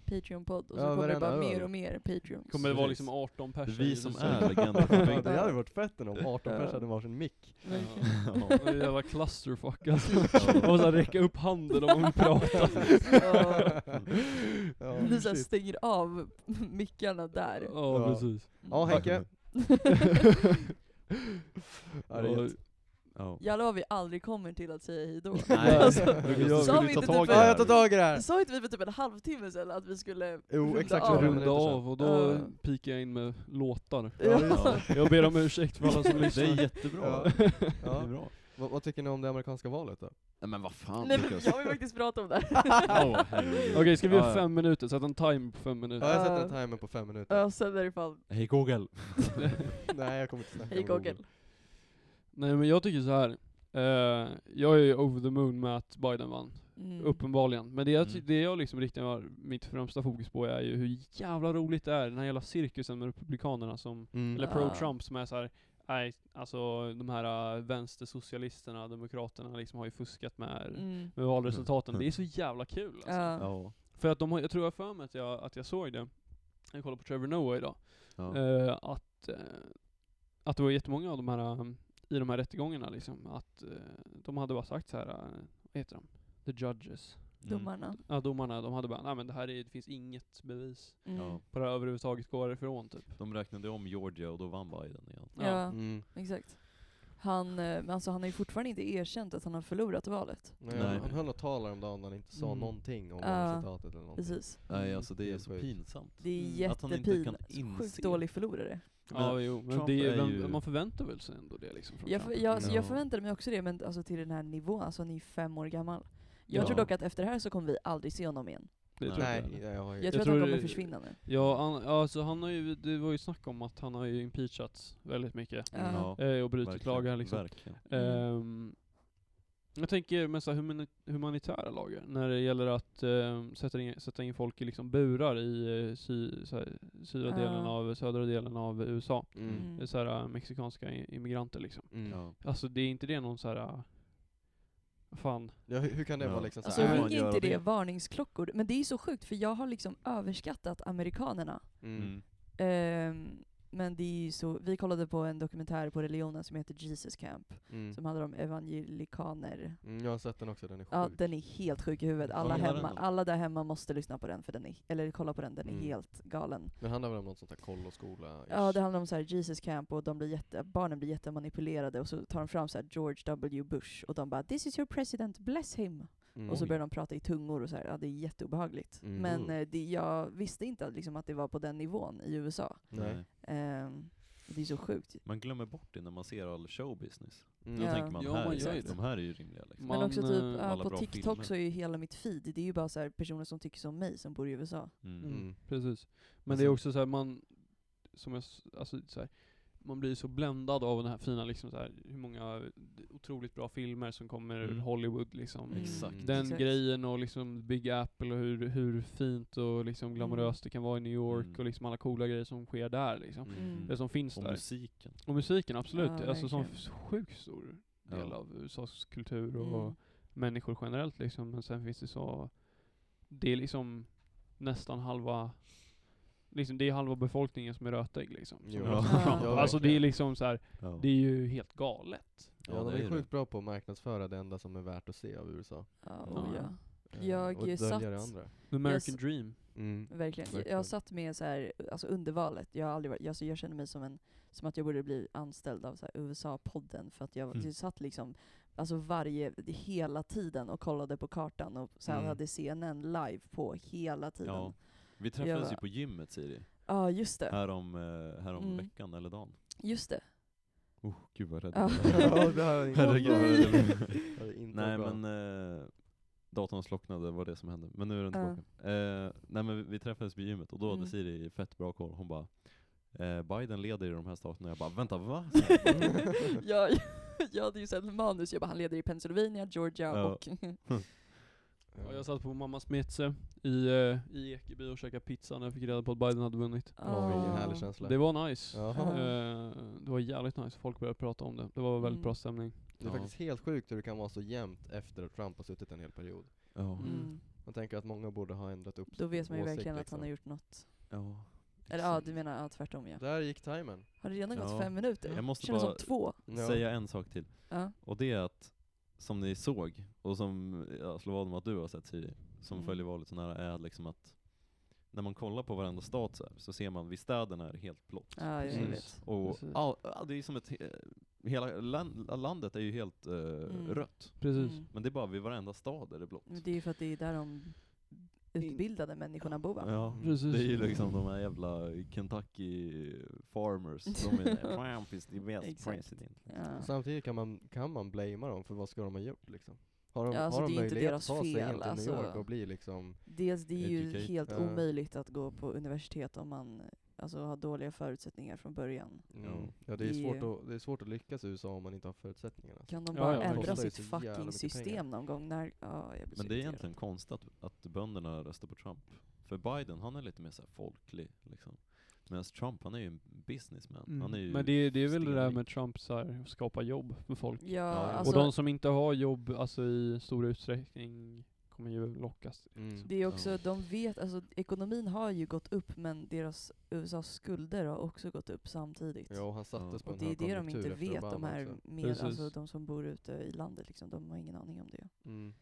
Patreon-podd och så Ja, kommer varenda det bara öl. mer och mer Patreons. Kommer det vara Precis. liksom 18 personer? Vi som är legender från Ja, bygden. det hade varit fett ändå om 18 Ja. pers hade varsin mick. Verkligen. Ja. Det är jävla clusterfuck alltså. Man måste räcka upp handen om man pratar. Ja. Ja, Du så här shit. stänger av mickarna där. Ja, Ja. precis. ja Henke. ja, det är Ja, jätte- Ja. Jävlar vad vi aldrig kommer till att säga hejdå. Nej, Alltså, Lukas, du sa skulle vi ta inte tag i typ- det ja, här. jag tar tag i det här! Sa inte vi för typ en halvtimme sedan att vi skulle Jo, runda exakt så av? var det. runda av och då Ja. pikar jag in med låtar. Ja, det är Ja. Jag ber om ursäkt för alla som Det är lyssnar. jättebra. Ja. Det är Ja. bra. Vad, vad tycker ni om det amerikanska valet då? Nej, men vad fan Nej men Lukas. jag vill faktiskt prata om det här. Åh, herregud. Okej, ska vi Ja, göra ja. fem minuter? Sätta en time på fem Ja, minuter. jag sätter Ja. en timer på fem minuter. Ja, sen är det fan, Hej Google. Nej, jag kommer inte snacka hej om Google. Nej men jag tycker så här. Eh, jag är ju over the moon med att Biden vann. Mm. Uppenbarligen. Men det jag, ty- Mm. det jag liksom riktigt har mitt främsta fokus på är ju hur jävla roligt det är, den här jävla cirkusen med republikanerna som, Mm. eller Ja. pro-Trump som är så här. Nej, alltså de här äh, vänstersocialisterna, demokraterna liksom har ju fuskat med, Mm. med valresultaten. Det är så jävla kul alltså. Ja. Ja. Mm. För att de har, jag tror jag har för mig att jag, att jag såg det, jag kollade på Trevor Noah idag, Ja. eh, att, eh, att det var jättemånga av de här, um, i de här rättegångarna liksom, att eh, de hade bara sagt så här, eh, vad heter de? The judges. Domarna. Ja, domarna, de hade bara, nej men det här är, det finns inget bevis Mm. Ja. Ja. på det här överhuvudtaget, går ifrån typ. Mm. De räknade om Georgia och då vann Biden igen. Mm. exakt. Han, eh, men alltså, han har ju fortfarande inte erkänt att han har förlorat valet. Nej, Nej. Han höll något tal häromdagen där han inte sa Mm. någonting om Ja. resultatet eller någonting. Precis. Nej alltså det Det är är så sjukt. pinsamt. Det är Mm. Att han inte kan jättepin. Sjukt inse. dålig förlorare. ja, jo, men Trump det, är är vem, ju- man förväntar väl sig ändå det liksom från Jag, för, Trump. jag, så Ja. jag förväntade mig också det, men alltså, till den här nivån. Alltså han är ju fem år gammal. Jag Ja. tror dock att efter det här så kommer vi aldrig se honom igen. Det tror Nej. jag. Nej, inte. jag, jag har ju... Jag tror att tror han kommer det- försvinna nu. Ja, han, alltså han har ju, det var ju snack om att han har ju impeachats väldigt mycket. Ja. Ja, Eh, och brutit verkligen. lagar liksom. Verkligen. Mm. Ehm, jag tänker med så här humani- humanitära lagar, när det gäller att ehm, sätta, in, sätta in folk i liksom burar i eh, sy, så här, syra Ja. delen av, södra delen av USA. Mm. Så här, eh, mexikanska i- immigranter liksom. Mm. Ja. Alltså det är inte det någon så här. eh, Fan. Ja, hur, hur kan det Ja. vara liksom så Alltså Ja, här- man ringer gör inte det det. varningsklockor? Men det är ju så sjukt, för jag har liksom överskattat amerikanerna. Mm. Mm. Ehm, men det är ju så, vi kollade på en dokumentär på religionen som heter Jesus Camp, Mm. som handlar om evangelikaner. Mm, jag har sett den också, den är sjuk. Ja, den är helt sjuk i huvudet. Alla, Ja, gillar hemma, den då? alla där hemma måste lyssna på den, för den är, eller kolla på den, den är Mm. helt galen. Den handlar väl om något sånt där koll och skola Ja, det handlar om så här Jesus Camp och de blir jätte, barnen blir jättemanipulerade och så tar de fram så här George W Bush och de bara ”This is your president, bless him” mm. och så Oj. börjar de prata i tungor och så här, ja det är jätteobehagligt. Mm. Men Mm. eh, det, jag visste inte att, liksom, att det var på den nivån i USA. Nej. Nej. Ehm, det är så sjukt. Man glömmer bort det när man ser all showbusiness. Mm. Då Ja. tänker man, Ja, här, man är, gör ju de här är ju rimliga liksom. Man, Men också typ, eh, ja, alla på bra TikTok filmer. så är ju hela mitt feed, det är ju bara så här personer som tycker som mig som bor i USA. Mm. Mm. Precis. Men Alltså- det är också så här, man, som jag, s- alltså så här, man blir så bländad av den här fina liksom så här, hur många eh, otroligt bra filmer som kommer ur Mm. Hollywood liksom. Mm. Exakt. Den Exakt. grejen och liksom Big Apple och hur, hur fint och Mm. liksom glamoröst det kan vara i New York Mm. och liksom alla coola grejer som sker där liksom. Mm. Det som finns Och där. musiken. och musiken, absolut. Ja, alltså som verkligen. f- sjukt stor del Ja. av USAs kultur och Mm. människor generellt liksom. Men sen finns det så, det är liksom nästan halva, liksom det är halva befolkningen som är rötägg liksom. Som Jo. röstar på Ja. Trump. Ja, alltså det är verkligen. liksom så här, Ja. det är ju helt galet. Ja, de det är ju det. sjukt bra på att marknadsföra det enda som är värt att se av USA. Ja, Ja. oh, ja. Eh, Jag och dölja satt- det andra. The American Yes. dream. Mm. Verkligen. Jag- Verkligen. Jag satt med så här, alltså under valet, jag, har aldrig varit, alltså jag känner mig som, en, som att jag borde bli anställd av så här USA-podden för att jag Mm. jag satt liksom alltså varje, hela tiden och kollade på kartan och sen Mm. hade CNN live på hela tiden. Ja. Ja, Vi träffades Jag- ju på gymmet Siri, just det. härom, eh, härom Mm. veckan eller dagen. Just det. Oh, gud vad rädd Ja. jag blev. Ja, det här var inte Herregud, bra. vad rädd jag blev. Det här är inte Nej bra. men eh, datorn slocknade var det som hände, men nu är den Ja. tillbaka. Eh, nej men vi, vi träffades vid gymmet och då Mm. hade Siri fett bra koll, hon bara eh, Biden leder i de här staterna, jag bara vänta va? Så här, jag, jag hade ju sett manus, jag bara han leder i Pennsylvania, Georgia Ja. och... Ja, jag satt på mammas metse i, eh, i Ekeby och käkade pizza när jag fick reda på att Biden hade vunnit. Åh, vilken Ah. härlig känsla. Det var nice. Jaha. Eh, det var jävligt nice, folk började prata om det. Det var väldigt Mm. bra stämning. Det är Ja. faktiskt helt sjukt hur det kan vara så jämnt efter att Trump har suttit en hel period. ja, Mm. Man tänker att många borde ha ändrat upp Då vet man ju åsikt, verkligen att han har liksom. gjort något. ja. Eller ja, du menar ja, tvärtom ja. Där gick timern. Har det redan gått Ja. fem minuter? Jag måste Känns bara som två. Ja. säga en sak till. Ja. Och det är att, som ni såg, och som jag slår vad om att du har sett Siri, som Mm. följer valet så nära, är liksom att när man kollar på varenda stat så, här, så ser man, vid städerna är det helt blått. Ja, jag Precis. vet. Och Precis. all, all, det är som ett, he- hela land, landet är ju helt eh, rött. Precis. Mm. Men det är bara vid varenda stad är det blått. Men Det är ju för att det är där de utbildade människorna bor va? Ja, Precis. det är ju liksom de här jävla Kentucky farmers, de är Trump is the best Exakt. president. liksom. Ja. Samtidigt kan man, kan man blamea dem för vad ska de ha gjort liksom? Har de, Ja, alltså, har de det är inte möjlighet deras att ta sig fel, in till alltså. New York och bli liksom Dels det är ju Educate. helt Ja. omöjligt att gå på universitet om man alltså, har dåliga förutsättningar från början. mm. Ja. Ja det är, Det- svårt att, det är svårt att lyckas i USA om man inte har förutsättningarna. alltså. Kan de Ja, bara ja, verkligen. ändra Kostar ju sitt så jävla fucking mycket pengar. system någon gång? När, ja, jag blir så Men det är irriterad. egentligen konstigt att, att bönderna röstar på Trump. För Biden, han är lite mer så här folklig liksom. Medan Trump, han är ju en businessman. Han är ju Mm. Men det, det är väl det där stenrik. med Trump så här, att skapa jobb för folk. Ja, alltså, och de som inte har jobb alltså, i stor utsträckning kommer ju lockas. Mm. Det är också, Ja. de vet, alltså ekonomin har ju gått upp men deras, USAs skulder har också gått upp samtidigt. Ja, och han sattes Ja. på och en det är det de högkonjunktur inte efter vet, de Obama här också. mer, alltså Precis. de som bor ute i landet liksom, de har ingen aning om det. Mm.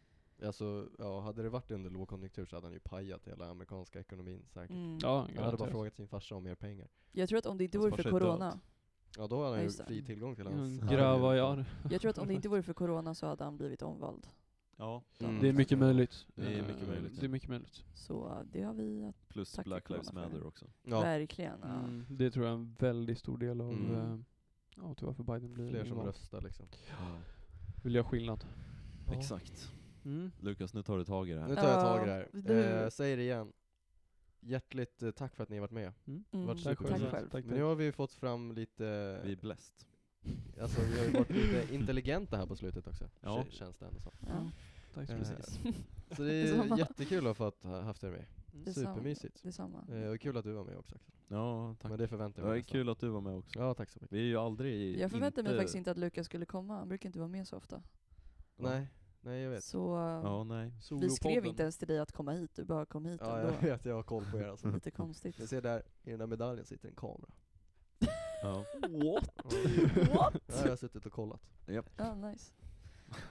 Alltså, ja, hade det varit under lågkonjunktur så hade han ju pajat hela amerikanska ekonomin säkert. Mm. Ja, typ. Han hade bara garanterat. frågat sin farsa om mer pengar. Jag tror att om det inte Hans vore för farsa är död. corona, Ja, då hade han Ja, ju just det. fri tillgång till hans... Mm, Grava i arv. jag tror att om det inte vore för corona så hade han blivit omvald. Ja, Mm. Det är mycket möjligt. Det är Eh, mycket möjligt, Det är ja. mycket möjligt. Så eh, det har vi att, plus Tack för Black Lives corona för det. Matter också. Ja, verkligen. ja. Mm, Det tror jag är en väldigt stor del av Mm. eh, ja, tyvärr för Biden blir fler som invald. röstar liksom. Vill göra skillnad. Ja. Exakt. Mm. Lukas, nu tar du tag i det Nu här. tar jag Ja, tag i det du- här. Eh, säger det igen. Hjärtligt eh, tack för att ni har varit med. Mm. Vart Tack super- själv. Tack, Men nu har vi ju fått fram lite, Vi är blessed. alltså vi har ju varit lite intelligenta här på slutet också. Ja. Ja. Känns det ändå som. Ja. Tack Eh, så mycket. Så det är Detsamma. jättekul att ha fått- ha haft er med. Detsamma. Supermysigt. Detsamma. Eh, Och kul att du var med också Axel. Ja, tack. Men det förväntar Det jag mig var nästan. kul att du var med också. Ja, tack så mycket. Vi är ju aldrig Jag förväntade mig inte- faktiskt inte att Lukas skulle komma, han brukar inte vara med så ofta. Nej, nej jag vet. Så eh, Ja, nej. vi skrev inte ens till dig att komma hit, du bara kom hit Ja, jag ändå. vet, jag har koll på er alltså. Lite konstigt. Jag ser där, i den där medaljen sitter en kamera. Ja. What? Där har jag suttit och kollat. Ah, nice.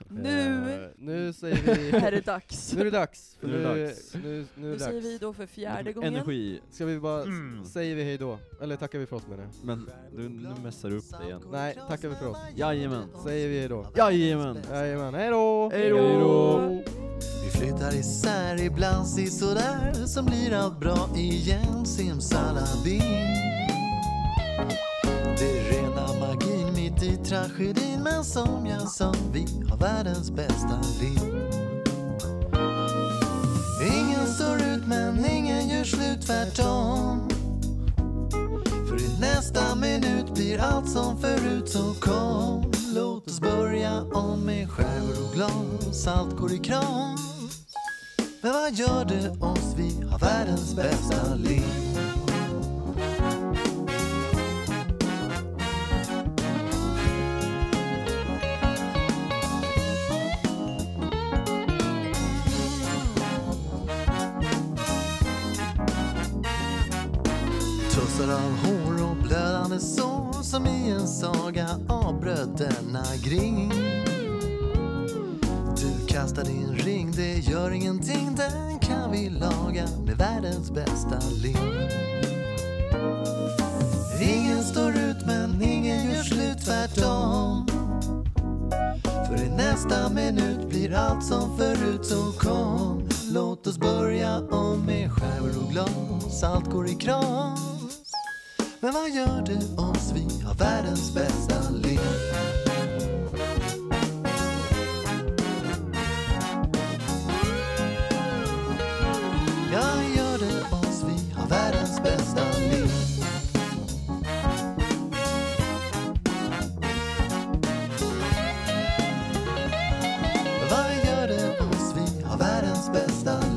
Nu Eh, nu säger vi... är det dags. Nu är det dags! För Nu är det nu, dags. nu, nu är Nu det säger dags. vi då för fjärde gången. Energi. Ska vi bara, Mm. säger vi hej då? Eller tackar vi för oss menar jag. Men du, nu mässar du upp dig igen. Nej, tackar vi för oss. Jajamän. Säger vi hej då? Jajamän. Jajamän, hej då! Hej då! Vi flyttar isär ibland sådär som blir allt bra igen simsalabim Det är rena magin mitt i tragedin men som jag sa, vi har världens bästa liv Ingen står ut men ingen gör slut tvärtom För i nästa minut blir allt som förut så kom Låt oss börja om med skärvor och glas, allt går i kram men vad gör det oss? Vi har världens bästa liv. Tussar av hår och blödande sår som i en saga av bröderna Grimm. Du kastar din ring, det gör ingenting Den kan vi laga med världens bästa lim Ingen står ut men ingen gör slut tvärtom För i nästa minut blir allt som förut så kom Låt oss börja om med skärvor och glas Allt går i kras Men vad gör det oss? Vi har världens bästa lek. Jag gör det oss? Vi har världens bästa lek. Vad gör det oss? Vi har världens bästa